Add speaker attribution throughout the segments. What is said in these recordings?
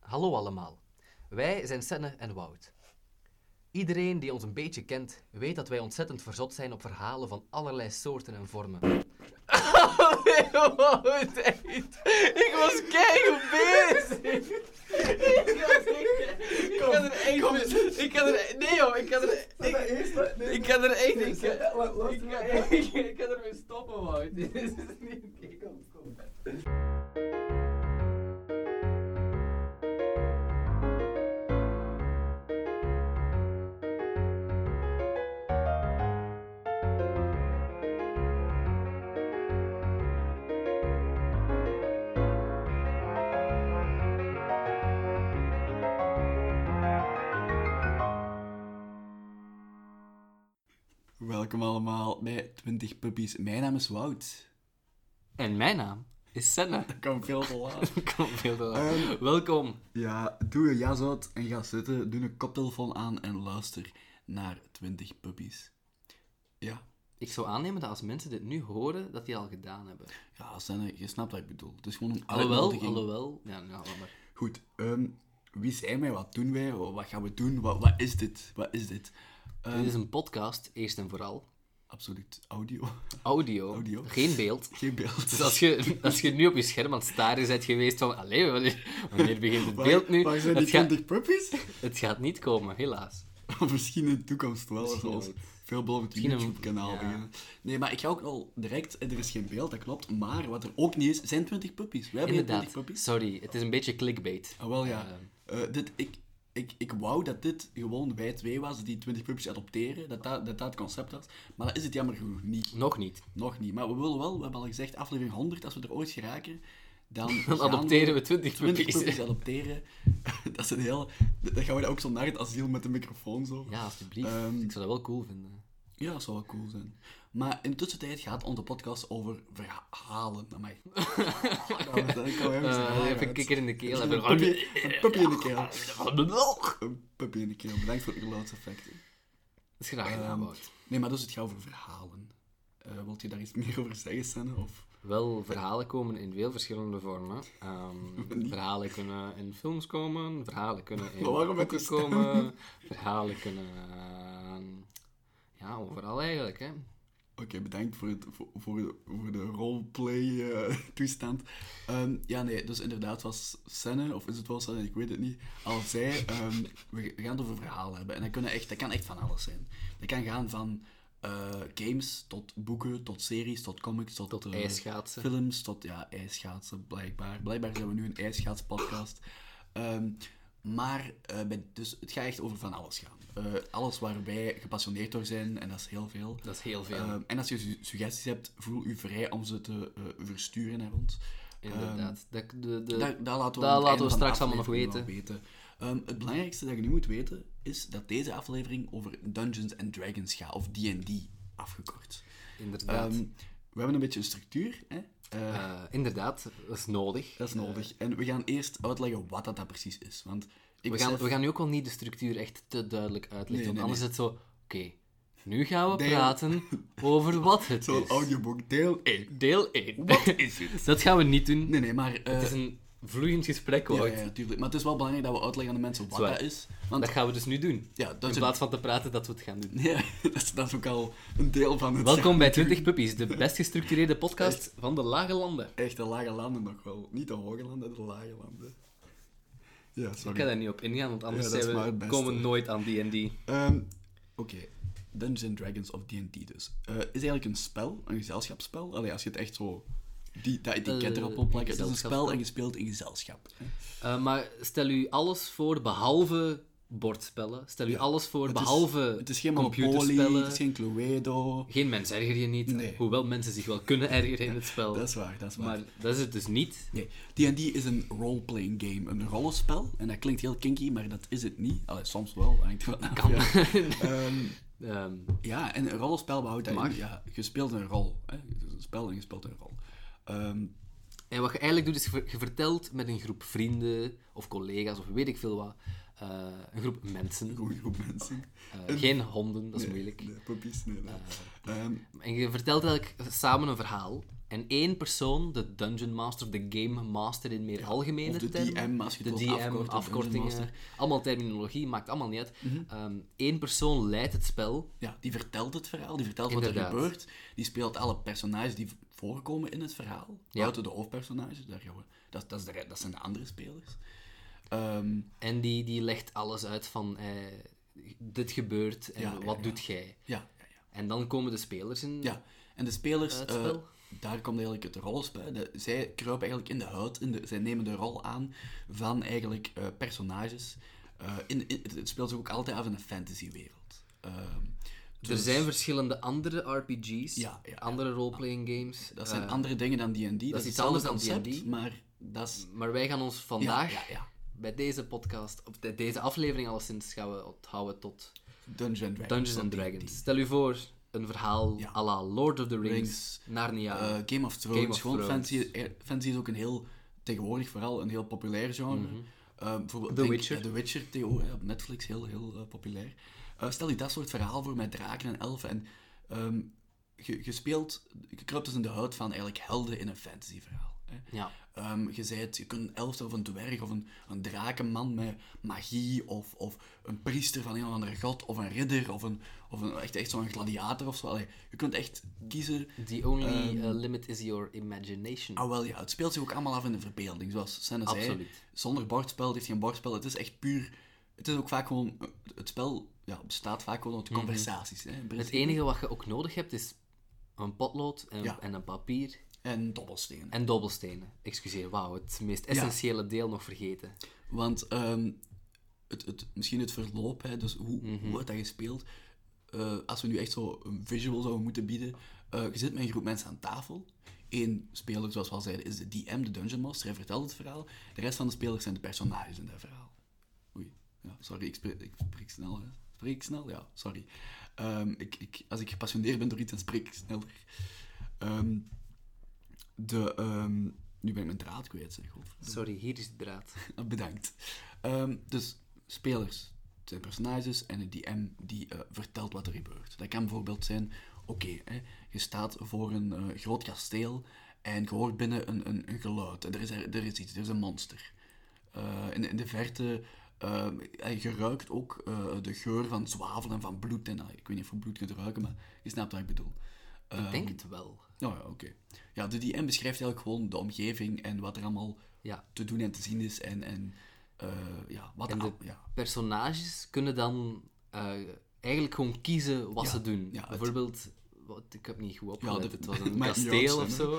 Speaker 1: Hallo allemaal. Wij zijn Senne en Wout. Iedereen die ons een beetje kent, weet dat wij ontzettend verzot zijn op verhalen van allerlei soorten en vormen. nee, Wout, echt. Ik was keigoed bezig. Ik was echt- Ik had er echt... mis- Ik had er... Nee, joh. Ik had er... Ik, ik had er echt... Ik, ik, ik, ik kan ermee stoppen, Wout. Dit is niet oké.
Speaker 2: Welkom allemaal bij 20 Puppies. Mijn naam is Wout.
Speaker 1: En mijn naam is Senna.
Speaker 2: Dat kan veel te laat.
Speaker 1: Kom, veel te laat.
Speaker 2: Ehm.
Speaker 1: Welkom.
Speaker 2: ja, doe je jas uit en ga zitten. Doe een koptelefoon aan en luister naar 20 Puppies. Ja,
Speaker 1: Ik zou aannemen dat als mensen dit nu horen, dat die al gedaan hebben.
Speaker 2: ja Senne, je snapt wat ik bedoel. Het is gewoon een
Speaker 1: Alhoewel,
Speaker 2: uitnodiging.
Speaker 1: alhoewel. Ja, nou, laat maar.
Speaker 2: Goed, ehm, wie zijn wij? Wat doen wij? Wat gaan we doen? Wat, wat is dit? Wat is dit? Ehm,
Speaker 1: Dit is een podcast, eerst en vooral.
Speaker 2: Absoluut audio.
Speaker 1: Audio.
Speaker 2: Audio.
Speaker 1: Geen beeld.
Speaker 2: Geen beeld.
Speaker 1: Dus als je, als je nu op je scherm aan het staren bent geweest van... Allee, wanneer, wanneer begint het
Speaker 2: Waar-
Speaker 1: beeld nu?
Speaker 2: Waar zijn die
Speaker 1: het, gaat,
Speaker 2: 20 Puppies?
Speaker 1: het gaat niet komen, helaas.
Speaker 2: Misschien in de toekomst wel, als we
Speaker 1: Misschien
Speaker 2: ons
Speaker 1: ooit.
Speaker 2: veelbelovend
Speaker 1: Misschien een-
Speaker 2: YouTube-kanaal
Speaker 1: ja.
Speaker 2: beginnen. Nee, maar ik ga ook al direct... Er is geen beeld, dat klopt. Maar wat er ook niet is, zijn 20 puppies. We hebben geen
Speaker 1: Inderdaad. Ehm.
Speaker 2: 20 puppies.
Speaker 1: Sorry, het is een beetje clickbait.
Speaker 2: Ah, wel ja. Eh, dit, ik, ik, ik wou dat dit gewoon wij twee was die 20 puppies adopteren. Dat dat, dat dat het concept was. Maar dat is het jammer genoeg niet.
Speaker 1: Nog niet.
Speaker 2: Nog niet. Maar we willen wel, we hebben al gezegd, aflevering 100, als we er ooit geraken... Dan,
Speaker 1: Dan
Speaker 2: gaan
Speaker 1: adopteren we 20
Speaker 2: 20
Speaker 1: puppies.
Speaker 2: puppies adopteren. dat is een heel... Dan gaan we dat ook zo naar het asiel met de microfoon zo.
Speaker 1: Ja, alsjeblieft.
Speaker 2: Ehm.
Speaker 1: Ik zou dat wel cool vinden.
Speaker 2: Ja, dat zou wel cool zijn. Maar in de tussentijd gaat onze podcast over verhalen. Amai. Dat Nou, kan wel ergens
Speaker 1: Eh,
Speaker 2: raar
Speaker 1: even
Speaker 2: uit.
Speaker 1: kikker in de keel
Speaker 2: Een
Speaker 1: hebben.
Speaker 2: puppy- Ehm, Een puppy in de keel. Een puppy in de keel. Bedankt voor de geluidseffecten.
Speaker 1: Dat is graag gedaan,
Speaker 2: Ehm,
Speaker 1: Wout.
Speaker 2: Nee, maar dus het gaat over verhalen. Eh wilt je daar iets meer over zeggen, Sanne? Of...
Speaker 1: Wel, verhalen komen in veel verschillende vormen. Ehm, verhalen kunnen in films komen, verhalen kunnen in
Speaker 2: Maar waarom met
Speaker 1: boeken
Speaker 2: de stem?
Speaker 1: komen, verhalen kunnen... ehm, ja, overal eigenlijk, hè.
Speaker 2: Oké, bedankt voor, het, voor, voor de, voor de roleplay-toestand. ja, nee, dus inderdaad was Senne, of is het wel Senne, ik weet het niet, al zei, ehm, we gaan het over verhalen hebben. En dat, kunnen echt, dat kan echt van alles zijn. Dat kan gaan van eh, games tot boeken, tot series, tot comics, tot,
Speaker 1: Tot
Speaker 2: eh,
Speaker 1: ijsschaatsen.
Speaker 2: films, tot ja, ijsschaatsen, blijkbaar. Blijkbaar zijn we nu een ijsschaatspodcast. Ehm maar eh, bij, dus het gaat echt over van alles gaan. Eh, alles waar wij gepassioneerd door zijn, en dat is heel veel.
Speaker 1: Dat is heel veel,
Speaker 2: Ehm, en als je su- suggesties hebt, voel u vrij om ze te eh, versturen naar ons.
Speaker 1: inderdaad. Dat, de, de,
Speaker 2: Ehm, daar, daar laten we,
Speaker 1: daar
Speaker 2: aan
Speaker 1: laten
Speaker 2: het
Speaker 1: we
Speaker 2: einde van de
Speaker 1: straks allemaal nog
Speaker 2: aflevering wel weten. Ehm, het belangrijkste dat je nu moet weten, is dat deze aflevering over Dungeons and Dragons gaat, of D&D afgekort.
Speaker 1: inderdaad.
Speaker 2: Ehm, we hebben een beetje een structuur, hè? Eh,
Speaker 1: Eh, inderdaad, dat is nodig.
Speaker 2: dat is nodig. En we gaan eerst uitleggen wat dat, dan precies is. Want ik
Speaker 1: We gaan,
Speaker 2: besef-
Speaker 1: we gaan nu ook wel niet de structuur echt te duidelijk uitleggen,
Speaker 2: Nee,
Speaker 1: want
Speaker 2: nee,
Speaker 1: anders is het zo... Oké, nu gaan we
Speaker 2: Deel-
Speaker 1: praten over wat het
Speaker 2: Zo'n
Speaker 1: is.
Speaker 2: audioboek, deel 1.
Speaker 1: Deel 1.
Speaker 2: Wat is het?
Speaker 1: Dat gaan we niet doen.
Speaker 2: Nee, nee, maar... eh,
Speaker 1: Het is een vloeiend gesprek,
Speaker 2: ja,
Speaker 1: Wout.
Speaker 2: ja, tuurlijk. Maar het is wel belangrijk dat we uitleggen aan de mensen wat
Speaker 1: Zwaar.
Speaker 2: dat is. Want
Speaker 1: Dat gaan we dus nu doen.
Speaker 2: Ja, dat
Speaker 1: In
Speaker 2: is,
Speaker 1: plaats van te praten dat we het gaan doen.
Speaker 2: ja, dat, is, dat is ook al een deel van het...
Speaker 1: Welkom bij 20 Puppies, de best gestructureerde podcast van de Lage Landen.
Speaker 2: Echt de lage landen nog wel. Niet de hoge landen, de lage landen. Ja,
Speaker 1: Ik
Speaker 2: sorry.
Speaker 1: ga daar niet op ingaan, want anders
Speaker 2: Ja, dat is
Speaker 1: zijn
Speaker 2: maar het
Speaker 1: we,
Speaker 2: beste.
Speaker 1: komen we nooit aan D&D.
Speaker 2: Ehm, Oké, Dungeons and Dragons of D&D dus. Eh, is eigenlijk een spel, een gezelschapsspel. Allee, als je het echt zo... Die, dat etiket
Speaker 1: Eh,
Speaker 2: erop wil plakken. Het is een
Speaker 1: gezelschapsspel.
Speaker 2: spel en gespeeld in gezelschap. hè.
Speaker 1: Eh, maar stel u alles voor behalve bordspellen. Stel u alles voor
Speaker 2: Het is-
Speaker 1: behalve
Speaker 2: Het is geen Monopoly,
Speaker 1: computerspellen.
Speaker 2: het is geen Cluedo.
Speaker 1: Geen mens erger je niet,
Speaker 2: Nee.
Speaker 1: hoewel mensen zich wel kunnen ergeren in het spel.
Speaker 2: Dat is waar, dat is waar.
Speaker 1: Maar dat is het dus niet.
Speaker 2: Nee, D&D is een role-playing game, een rollenspel. En dat klinkt heel kinky, maar dat is het niet. Allee, soms wel, hangt er vanaf,
Speaker 1: Kan.
Speaker 2: Ja. Ehm,
Speaker 1: Ehm,
Speaker 2: ja, en een rollenspel behoudt dat
Speaker 1: Mag.
Speaker 2: in. Ja, je speelt een rol. Hè? Het is een spel en je speelt een rol. Ehm,
Speaker 1: en wat je eigenlijk doet, is je ver- je vertelt met een groep vrienden of collega's of weet ik veel wat. eh, een groep mensen.
Speaker 2: een goede groep mensen.
Speaker 1: Eh, geen honden, dat is moeilijk. Ah.
Speaker 2: Nee, puppies, nee. nee. Ehm,
Speaker 1: En je vertelt eigenlijk samen een verhaal. En één persoon, de Dungeon Master, de Game Master in meer algemene
Speaker 2: of de
Speaker 1: termen.
Speaker 2: DM, als je
Speaker 1: de
Speaker 2: het
Speaker 1: DM,
Speaker 2: wilt afkorten, Dungeon
Speaker 1: afkortingen.
Speaker 2: Master. Mhm.
Speaker 1: Allemaal terminologie, maakt allemaal niet uit. Eén persoon leidt het spel.
Speaker 2: Ja, die vertelt het verhaal, die vertelt
Speaker 1: Inderdaad.
Speaker 2: wat er gebeurt. Die speelt alle personages die v- voorkomen in het verhaal.
Speaker 1: Ja.
Speaker 2: Buiten de hoofdpersonages, daar gaan we, dat, dat, is de, re- dat zijn de andere spelers. Ehm,
Speaker 1: En die, die legt alles uit van... eh, dit gebeurt en
Speaker 2: Ja, ja,
Speaker 1: wat
Speaker 2: ja.
Speaker 1: doet jij?
Speaker 2: ja, ja, ja.
Speaker 1: En dan komen de spelers in.
Speaker 2: ja, en de spelers,
Speaker 1: Eh, Mm. het
Speaker 2: eh,
Speaker 1: spel?
Speaker 2: daar komt eigenlijk het rollenspel. De- zij kruipen eigenlijk in de huid, in de, zij nemen de rol aan van eigenlijk eh, personages. Eh, in, in- het, het speelt zich ook altijd af in een fantasywereld. Ehm,
Speaker 1: Er
Speaker 2: dus
Speaker 1: zijn verschillende andere RPG's,
Speaker 2: Ja, ja, ja.
Speaker 1: andere roleplaying games.
Speaker 2: dat zijn
Speaker 1: eh,
Speaker 2: andere dingen dan D&D. Dat,
Speaker 1: iets
Speaker 2: is hetzelfde
Speaker 1: anders dan
Speaker 2: concept,
Speaker 1: D&D.
Speaker 2: maar dat is...
Speaker 1: maar wij gaan ons
Speaker 2: ja,
Speaker 1: vandaag
Speaker 2: ja, ja.
Speaker 1: bij deze podcast, of de- deze aflevering alleszins, gaan we onthouden tot
Speaker 2: Dungeons and Dragons.
Speaker 1: Dungeons
Speaker 2: van
Speaker 1: and
Speaker 2: D&D.
Speaker 1: Dragons. Stel u voor een verhaal
Speaker 2: Ja.
Speaker 1: à la Lord of the Rings,
Speaker 2: Rings,
Speaker 1: Narnia.
Speaker 2: Eh, Game of Thrones,
Speaker 1: Game of
Speaker 2: gewoon
Speaker 1: Thrones.
Speaker 2: Fantasy, eh, fantasy is ook een heel, tegenwoordig vooral, een heel populair genre. Eh, bijvoorbeeld,
Speaker 1: Mhm. The
Speaker 2: denk,
Speaker 1: Witcher.
Speaker 2: eh, The Witcher, tegenwoordig, eh, op Netflix, heel, heel eh, populair. Eh, stel je dat soort verhaal voor met draken en elfen. En ehm, je, je speelt, je kruipt dus in de huid van eigenlijk helden in een fantasyverhaal. hè.
Speaker 1: ja.
Speaker 2: Ehm, je, zijt, je kunt een elf zijn of een dwerg of een, een drakenman met magie of, of een priester van een of andere god of een ridder of, een, of een, echt, echt zo'n gladiator of zo. Allee, je kunt echt kiezen
Speaker 1: The only
Speaker 2: ehm,
Speaker 1: eh, limit is your imagination.
Speaker 2: Ah, wel ja. Het speelt zich ook allemaal af in de verbeelding, zoals Senne zei.
Speaker 1: Absoluut.
Speaker 2: Zonder bordspel, het is geen bordspel. Het is echt puur... Het is ook vaak gewoon... Het spel ja, bestaat vaak gewoon uit conversaties. Hè, in
Speaker 1: Mhm. Het
Speaker 2: principe.
Speaker 1: enige wat je ook nodig hebt is een potlood en,
Speaker 2: Ja.
Speaker 1: en een papier
Speaker 2: En dobbelstenen.
Speaker 1: en dobbelstenen. Excuseer, wauw, het meest essentiële deel nog vergeten.
Speaker 2: Want ehm, het, het, misschien het verloop, hè, dus hoe, hoe wordt dat gespeeld? Eh, als we nu echt zo een visual zouden moeten bieden. eh, je zit met een groep mensen aan tafel. Eén speler, zoals we al zeiden, is de DM, de Dungeon Master. Hij vertelt het verhaal. De rest van de spelers zijn de personages in dat verhaal. Oei, ja, sorry, ik spreek, ik spreek snel. Hè. Spreek ik snel? Ja, sorry. Ehm, ik, ik, als ik gepassioneerd ben door iets, dan spreek ik sneller. Ehm, de, ehm, nu ben ik mijn draad kwijt, zeg. Godverdomme.
Speaker 1: Sorry, hier is de draad.
Speaker 2: Eh, Bedankt. Ehm, dus spelers het zijn personages en een DM die eh, vertelt wat er gebeurt. Dat kan bijvoorbeeld zijn, oké, hè, je staat voor een eh, groot kasteel en je hoort binnen een, een, een geluid. En er is, er, er is iets, er is een monster. Eh, in, in de verte, eh, en je ruikt ook eh, de geur van zwavel en van bloed. En, eh, ik weet niet of je bloed kunt ruiken, maar je snapt wat ik bedoel.
Speaker 1: Ik denk het wel.
Speaker 2: Nou ja, oké. Ja, de DM beschrijft eigenlijk gewoon de omgeving en wat er allemaal
Speaker 1: Ja.
Speaker 2: te doen en te zien is. En, en eh, ja, wat
Speaker 1: En
Speaker 2: de,
Speaker 1: de
Speaker 2: ja,
Speaker 1: personages kunnen dan eh, eigenlijk gewoon kiezen wat
Speaker 2: Ja,
Speaker 1: ze doen.
Speaker 2: ja, het-
Speaker 1: Bijvoorbeeld, wat, ik heb niet goed opgelet,
Speaker 2: Ja, dat-
Speaker 1: het was een
Speaker 2: maakt niet
Speaker 1: kasteel
Speaker 2: uit,
Speaker 1: of zo.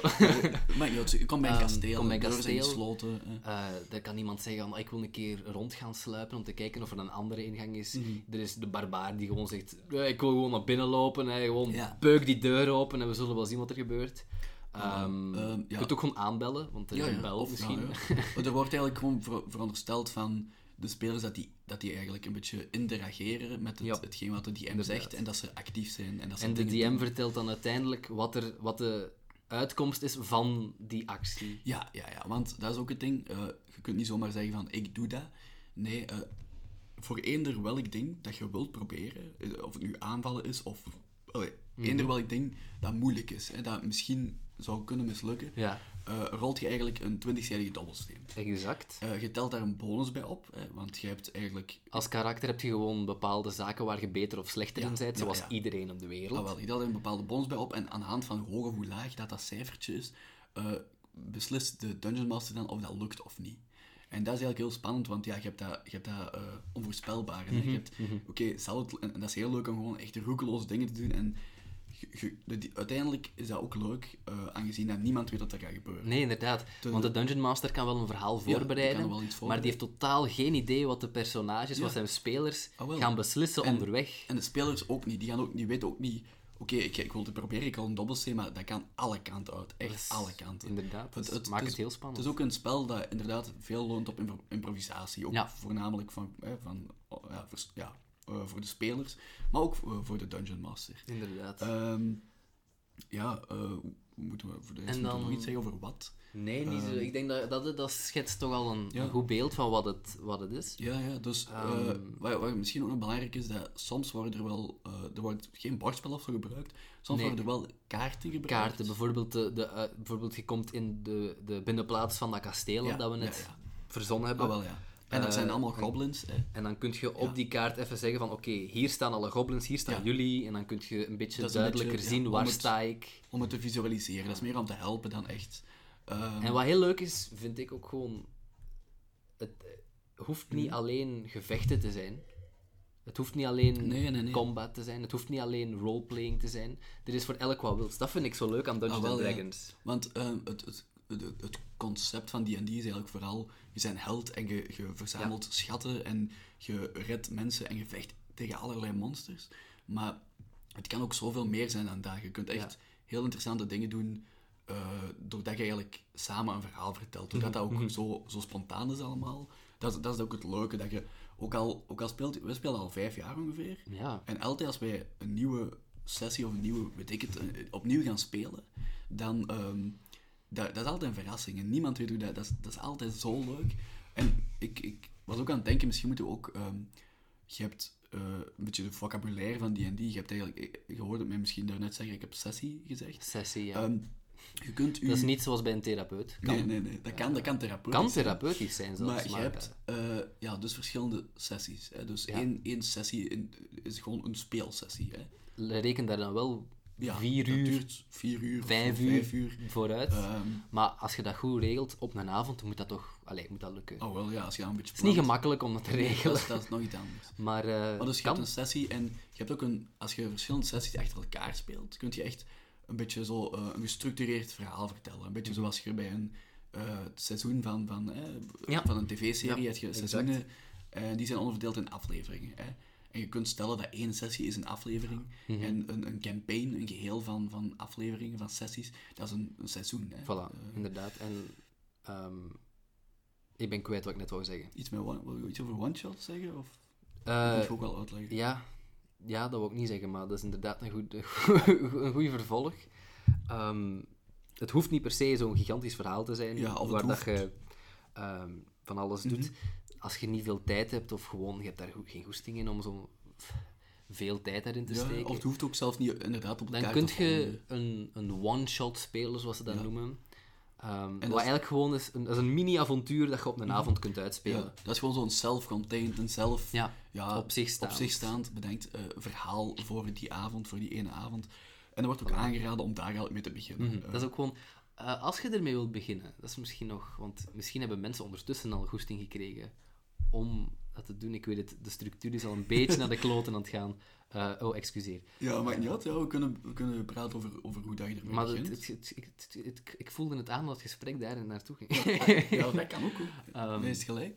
Speaker 2: Maar ja, het- je komt bij een
Speaker 1: Ehm,
Speaker 2: kasteel,
Speaker 1: kom bij
Speaker 2: de
Speaker 1: een
Speaker 2: deuren zijn
Speaker 1: kasteel.
Speaker 2: gesloten. eh.
Speaker 1: Eh dan kan iemand zeggen, van, ik wil een keer rond gaan sluipen om te kijken of er een andere ingang is.
Speaker 2: Mhm.
Speaker 1: Er is de barbaar die gewoon zegt, "Eh, ik wil gewoon naar binnen lopen, hè, gewoon
Speaker 2: Ja.
Speaker 1: beuk die deur open en we zullen wel zien wat er gebeurt. Ehm,
Speaker 2: ehm,
Speaker 1: Je
Speaker 2: ja.
Speaker 1: kunt ook gewoon aanbellen, want er is
Speaker 2: Ja,
Speaker 1: een
Speaker 2: ja,
Speaker 1: bel
Speaker 2: of-
Speaker 1: misschien.
Speaker 2: ja, ja. Er wordt eigenlijk gewoon ver- verondersteld van de spelers dat die, dat die eigenlijk een beetje interageren met het,
Speaker 1: Ja.
Speaker 2: hetgeen wat de DM zegt en dat ze actief zijn. En, dat ze
Speaker 1: En de
Speaker 2: dingen
Speaker 1: DM
Speaker 2: doen.
Speaker 1: vertelt dan uiteindelijk wat, er, wat de uitkomst is van die actie.
Speaker 2: Ja, ja, ja, want dat is ook het ding. eh, je kunt niet zomaar zeggen van ik doe dat. Nee, eh, voor eender welk ding dat je wilt proberen, eh, of het nu aanvallen is of allee, eender welk ding dat moeilijk is, hè, dat misschien zou kunnen mislukken,
Speaker 1: Ja.
Speaker 2: eh, rolt je eigenlijk een 20-zijdige dobbelsteen.
Speaker 1: Exact.
Speaker 2: Eh, je telt daar een bonus bij op, hè, want je hebt eigenlijk.
Speaker 1: Als karakter heb je gewoon bepaalde zaken waar je beter of slechter
Speaker 2: Ja,
Speaker 1: in bent,
Speaker 2: ja,
Speaker 1: zoals
Speaker 2: ja.
Speaker 1: iedereen op de wereld.
Speaker 2: Ah, wel, je telt daar een bepaalde bonus bij op en aan de hand van hoe hoog of hoe laag dat, dat cijfertje is, eh, beslist de Dungeon Master dan of dat lukt of niet. En dat is eigenlijk heel spannend, want ja, je hebt dat, je hebt dat eh, onvoorspelbare. hè. Je hebt, oké, zal het- en, en dat is heel leuk om gewoon echt roekeloos dingen te doen. En je- je- de- die- uiteindelijk is dat ook leuk, eh, aangezien dat niemand weet wat er gaat gebeuren.
Speaker 1: Nee, inderdaad. Want de Dungeon Master kan wel een verhaal
Speaker 2: die
Speaker 1: voorbereiden,
Speaker 2: kan wel iets
Speaker 1: maar
Speaker 2: voorbereiden.
Speaker 1: die heeft totaal geen idee wat de personages, wat zijn spelers,
Speaker 2: Ah, wel.
Speaker 1: gaan beslissen
Speaker 2: En-
Speaker 1: onderweg.
Speaker 2: En de spelers ook niet. Die, gaan ook, die weten ook niet... Oké, ik, ik wil het proberen, ik wil een dobbelsteen, maar dat kan alle kanten uit. Echt alle kanten.
Speaker 1: Inderdaad, dat
Speaker 2: Het- het-
Speaker 1: maakt
Speaker 2: het
Speaker 1: het,
Speaker 2: is-
Speaker 1: heel
Speaker 2: Het
Speaker 1: spannend.
Speaker 2: is ook een spel dat inderdaad veel loont op impro- improvisatie. Ook
Speaker 1: Ja.
Speaker 2: voornamelijk van, hè, van, oh, ja, voor, ja, eh, voor de spelers, maar ook eh, voor de Dungeon Master.
Speaker 1: Inderdaad.
Speaker 2: Ehm, ja, eh, moeten we voor de
Speaker 1: En
Speaker 2: rest moeten we nog
Speaker 1: dan-
Speaker 2: iets zeggen over wat?
Speaker 1: Nee, niet zo.
Speaker 2: Ehm.
Speaker 1: Ik denk dat dat, dat schetst toch al een,
Speaker 2: Ja.
Speaker 1: een goed beeld van wat het, wat het is.
Speaker 2: Ja, ja, dus eh,
Speaker 1: Ehm.
Speaker 2: waar, waar misschien ook nog belangrijk is, dat soms worden er wel, eh, er wordt geen bordspel of zo gebruikt, soms
Speaker 1: Nee.
Speaker 2: worden er wel kaarten gebruikt.
Speaker 1: Kaarten, bijvoorbeeld, de, de, eh, bijvoorbeeld je komt in de, de binnenplaats van dat kasteel
Speaker 2: Ja,
Speaker 1: dat we
Speaker 2: ja,
Speaker 1: net
Speaker 2: ja.
Speaker 1: verzonnen hebben.
Speaker 2: Ah, wel ja. En dat
Speaker 1: Eh,
Speaker 2: zijn allemaal goblins, hè.
Speaker 1: En dan kun je op
Speaker 2: Ja.
Speaker 1: die kaart even zeggen van oké, hier staan alle goblins, hier staan
Speaker 2: Ja.
Speaker 1: jullie. En dan kun je een beetje
Speaker 2: Dat is een
Speaker 1: duidelijker
Speaker 2: beetje, ja,
Speaker 1: zien
Speaker 2: om
Speaker 1: waar
Speaker 2: het-
Speaker 1: sta ik.
Speaker 2: om het te visualiseren. Dat is meer om te helpen dan echt. Ehm,
Speaker 1: En wat heel leuk is, vind ik ook gewoon... Het eh, hoeft
Speaker 2: Mhm.
Speaker 1: niet alleen gevechten te zijn. Het hoeft niet alleen
Speaker 2: Nee, nee, nee.
Speaker 1: combat te zijn. Het hoeft niet alleen roleplaying te zijn. Er is voor elk wat wils. Dat vind ik zo leuk aan Dungeons
Speaker 2: Ah, wel,
Speaker 1: and
Speaker 2: ja.
Speaker 1: Dragons.
Speaker 2: Want ehm, het, het, het, het concept van D&D is eigenlijk vooral... Je bent held en je, je verzamelt schatten en je redt mensen en je vecht tegen allerlei monsters. Maar het kan ook zoveel meer zijn dan dat. Je kunt echt heel interessante dingen doen... eh, doordat je eigenlijk samen een verhaal vertelt. Doordat dat ook zo, zo spontaan is allemaal. Dat, is- dat is ook het leuke. Dat je, ook al, ook al speelt... We spelen al vijf jaar ongeveer.
Speaker 1: Ja.
Speaker 2: En altijd als wij een nieuwe sessie of een nieuwe, weet ik het, eh, opnieuw gaan spelen, dan ehm, dat, dat is altijd een verrassing. En niemand weet hoe dat, dat is, dat is altijd zo leuk. En ik, ik was ook aan het denken, misschien moeten we ook, ehm, je hebt eh, een beetje de vocabulaire van D&D, je hebt eigenlijk, eh, je hoorde mij misschien daarnet zeggen, ik heb sessie gezegd.
Speaker 1: Sessie, ja.
Speaker 2: Ehm, je kunt u...
Speaker 1: dat is niet zoals bij een therapeut. Kan,
Speaker 2: Nee, nee, nee, dat kan, dat kan therapeutisch
Speaker 1: kan
Speaker 2: zijn.
Speaker 1: therapeutisch zijn zelfs.
Speaker 2: Maar je
Speaker 1: maar,
Speaker 2: hebt eh, ja, dus verschillende sessies. Hè? Dus
Speaker 1: Ja.
Speaker 2: één, één sessie in- is gewoon een speelsessie. Hè?
Speaker 1: eh, reken daar dan wel
Speaker 2: Ja,
Speaker 1: vier
Speaker 2: dat
Speaker 1: uur,
Speaker 2: duurt vier uur,
Speaker 1: vijf
Speaker 2: of
Speaker 1: uur,
Speaker 2: vijf uur.
Speaker 1: vooruit.
Speaker 2: Ehm,
Speaker 1: maar als je dat goed regelt op een avond, moet dat toch... Allee, moet dat lukken.
Speaker 2: oh wel, ja, als je dan een beetje
Speaker 1: Het is niet
Speaker 2: plant,
Speaker 1: gemakkelijk om dat te regelen.
Speaker 2: Dat, is- dat is nog iets anders.
Speaker 1: Maar, eh
Speaker 2: Maar dus je
Speaker 1: kan.
Speaker 2: hebt een sessie en je hebt ook een... Als je verschillende sessies achter elkaar speelt, kun je echt een beetje zo eh, een gestructureerd verhaal vertellen. Een beetje zoals je bij een eh, seizoen van, van, eh,
Speaker 1: Ja.
Speaker 2: van een tv-serie
Speaker 1: Ja,
Speaker 2: hebt je
Speaker 1: exact.
Speaker 2: seizoenen, eh, die zijn onderverdeeld in afleveringen. Hè? En je kunt stellen dat één sessie is een aflevering.
Speaker 1: Mhm.
Speaker 2: En een, een campaign, een geheel van, van afleveringen, van sessies, dat is een, een seizoen. Hè?
Speaker 1: Voilà,
Speaker 2: Eh,
Speaker 1: inderdaad. En ehm, ik ben kwijt wat ik net wou zeggen.
Speaker 2: Iets met one, wil je iets over one-shot zeggen? Of
Speaker 1: Eh,
Speaker 2: moet je ook wel uitleggen?
Speaker 1: ja, ja, dat wil ik niet zeggen, maar dat is inderdaad een goed een goeie vervolg. Ehm, het hoeft niet per se zo'n gigantisch verhaal te zijn,
Speaker 2: Ja, of het
Speaker 1: waar dat
Speaker 2: hoeft. Mhm.
Speaker 1: je ehm, van alles doet. Als je niet veel tijd hebt of gewoon, je hebt daar goed- geen goesting in om zo'n veel tijd daarin te
Speaker 2: Ja,
Speaker 1: steken.
Speaker 2: of het hoeft ook zelf niet inderdaad op elkaar
Speaker 1: Dan kun
Speaker 2: te volgen.
Speaker 1: je een, een one-shot spelen, zoals ze dat
Speaker 2: Ja.
Speaker 1: noemen. Ehm, wat
Speaker 2: dat is- Mhm.
Speaker 1: eigenlijk gewoon is een, dat is een mini-avontuur dat je op een avond kunt uitspelen.
Speaker 2: Ja, dat is gewoon zo'n self-contained, een zelf...
Speaker 1: Ja, op zich staand.
Speaker 2: staand. Op zich staand, bedenkt eh, verhaal voor die avond, voor die ene avond. En er wordt ook aangeraden om daar eigenlijk mee te beginnen. Eh,
Speaker 1: Mhm, Dat is ook gewoon... eh, als je ermee wilt beginnen, dat is misschien nog... Want misschien hebben mensen ondertussen al goesting gekregen om dat te doen. Ik weet het, de structuur is al een beetje naar de kloten aan het gaan. Eh, oh, excuseer.
Speaker 2: ja, maakt niet uit. Ja, we, kunnen, we kunnen praten over, over hoe dat je ermee
Speaker 1: Maar het, het,
Speaker 2: begint.
Speaker 1: het- het- het- ik voelde het aan dat het gesprek daarin naartoe ging.
Speaker 2: Ja, dat kan ook. hoor.
Speaker 1: Ehm,
Speaker 2: nee, is gelijk.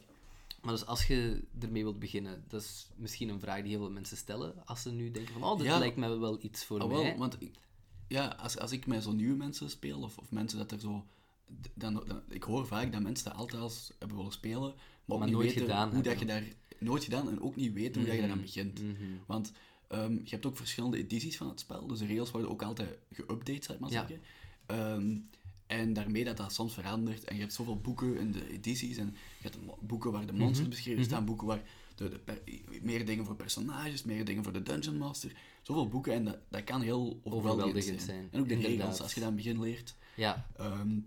Speaker 1: Maar dus als je ermee wilt beginnen, dat is misschien een vraag die heel veel mensen stellen. Als ze nu denken van, oh, dit
Speaker 2: Ja.
Speaker 1: lijkt me wel iets voor
Speaker 2: Ah,
Speaker 1: mij.
Speaker 2: wel, want ik- ja, als, als ik met zo nieuwe mensen speel, of, of mensen dat er zo... Dan, dan- ik hoor vaak dat mensen dat altijd als hebben willen spelen, maar,
Speaker 1: Maar
Speaker 2: ook niet
Speaker 1: nooit
Speaker 2: weten
Speaker 1: gedaan
Speaker 2: hoe dat je
Speaker 1: hebben. Mm.
Speaker 2: daar... Nooit gedaan en ook niet weten hoe dat je daaraan begint.
Speaker 1: Mhm.
Speaker 2: Want ehm, je hebt ook verschillende edities van het spel, dus de regels worden ook altijd geüpdate, zou ik maar
Speaker 1: Ja.
Speaker 2: zeggen. Ehm, en daarmee dat dat soms verandert. En je hebt zoveel boeken in de edities. En je hebt de mo- boeken waar de
Speaker 1: Mhm.
Speaker 2: monsters beschreven staan, boeken waar de, de per- meer dingen voor personages, meer dingen voor de dungeon master. Zoveel boeken en dat, dat kan heel overweldigend zijn.
Speaker 1: Overweldigend zijn,
Speaker 2: En ook de
Speaker 1: inderdaad.
Speaker 2: regels, als je dat aan het begin leert.
Speaker 1: Ja,
Speaker 2: Ehm,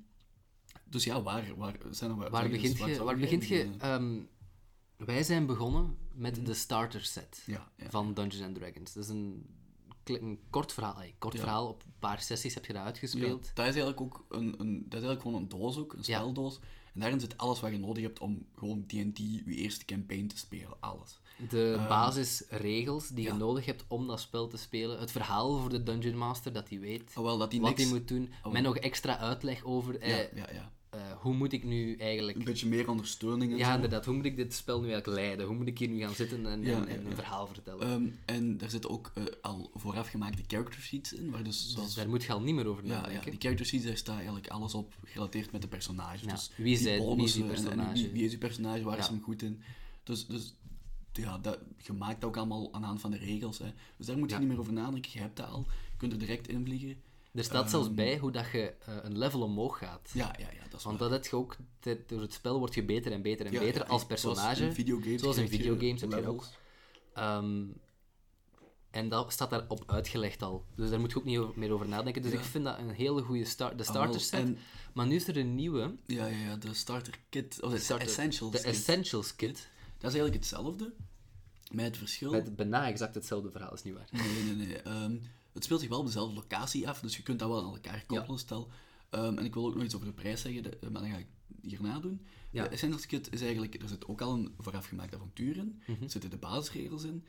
Speaker 2: dus ja, waar, waar zijn we?
Speaker 1: waar
Speaker 2: zeg,
Speaker 1: begint
Speaker 2: dus
Speaker 1: je?
Speaker 2: zou
Speaker 1: Waar
Speaker 2: ik
Speaker 1: begint je?
Speaker 2: beginnen? Mhm.
Speaker 1: Ehm, wij zijn begonnen met de starter set
Speaker 2: Ja, ja.
Speaker 1: van Dungeons and Dragons. Dat is een, kle- een kort verhaal. Een kort
Speaker 2: Ja.
Speaker 1: verhaal, op een paar sessies heb je dat
Speaker 2: Ja,
Speaker 1: uitgespeeld.
Speaker 2: dat is eigenlijk ook een, een, dat is eigenlijk gewoon een doos ook, een
Speaker 1: Ja.
Speaker 2: speldoos. En daarin zit alles wat je nodig hebt om gewoon D&D, je eerste campaign te spelen, alles.
Speaker 1: De basisregels die
Speaker 2: Ehm, ja.
Speaker 1: je nodig hebt om dat spel te spelen. Het verhaal voor de Dungeon Master, dat hij weet
Speaker 2: Hoewel dat die
Speaker 1: wat
Speaker 2: Oh, niks... Oh.
Speaker 1: hij moet doen. Met nog extra uitleg over eh,
Speaker 2: Ja, ja, ja.
Speaker 1: eh, hoe moet ik nu eigenlijk
Speaker 2: Een beetje meer ondersteuning en
Speaker 1: Ja,
Speaker 2: zo.
Speaker 1: inderdaad. Hoe moet ik dit spel nu eigenlijk leiden? Hoe moet ik hier nu gaan zitten en,
Speaker 2: Ja,
Speaker 1: en-
Speaker 2: ja,
Speaker 1: en een
Speaker 2: ja.
Speaker 1: verhaal vertellen?
Speaker 2: Ehm, en daar zitten ook eh, al voorafgemaakte character sheets in, waar dus
Speaker 1: dus
Speaker 2: zoals...
Speaker 1: daar moet je al niet meer over
Speaker 2: ja, ja,
Speaker 1: nadenken.
Speaker 2: die character sheets, daar staat eigenlijk alles op gerelateerd met de personages.
Speaker 1: Ja,
Speaker 2: Dus
Speaker 1: wie zijn- wie is die
Speaker 2: bonussen en- en
Speaker 1: personage?
Speaker 2: wie, wie is die personage, waar is
Speaker 1: Ja.
Speaker 2: hem goed in? Dus, dus ja, dat, je maakt dat ook allemaal aan de hand van de regels. Hè. Dus daar moet je
Speaker 1: Ja.
Speaker 2: niet meer over nadenken, je hebt dat al. Je kunt er direct in vliegen.
Speaker 1: Er staat
Speaker 2: ehm,
Speaker 1: zelfs bij hoe dat je eh, een level omhoog gaat.
Speaker 2: Ja, ja, ja, dat is
Speaker 1: Want
Speaker 2: waar.
Speaker 1: dat heb je ook, de- door het spel word je beter en beter en
Speaker 2: Ja,
Speaker 1: beter
Speaker 2: ja,
Speaker 1: als
Speaker 2: en
Speaker 1: personage.
Speaker 2: zoals in videogames
Speaker 1: zoals in
Speaker 2: krijg je
Speaker 1: videogames heb je dat ook.
Speaker 2: levels.
Speaker 1: Ehm, en dat staat daarop uitgelegd al. Dus daar moet je ook niet over- meer over nadenken. Dus ik vind dat een hele goede start, de starter set.
Speaker 2: Ah, en-
Speaker 1: Maar nu is er een nieuwe,
Speaker 2: Ja, ja, ja, de starter kit. Of de
Speaker 1: starter-
Speaker 2: essentials
Speaker 1: de
Speaker 2: kit.
Speaker 1: Essentials Kit.
Speaker 2: dat is eigenlijk hetzelfde, met het verschil...
Speaker 1: Met bijna exact hetzelfde verhaal, is niet waar.
Speaker 2: Nee, nee, nee. Ehm, het speelt zich wel op dezelfde locatie af, dus je kunt dat wel aan elkaar koppelen, stel. Ehm, en ik wil ook nog iets over de prijs zeggen, de- eh, maar dan ga ik hierna doen.
Speaker 1: Ja.
Speaker 2: De Essentials Kit is eigenlijk... Er zit ook al een voorafgemaakt avontuur in.
Speaker 1: Mhm.
Speaker 2: Er zitten de basisregels in.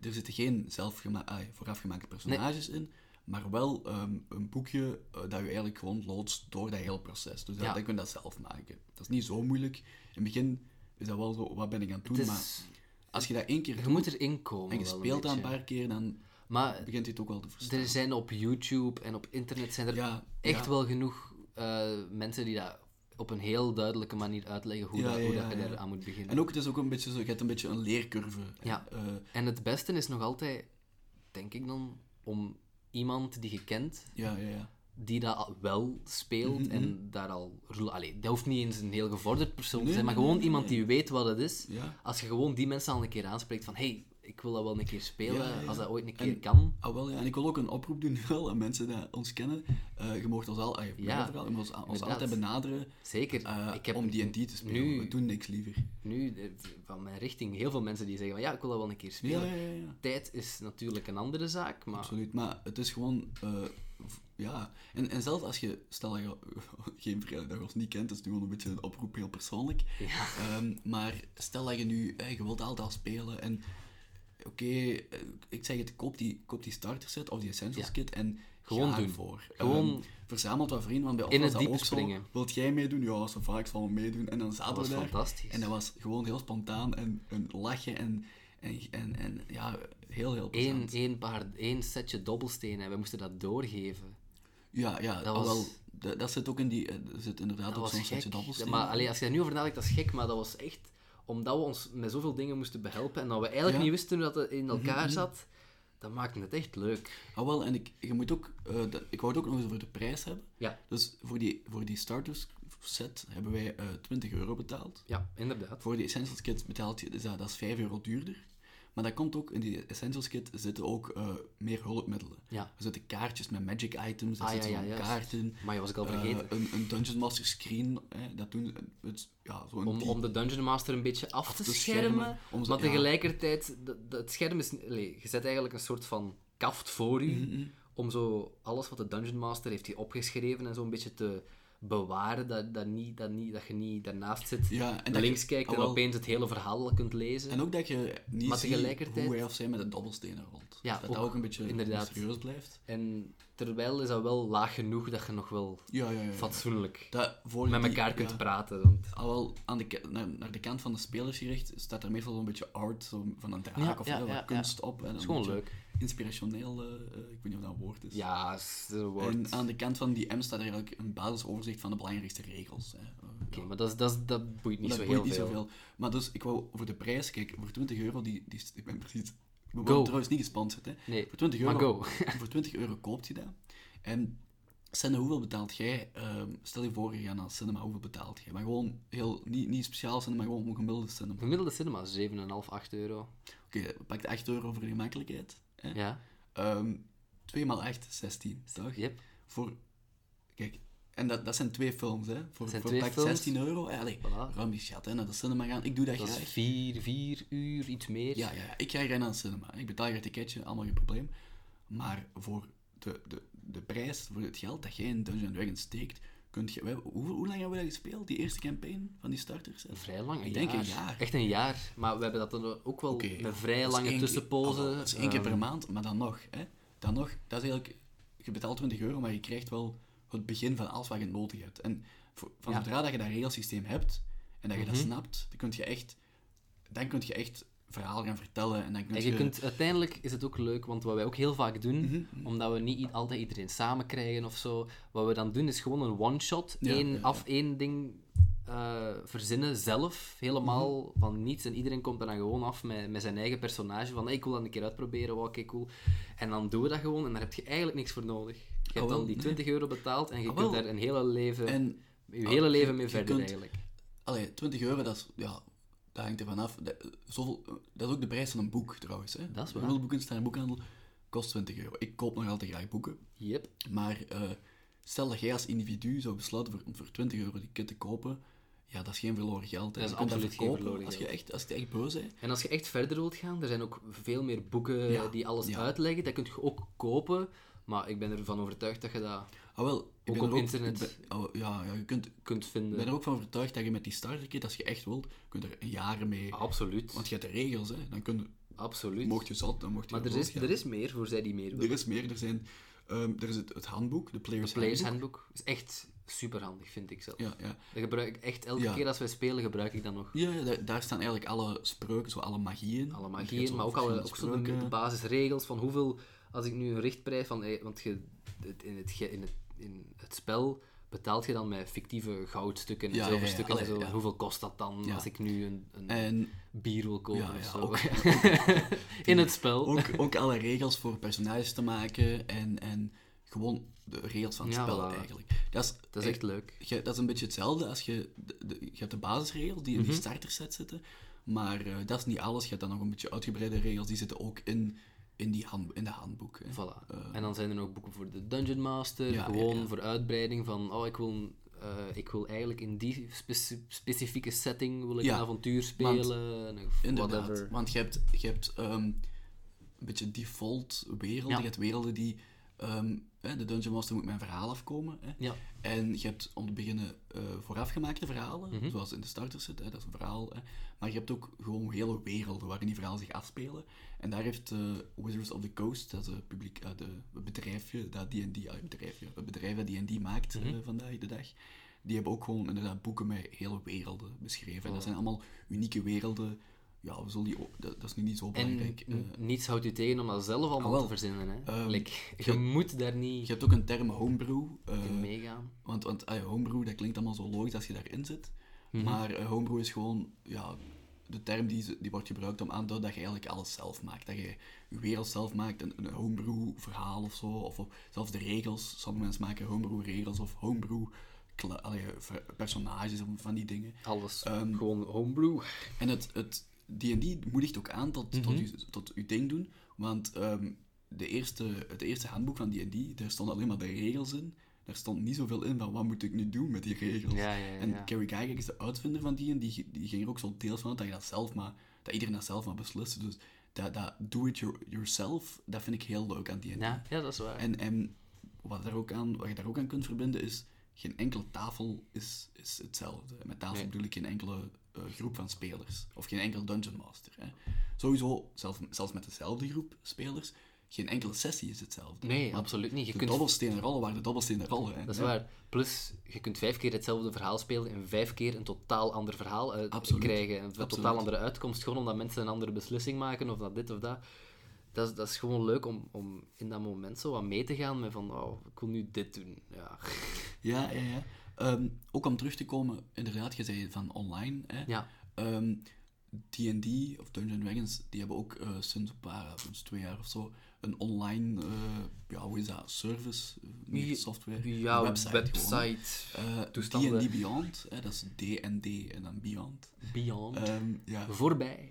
Speaker 2: Er zitten geen zelfgema- ah, voorafgemaakte personages in. Maar wel ehm, een boekje eh, dat je eigenlijk gewoon loodst door dat hele proces. Dus dat,
Speaker 1: Ja.
Speaker 2: dat kun je dat zelf maken. Dat is niet zo moeilijk. In het begin is dat wel zo, wat ben ik aan het doen?
Speaker 1: Het is-
Speaker 2: Maar als je dat één keer
Speaker 1: Dus je moet erin komen.
Speaker 2: en je
Speaker 1: wel een
Speaker 2: speelt dat een
Speaker 1: beetje.
Speaker 2: paar keer, dan
Speaker 1: Maar
Speaker 2: begint hij het ook wel te verstaan.
Speaker 1: er zijn op YouTube en op internet zijn er
Speaker 2: Ja,
Speaker 1: echt
Speaker 2: ja.
Speaker 1: wel genoeg eh, mensen die dat op een heel duidelijke manier uitleggen hoe,
Speaker 2: Ja,
Speaker 1: dat,
Speaker 2: ja,
Speaker 1: hoe
Speaker 2: ja,
Speaker 1: dat je
Speaker 2: ja.
Speaker 1: daar aan moet beginnen.
Speaker 2: En ook, het is ook een beetje zo, je hebt een beetje een leercurve.
Speaker 1: Ja.
Speaker 2: Eh,
Speaker 1: En het beste is nog altijd, denk ik dan, om iemand die je kent,
Speaker 2: ja, ja, ja.
Speaker 1: die dat al wel speelt
Speaker 2: Mhm,
Speaker 1: en daar al... roel- Allee, dat hoeft niet eens een heel gevorderd persoon te
Speaker 2: Nee,
Speaker 1: zijn, maar
Speaker 2: nee,
Speaker 1: gewoon
Speaker 2: nee,
Speaker 1: iemand die weet wat het is.
Speaker 2: Ja.
Speaker 1: Als je gewoon die mensen al een keer aanspreekt van, hey, ik wil dat wel een keer spelen,
Speaker 2: Ja, ja, ja.
Speaker 1: als dat ooit een keer
Speaker 2: En-
Speaker 1: kan.
Speaker 2: Ah, wel, ja. En ik wil ook een oproep doen wel, aan mensen die ons kennen. Eh, je mocht ons, al, ah, je
Speaker 1: Ja,
Speaker 2: mocht vooral, je mocht ons al- ons
Speaker 1: inderdaad.
Speaker 2: altijd benaderen
Speaker 1: Zeker.
Speaker 2: eh,
Speaker 1: ik heb
Speaker 2: om die en die te spelen.
Speaker 1: nu-
Speaker 2: We doen niks liever.
Speaker 1: nu eh, v- van mijn richting heel veel mensen die zeggen van, ja, ik wil dat wel een keer
Speaker 2: Ja,
Speaker 1: spelen.
Speaker 2: ja, ja, ja.
Speaker 1: Tijd is natuurlijk een andere zaak, maar...
Speaker 2: Absoluut. Maar het is gewoon... eh, v- ja. En, en zelfs als je... Stel dat je geen vrienden dat je ons niet kent, dat is nu gewoon een beetje een oproep, heel persoonlijk.
Speaker 1: Ja.
Speaker 2: Ehm, maar stel dat je nu, eh, je wilt altijd al spelen en oké, eh, ik zeg het, koop die, koop die starter set of die essentials
Speaker 1: Ja.
Speaker 2: kit en
Speaker 1: Gewoon
Speaker 2: ga
Speaker 1: doen.
Speaker 2: ervoor.
Speaker 1: Gewoon-
Speaker 2: Ehm, verzamelt wat vrienden, want bij ons
Speaker 1: In
Speaker 2: was
Speaker 1: het
Speaker 2: dat
Speaker 1: diepe
Speaker 2: ook zo.
Speaker 1: springen.
Speaker 2: Wilt jij meedoen? Ja, zo vaak zal ik meedoen. En dan zaten
Speaker 1: was
Speaker 2: we daar.
Speaker 1: fantastisch.
Speaker 2: En dat was gewoon heel spontaan en een lachje en, en, en, en ja, heel, heel
Speaker 1: Eén,
Speaker 2: plezant.
Speaker 1: één, paar, één setje dobbelstenen en we moisten dat doorgeven.
Speaker 2: Ja, ja,
Speaker 1: Dat
Speaker 2: dat,
Speaker 1: was-
Speaker 2: wel, dat, dat zit ook in die, eh, dat zit inderdaad
Speaker 1: Dat
Speaker 2: ook
Speaker 1: was
Speaker 2: zo'n
Speaker 1: gek.
Speaker 2: setje dobbelsteen.
Speaker 1: Maar allee, als je daar nu over nadenkt, dat is gek, maar dat was echt omdat we ons met zoveel dingen moesten behelpen en dat we eigenlijk
Speaker 2: Ja. Mhm.
Speaker 1: niet wisten hoe dat het in elkaar zat, dat maakte het echt leuk.
Speaker 2: Ah, wel, en ik, je moet ook, eh, dat- ik wou het ook nog eens over de prijs hebben.
Speaker 1: Ja,
Speaker 2: Dus voor die, voor die starters set hebben wij eh 20 euro betaald.
Speaker 1: ja inderdaad.
Speaker 2: Voor die Essentials Kit betaalt je, dus dat, dat is 5 euro duurder. Maar dat komt ook, in die Essentials Kit zitten ook eh, meer hulpmiddelen.
Speaker 1: Ja.
Speaker 2: Er zitten kaartjes met magic items, er
Speaker 1: Ah, ja,
Speaker 2: zitten
Speaker 1: ja,
Speaker 2: zo'n
Speaker 1: juist.
Speaker 2: kaarten.
Speaker 1: Maar je was ik al
Speaker 2: eh,
Speaker 1: vergeten.
Speaker 2: een, een Dungeon Master screen, hè, dat doen eh, het, ja, zo'n
Speaker 1: om,
Speaker 2: die-
Speaker 1: om de Dungeon Master een beetje af, te
Speaker 2: te
Speaker 1: schermen.
Speaker 2: schermen, om ze-
Speaker 1: maar
Speaker 2: ja.
Speaker 1: tegelijkertijd, dat- dat- het scherm is... allee, je zet eigenlijk een soort van kaft voor u.
Speaker 2: Mm-hmm.
Speaker 1: Om zo alles wat de Dungeon Master heeft hier opgeschreven en zo een beetje te bewaren. Dat, dat, niet, dat, niet, dat je niet daarnaast zit,
Speaker 2: Ja, en dat
Speaker 1: naar
Speaker 2: je-
Speaker 1: links kijkt en
Speaker 2: ah, wel.
Speaker 1: opeens het hele verhaal al kunt lezen.
Speaker 2: En ook dat je niet
Speaker 1: Maar
Speaker 2: ziet
Speaker 1: tegelijkertijd-
Speaker 2: hoe hij of zij met de dobbelstenen rolt.
Speaker 1: Ja,
Speaker 2: dat dat
Speaker 1: ook,
Speaker 2: ook een beetje
Speaker 1: inderdaad.
Speaker 2: serieus blijft.
Speaker 1: En terwijl is dat wel laag genoeg dat je nog wel
Speaker 2: Ja, ja, ja. ja.
Speaker 1: fatsoenlijk
Speaker 2: Dat voor
Speaker 1: met
Speaker 2: die-
Speaker 1: elkaar
Speaker 2: ja.
Speaker 1: kunt praten. Want...
Speaker 2: Al wel aan de, ke- naar, naar de kant van de spelers gericht staat er meestal zo'n beetje art zo van een draak
Speaker 1: Ja,
Speaker 2: of
Speaker 1: ja,
Speaker 2: hè, wat
Speaker 1: ja,
Speaker 2: kunst op. En
Speaker 1: is
Speaker 2: een
Speaker 1: gewoon
Speaker 2: beetje
Speaker 1: leuk.
Speaker 2: Inspirationeel, eh, eh, ik weet niet of dat een woord is.
Speaker 1: Ja, is een woord.
Speaker 2: En aan de kant van die M staat er eigenlijk een basisoverzicht van de belangrijkste regels. Hè. Eh,
Speaker 1: Oké, maar dat, is- dat, is- dat boeit niet
Speaker 2: dat
Speaker 1: zo
Speaker 2: boeit
Speaker 1: heel
Speaker 2: niet
Speaker 1: veel.
Speaker 2: zoveel. Maar dus, ik wou voor de prijs, kijk, voor 20 euro, die, die, ik ben precies... We
Speaker 1: Go.
Speaker 2: worden trouwens niet gesponsord, hè.
Speaker 1: Nee,
Speaker 2: voor 20
Speaker 1: maar
Speaker 2: euro,
Speaker 1: go.
Speaker 2: voor 20 euro koopt je dat. En Senne, hoeveel betaalt jij? ehm, stel je voor, je gaat naar het cinema, hoeveel betaalt jij? Maar gewoon, heel, niet, niet speciaal cinema, maar gewoon een gemiddelde cinema.
Speaker 1: Gemiddelde cinema is 7,5, 8 euro.
Speaker 2: Oké, pak de 8 euro voor de gemakkelijkheid. Hè?
Speaker 1: Ja,
Speaker 2: Ehm, 2 x 8, 16, toch?
Speaker 1: yep.
Speaker 2: Voor, kijk, en dat, dat zijn twee films, hè? Voor,
Speaker 1: zijn
Speaker 2: voor
Speaker 1: twee
Speaker 2: pak
Speaker 1: films.
Speaker 2: 16 euro, eh, allee,
Speaker 1: Voilà.
Speaker 2: ruim je schat, hè, naar de cinema gaan. Ik doe dat,
Speaker 1: Dat is
Speaker 2: graag.
Speaker 1: 4, 4 uur, iets meer.
Speaker 2: Ja, ja, ja, ik ga graag naar de cinema. Ik betaal je ticketje, allemaal geen probleem. Maar voor de, de, de prijs, voor het geld dat jij in Dungeon Dragons steekt, kunt je... wij- hoe, hoe lang hebben we dat gespeeld, die eerste campaign van die starters?
Speaker 1: Vrij lang, een
Speaker 2: Ik denk
Speaker 1: jaar.
Speaker 2: een jaar.
Speaker 1: Echt een jaar. Maar we hebben dat dan ook wel
Speaker 2: Oké, ja.
Speaker 1: een vrij
Speaker 2: Dat is
Speaker 1: lange
Speaker 2: één keer-
Speaker 1: tussenpoze.
Speaker 2: ah, wel, Dat is één keer
Speaker 1: Ehm,
Speaker 2: per maand, maar dan nog. Hè? Dan nog, dat is eigenlijk... Je betaalt 20 euro, maar je krijgt wel het begin van alles wat je nodig hebt. En voor- van
Speaker 1: Ja. Mhm.
Speaker 2: zodra dat je dat regelsysteem hebt, en dat je dat snapt, dan kun je echt... Dan kun je echt verhaal gaan vertellen, en dan kun
Speaker 1: En je kunt, uiteindelijk is het ook leuk, want wat wij ook heel vaak doen,
Speaker 2: Mhm.
Speaker 1: omdat we niet i- altijd iedereen samen krijgen of zo, wat we dan doen is gewoon een one-shot,
Speaker 2: Ja,
Speaker 1: één,
Speaker 2: ja, ja.
Speaker 1: af één ding eh, verzinnen zelf, helemaal
Speaker 2: Mhm.
Speaker 1: van niets. En iedereen komt er dan gewoon af met, met zijn eigen personage, van hey, ik wil dat een keer uitproberen, wauw, oké, cool. En dan doen we dat gewoon en daar heb je eigenlijk niks voor nodig. Je
Speaker 2: Ah,
Speaker 1: hebt
Speaker 2: wel,
Speaker 1: dan die
Speaker 2: nee.
Speaker 1: 20 euro betaald en je
Speaker 2: Ah,
Speaker 1: kunt
Speaker 2: wel.
Speaker 1: daar een hele leven,
Speaker 2: En
Speaker 1: je
Speaker 2: ah,
Speaker 1: hele
Speaker 2: je-
Speaker 1: leven mee
Speaker 2: je
Speaker 1: verder
Speaker 2: kunt-
Speaker 1: eigenlijk.
Speaker 2: allee, 20 euro, dat, is, ja, dat hangt er vanaf. Dat, zoveel, dat is ook de prijs van een boek trouwens. Hè?
Speaker 1: Dat is waar.
Speaker 2: Gemiddeld boeken staan in de boekhandel kost 20 euro. Ik koop nog altijd graag boeken.
Speaker 1: Yep.
Speaker 2: Maar eh, stel dat jij als individu zou besluiten voor, om voor 20 euro die kit te kopen, ja, dat is geen verloren geld. hè.
Speaker 1: Dat is
Speaker 2: Je kunt
Speaker 1: absoluut geen
Speaker 2: verkopen
Speaker 1: verloren
Speaker 2: als je
Speaker 1: geld.
Speaker 2: echt, als je echt boos bent.
Speaker 1: En als je echt verder wilt gaan, er zijn ook veel meer boeken
Speaker 2: Ja,
Speaker 1: die alles
Speaker 2: ja.
Speaker 1: uitleggen. Dat kun je ook kopen, maar ik ben ervan overtuigd dat je dat
Speaker 2: Ah, wel, ik
Speaker 1: Ook
Speaker 2: ben
Speaker 1: op
Speaker 2: er
Speaker 1: internet.
Speaker 2: ik ben- ah, ja, ja, je kunt, ik
Speaker 1: kunt vinden.
Speaker 2: ben er ook van overtuigd dat je met die starterkit, als je echt wilt, kun je er jaren mee.
Speaker 1: Ah. Absoluut.
Speaker 2: Want je hebt de regels, hè. Dan kun je,
Speaker 1: Absoluut.
Speaker 2: mocht je zat, dan mocht je
Speaker 1: maar er
Speaker 2: boos
Speaker 1: is,
Speaker 2: gaan.
Speaker 1: er is meer voor zij die meer willen.
Speaker 2: er is meer. Er, zijn, ehm, er is het, het handboek, de Players,
Speaker 1: Players
Speaker 2: Handbook.
Speaker 1: Handbook is echt super handig, vind ik zelf.
Speaker 2: Ja, ja.
Speaker 1: Dat gebruik ik echt elke
Speaker 2: Ja.
Speaker 1: keer als wij spelen, gebruik ik dat nog.
Speaker 2: Ja, ja, daar, daar staan eigenlijk alle spreuken, zo alle magie in.
Speaker 1: Alle
Speaker 2: Want je hebt
Speaker 1: magieën,
Speaker 2: zo
Speaker 1: maar ook, alle, ook zo
Speaker 2: verschillende
Speaker 1: de, de
Speaker 2: spreuken.
Speaker 1: basisregels van hoeveel, als ik nu een richtprijs van, eh, want je, het- in, het, ge- in, het, in het spel betaalt je dan met fictieve goudstukken en
Speaker 2: Ja, ja, ja,
Speaker 1: zilverstukken en
Speaker 2: allee,
Speaker 1: zo.
Speaker 2: ja.
Speaker 1: En hoeveel kost dat dan
Speaker 2: Ja.
Speaker 1: als ik nu een, een
Speaker 2: En
Speaker 1: bier wil kopen
Speaker 2: Ja,
Speaker 1: of
Speaker 2: ja,
Speaker 1: zo?
Speaker 2: ook-
Speaker 1: in het spel.
Speaker 2: ook, ook alle regels voor personages te maken en, en gewoon de regels van het
Speaker 1: Ja,
Speaker 2: spel
Speaker 1: voilà.
Speaker 2: eigenlijk. Dat is,
Speaker 1: dat is echt leuk.
Speaker 2: je- dat is een beetje hetzelfde als je... de- de- je hebt de basisregels die in
Speaker 1: Mhm.
Speaker 2: die starterset zitten, maar eh, dat is niet alles. Je hebt dan nog een beetje uitgebreide regels, die zitten ook in, in, die hand, in de handboek. Hè.
Speaker 1: Voilà.
Speaker 2: Eh,
Speaker 1: en dan zijn er nog boeken voor de Dungeon Master,
Speaker 2: Ja,
Speaker 1: gewoon
Speaker 2: ja, ja.
Speaker 1: voor uitbreiding van, oh, ik wil, eh, ik wil eigenlijk in die speci- specifieke setting wil ik
Speaker 2: Ja,
Speaker 1: een avontuur
Speaker 2: want-
Speaker 1: spelen, of
Speaker 2: Inderdaad,
Speaker 1: whatever.
Speaker 2: want je hebt, je hebt ehm, een beetje default werelden.
Speaker 1: Ja.
Speaker 2: Je hebt werelden die... ehm, hè, de Dungeon Master moet met een verhaal afkomen. Hè.
Speaker 1: Ja.
Speaker 2: En je hebt om te beginnen eh, voorafgemaakte verhalen,
Speaker 1: Mhm.
Speaker 2: zoals in de starter zit, hè, dat is een verhaal. Hè. Maar je hebt ook gewoon hele werelden waarin die verhalen zich afspelen. En daar heeft eh, Wizards of the Coast, dat is een publiek, eh, de, het bedrijfje, dat D&D, ah, het bedrijfje, het bedrijf dat D&D maakt
Speaker 1: Mhm.
Speaker 2: eh, vandaag de dag, die hebben ook gewoon inderdaad boeken met hele werelden beschreven.
Speaker 1: Oh.
Speaker 2: En dat zijn allemaal unieke werelden. Ja, we zullen die, ook- dat, dat is nu niet zo
Speaker 1: En
Speaker 2: belangrijk. eh.
Speaker 1: n- niets houdt u tegen om dat zelf allemaal
Speaker 2: Ah, wel.
Speaker 1: te verzinnen. Hè?
Speaker 2: Ehm,
Speaker 1: Like, je moet daar niet
Speaker 2: je hebt ook een term homebrew. eh,
Speaker 1: in meegaan.
Speaker 2: Want, want ah ja, homebrew, dat klinkt allemaal zo logisch als je daarin zit. Maar eh, homebrew is gewoon ja, de term die, ze- die wordt gebruikt om aan te duiden dat je eigenlijk alles zelf maakt. Dat je je wereld zelf maakt, een, een homebrew verhaal of zo. Of, of zelfs de regels. Sommige mensen maken homebrew regels of homebrew kla- allee, ver- personages of van die dingen.
Speaker 1: Alles.
Speaker 2: Ehm,
Speaker 1: Gewoon homebrew.
Speaker 2: en het, het D&D moedigt ook aan tot,
Speaker 1: Mhm.
Speaker 2: tot, je, tot je ding doen, want ehm, de eerste, het eerste handboek van D&D, daar stonden alleen maar de regels in. Daar stond niet zoveel in van, wat moet ik nu doen met die regels?
Speaker 1: Ja, ja, ja,
Speaker 2: en
Speaker 1: ja.
Speaker 2: Gary Gygax is de uitvinder van D&D, die, die ging er ook zo deels van uit dat, je dat, zelf maar, dat iedereen dat zelf maar beslist. Dus dat, dat do-it-yourself, dat vind ik heel leuk aan D&D.
Speaker 1: Ja, ja, dat is waar.
Speaker 2: En, en wat, daar ook aan, wat je daar ook aan kunt verbinden is, geen enkele tafel is, is hetzelfde. En Met tafel
Speaker 1: Nee.
Speaker 2: bedoel ik geen enkele eh, groep van spelers. Of geen enkel dungeon master. Hè. Sowieso, zelf, zelfs met dezelfde groep spelers, geen enkele sessie is hetzelfde.
Speaker 1: nee,
Speaker 2: Want
Speaker 1: absoluut niet. Je
Speaker 2: de
Speaker 1: kunt,
Speaker 2: dobbelstenen rollen waar de dobbelstenen rollen. Hè.
Speaker 1: dat is
Speaker 2: Ja.
Speaker 1: waar. Plus, je kunt vijf keer hetzelfde verhaal spelen en vijf keer een totaal ander verhaal uit-
Speaker 2: Absoluut.
Speaker 1: krijgen. Een
Speaker 2: Absoluut.
Speaker 1: totaal andere uitkomst, gewoon omdat mensen een andere beslissing maken of dat dit of dat. Dat is, dat is gewoon leuk om, om in dat moment zo wat mee te gaan met van, oh, ik wil nu dit doen. Ja,
Speaker 2: Ja, ja, ja. Ehm, ook om terug te komen, inderdaad, je zei van online. Hè.
Speaker 1: ja.
Speaker 2: Ehm, D&D, of Dungeons Dragons, die hebben ook eh, sinds een paar, eh, sinds twee jaar of zo, een online, eh, ja, hoe is dat, service, eh, niet
Speaker 1: Ja,
Speaker 2: software,
Speaker 1: Ja,
Speaker 2: een
Speaker 1: website.
Speaker 2: gewoon. Eh,
Speaker 1: toestanden.
Speaker 2: D&D Beyond, hè, dat is D&D en dan Beyond.
Speaker 1: Beyond.
Speaker 2: Ehm, ja.
Speaker 1: Voorbij.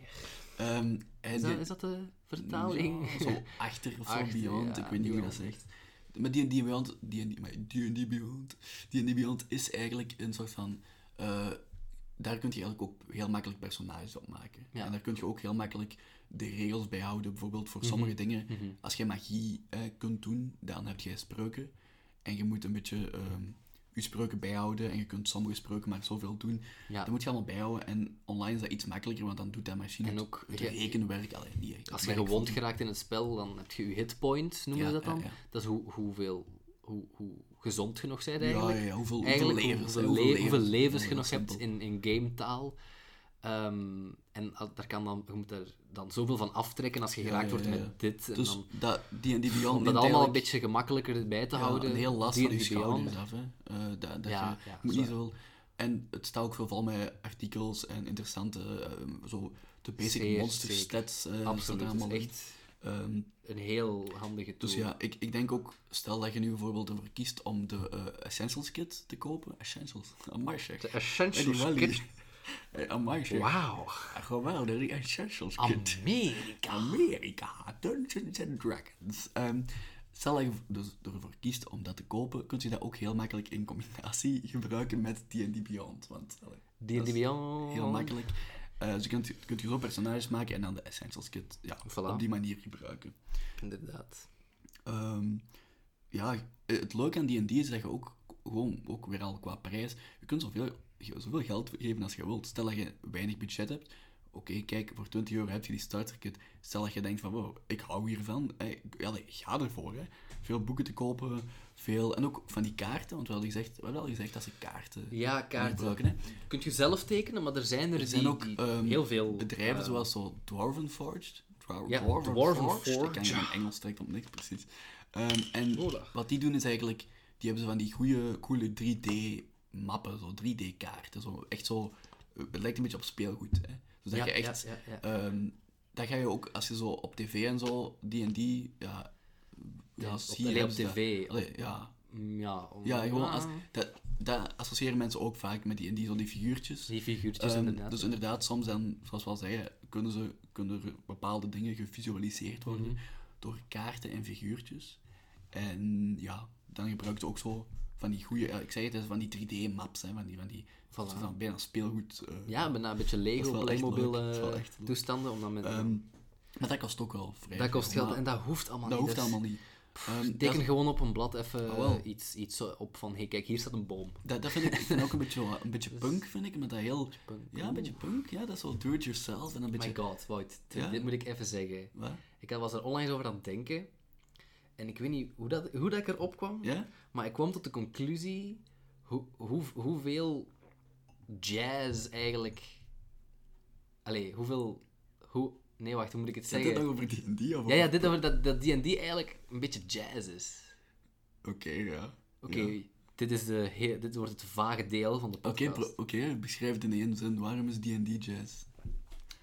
Speaker 2: Ehm, en
Speaker 1: Is dat,
Speaker 2: die-
Speaker 1: is dat de vertaling?
Speaker 2: ja, zo achter of zo,
Speaker 1: Achter,
Speaker 2: Beyond,
Speaker 1: ja,
Speaker 2: ik weet niet hoe je dat
Speaker 1: Beyond.
Speaker 2: zegt. Maar D&D Beyond, D&D, maar D&D Beyond, D&D Beyond is eigenlijk een soort van... eh, daar kun je eigenlijk ook heel makkelijk personages op maken.
Speaker 1: Ja.
Speaker 2: En daar kun je ook heel makkelijk de regels bij houden. Bijvoorbeeld
Speaker 1: Mhm.
Speaker 2: voor sommige dingen, als jij magie eh, kunt doen, dan heb jij spreuken. En je moet een beetje ehm, je spreuken bijhouden. En je kunt sommige spreuken maar zoveel doen.
Speaker 1: Ja.
Speaker 2: Dat moet je allemaal bijhouden. En online is dat iets makkelijker, want dan doet dat machine
Speaker 1: En
Speaker 2: het-
Speaker 1: ook,
Speaker 2: het
Speaker 1: ja,
Speaker 2: rekenwerk. Allee, niet echt.
Speaker 1: Als
Speaker 2: Het
Speaker 1: je
Speaker 2: werk
Speaker 1: gewond geraakt in het spel, dan heb je je hitpoint, noemen
Speaker 2: Ja,
Speaker 1: ze dat dan.
Speaker 2: ja, ja.
Speaker 1: Dat is hoe, hoeveel, hoe, hoe gezond je nog bent eigenlijk.
Speaker 2: Ja, ja, ja, hoeveel- hoeveel
Speaker 1: eigenlijk
Speaker 2: levens, hè,
Speaker 1: hoeveel,
Speaker 2: hoeveel
Speaker 1: le- hoeveel
Speaker 2: levens.
Speaker 1: levens
Speaker 2: Ja,
Speaker 1: je
Speaker 2: heel
Speaker 1: nog hebt
Speaker 2: simpel.
Speaker 1: in, in gametaal. Ehm, en als- daar kan dan, je moet er dan zoveel van aftrekken als je geraakt
Speaker 2: ja,
Speaker 1: wordt
Speaker 2: ja, ja.
Speaker 1: met dit. En
Speaker 2: Dus
Speaker 1: dan,
Speaker 2: dat, die en die Beyond
Speaker 1: om dat allemaal een beetje gemakkelijker bij te houden.
Speaker 2: Een heel last
Speaker 1: die
Speaker 2: van je
Speaker 1: en die beyond.
Speaker 2: schouders af. Hè. Eh, dat dat
Speaker 1: Ja,
Speaker 2: je
Speaker 1: ja,
Speaker 2: moet
Speaker 1: zo.
Speaker 2: niet zoveel... En het staat ook veel vol met artikels en interessante, eh, zo de basic
Speaker 1: Zeer
Speaker 2: monster
Speaker 1: zeker.
Speaker 2: stats. eh, staat er
Speaker 1: Absoluut, dat is
Speaker 2: allemaal in.
Speaker 1: echt
Speaker 2: Ehm,
Speaker 1: Een heel handige tool.
Speaker 2: dus ja, ik, ik denk ook, stel dat je nu bijvoorbeeld ervoor kiest om de eh, Essentials Kit te kopen. Essentials, amai zeg.
Speaker 1: De
Speaker 2: Ja, die
Speaker 1: Essentials
Speaker 2: Wally.
Speaker 1: Kit.
Speaker 2: Eh, Amai zeg.
Speaker 1: Wauw.
Speaker 2: Ah, Gewoon de Essentials Kit.
Speaker 1: Amerika.
Speaker 2: Amerika, Dungeons and Dragons. Ehm, stel dat je dus ervoor kiest om dat te kopen, kun je dat ook heel makkelijk in combinatie gebruiken met D&D Beyond. Want allee,
Speaker 1: Die en die beyond.
Speaker 2: heel makkelijk. Eh, dus je kunt, kunt je zo personages maken en dan de Essentials Kit ja,
Speaker 1: Voilà.
Speaker 2: op die manier gebruiken.
Speaker 1: Inderdaad.
Speaker 2: Ehm, ja, eh, het leuke aan D&D is dat je ook gewoon, ook weer al qua prijs, je kunt zoveel, ge- zoveel geld geven als je wilt. Stel dat je weinig budget hebt, oké, kijk, voor 20 euro heb je die starter kit. Stel dat je denkt van, wow, ik hou hiervan, eh, ik- ja, nee, ga ervoor, hè. Veel boeken te kopen, veel, en ook van die kaarten, want we hadden gezegd, we hebben al gezegd dat ze kaarten
Speaker 1: Ja, kaarten.
Speaker 2: gebruiken, hè.
Speaker 1: Kunt je zelf tekenen, maar er zijn er,
Speaker 2: Er zijn
Speaker 1: die,
Speaker 2: ook
Speaker 1: die
Speaker 2: ehm,
Speaker 1: heel veel...
Speaker 2: bedrijven
Speaker 1: eh,
Speaker 2: zoals zo Dwarven Forged. Dwar-
Speaker 1: Ja,
Speaker 2: Dwarven,
Speaker 1: Dwarven
Speaker 2: Forged. Ik
Speaker 1: Forged,
Speaker 2: kan in Engels trekt op niks, precies. Ehm, en
Speaker 1: Hola.
Speaker 2: wat die doen is eigenlijk, die hebben zo van die goede, coole 3D-mappen, zo 3D-kaarten. Zo, echt zo, eh, het lijkt een beetje op speelgoed. Hè? Dus dat
Speaker 1: Ja,
Speaker 2: je echt,
Speaker 1: ja, ja, ja.
Speaker 2: ehm, dat ga je ook, als je zo op tv en zo, D&D, ja, ja, zie je
Speaker 1: allee, op
Speaker 2: hebben ze dat.
Speaker 1: tv.
Speaker 2: Allee, ja,
Speaker 1: Mm, Ja, om-
Speaker 2: ja, gewoon, als,
Speaker 1: Ah,
Speaker 2: dat, dat associëren mensen ook vaak met die, die, zo die figuurtjes.
Speaker 1: Die figuurtjes,
Speaker 2: Ehm,
Speaker 1: inderdaad.
Speaker 2: Dus inderdaad, soms dan, zoals we al zeiden, kunnen, ze, kunnen er bepaalde dingen gevisualiseerd worden
Speaker 1: Mhm.
Speaker 2: door kaarten en figuurtjes. En ja, dan gebruik je ook zo van die goede, ik zei het, van die 3D-maps, hè, van die, van die soort van bijna speelgoed. eh.
Speaker 1: Ja, bijna een beetje
Speaker 2: Dat is
Speaker 1: Lego,
Speaker 2: wel echt
Speaker 1: Playmobil
Speaker 2: leuk. Dat is wel
Speaker 1: eh,
Speaker 2: echt leuk.
Speaker 1: toestanden. Om dan met,
Speaker 2: Ehm, maar dat kost ook wel vrij
Speaker 1: dat kost
Speaker 2: veel,
Speaker 1: geld
Speaker 2: maar
Speaker 1: en dus. dat hoeft allemaal
Speaker 2: dat
Speaker 1: niet.
Speaker 2: hoeft
Speaker 1: is-
Speaker 2: allemaal niet. Ehm, dat-
Speaker 1: Teken gewoon op een blad even
Speaker 2: Ah, wel.
Speaker 1: eh, iets, iets zo op van, hey, kijk, hier staat een boom.
Speaker 2: Dat, dat vind ik, ik vind ook een beetje, wel- een beetje punk, vind ik, met dat heel...
Speaker 1: Dus punk.
Speaker 2: Ja, een beetje punk, ja, dat is wel do-it-yourself en een beetje...
Speaker 1: My god, Wout, dit,
Speaker 2: Ja?
Speaker 1: dit moet ik even zeggen.
Speaker 2: Wat?
Speaker 1: Ik had- was er onlangs over aan het denken. En ik weet niet hoe, dat, hoe dat ik erop kwam.
Speaker 2: Ja?
Speaker 1: Maar ik kwam tot de conclusie hoe, hoe, hoeveel jazz eigenlijk... Allee, hoeveel... Hoe, nee, wacht, hoe moet ik het
Speaker 2: Zeg je
Speaker 1: zeggen?
Speaker 2: het nog over D&D? of
Speaker 1: Ja, ja,
Speaker 2: over-
Speaker 1: dit over dat dat D&D eigenlijk een beetje jazz is.
Speaker 2: Oké, ja.
Speaker 1: Oké,
Speaker 2: Ja.
Speaker 1: dit, is de he- dit wordt het vage deel van de
Speaker 2: Oké,
Speaker 1: podcast.
Speaker 2: pro- oké, beschrijf het in één zin. Waarom is D&D jazz?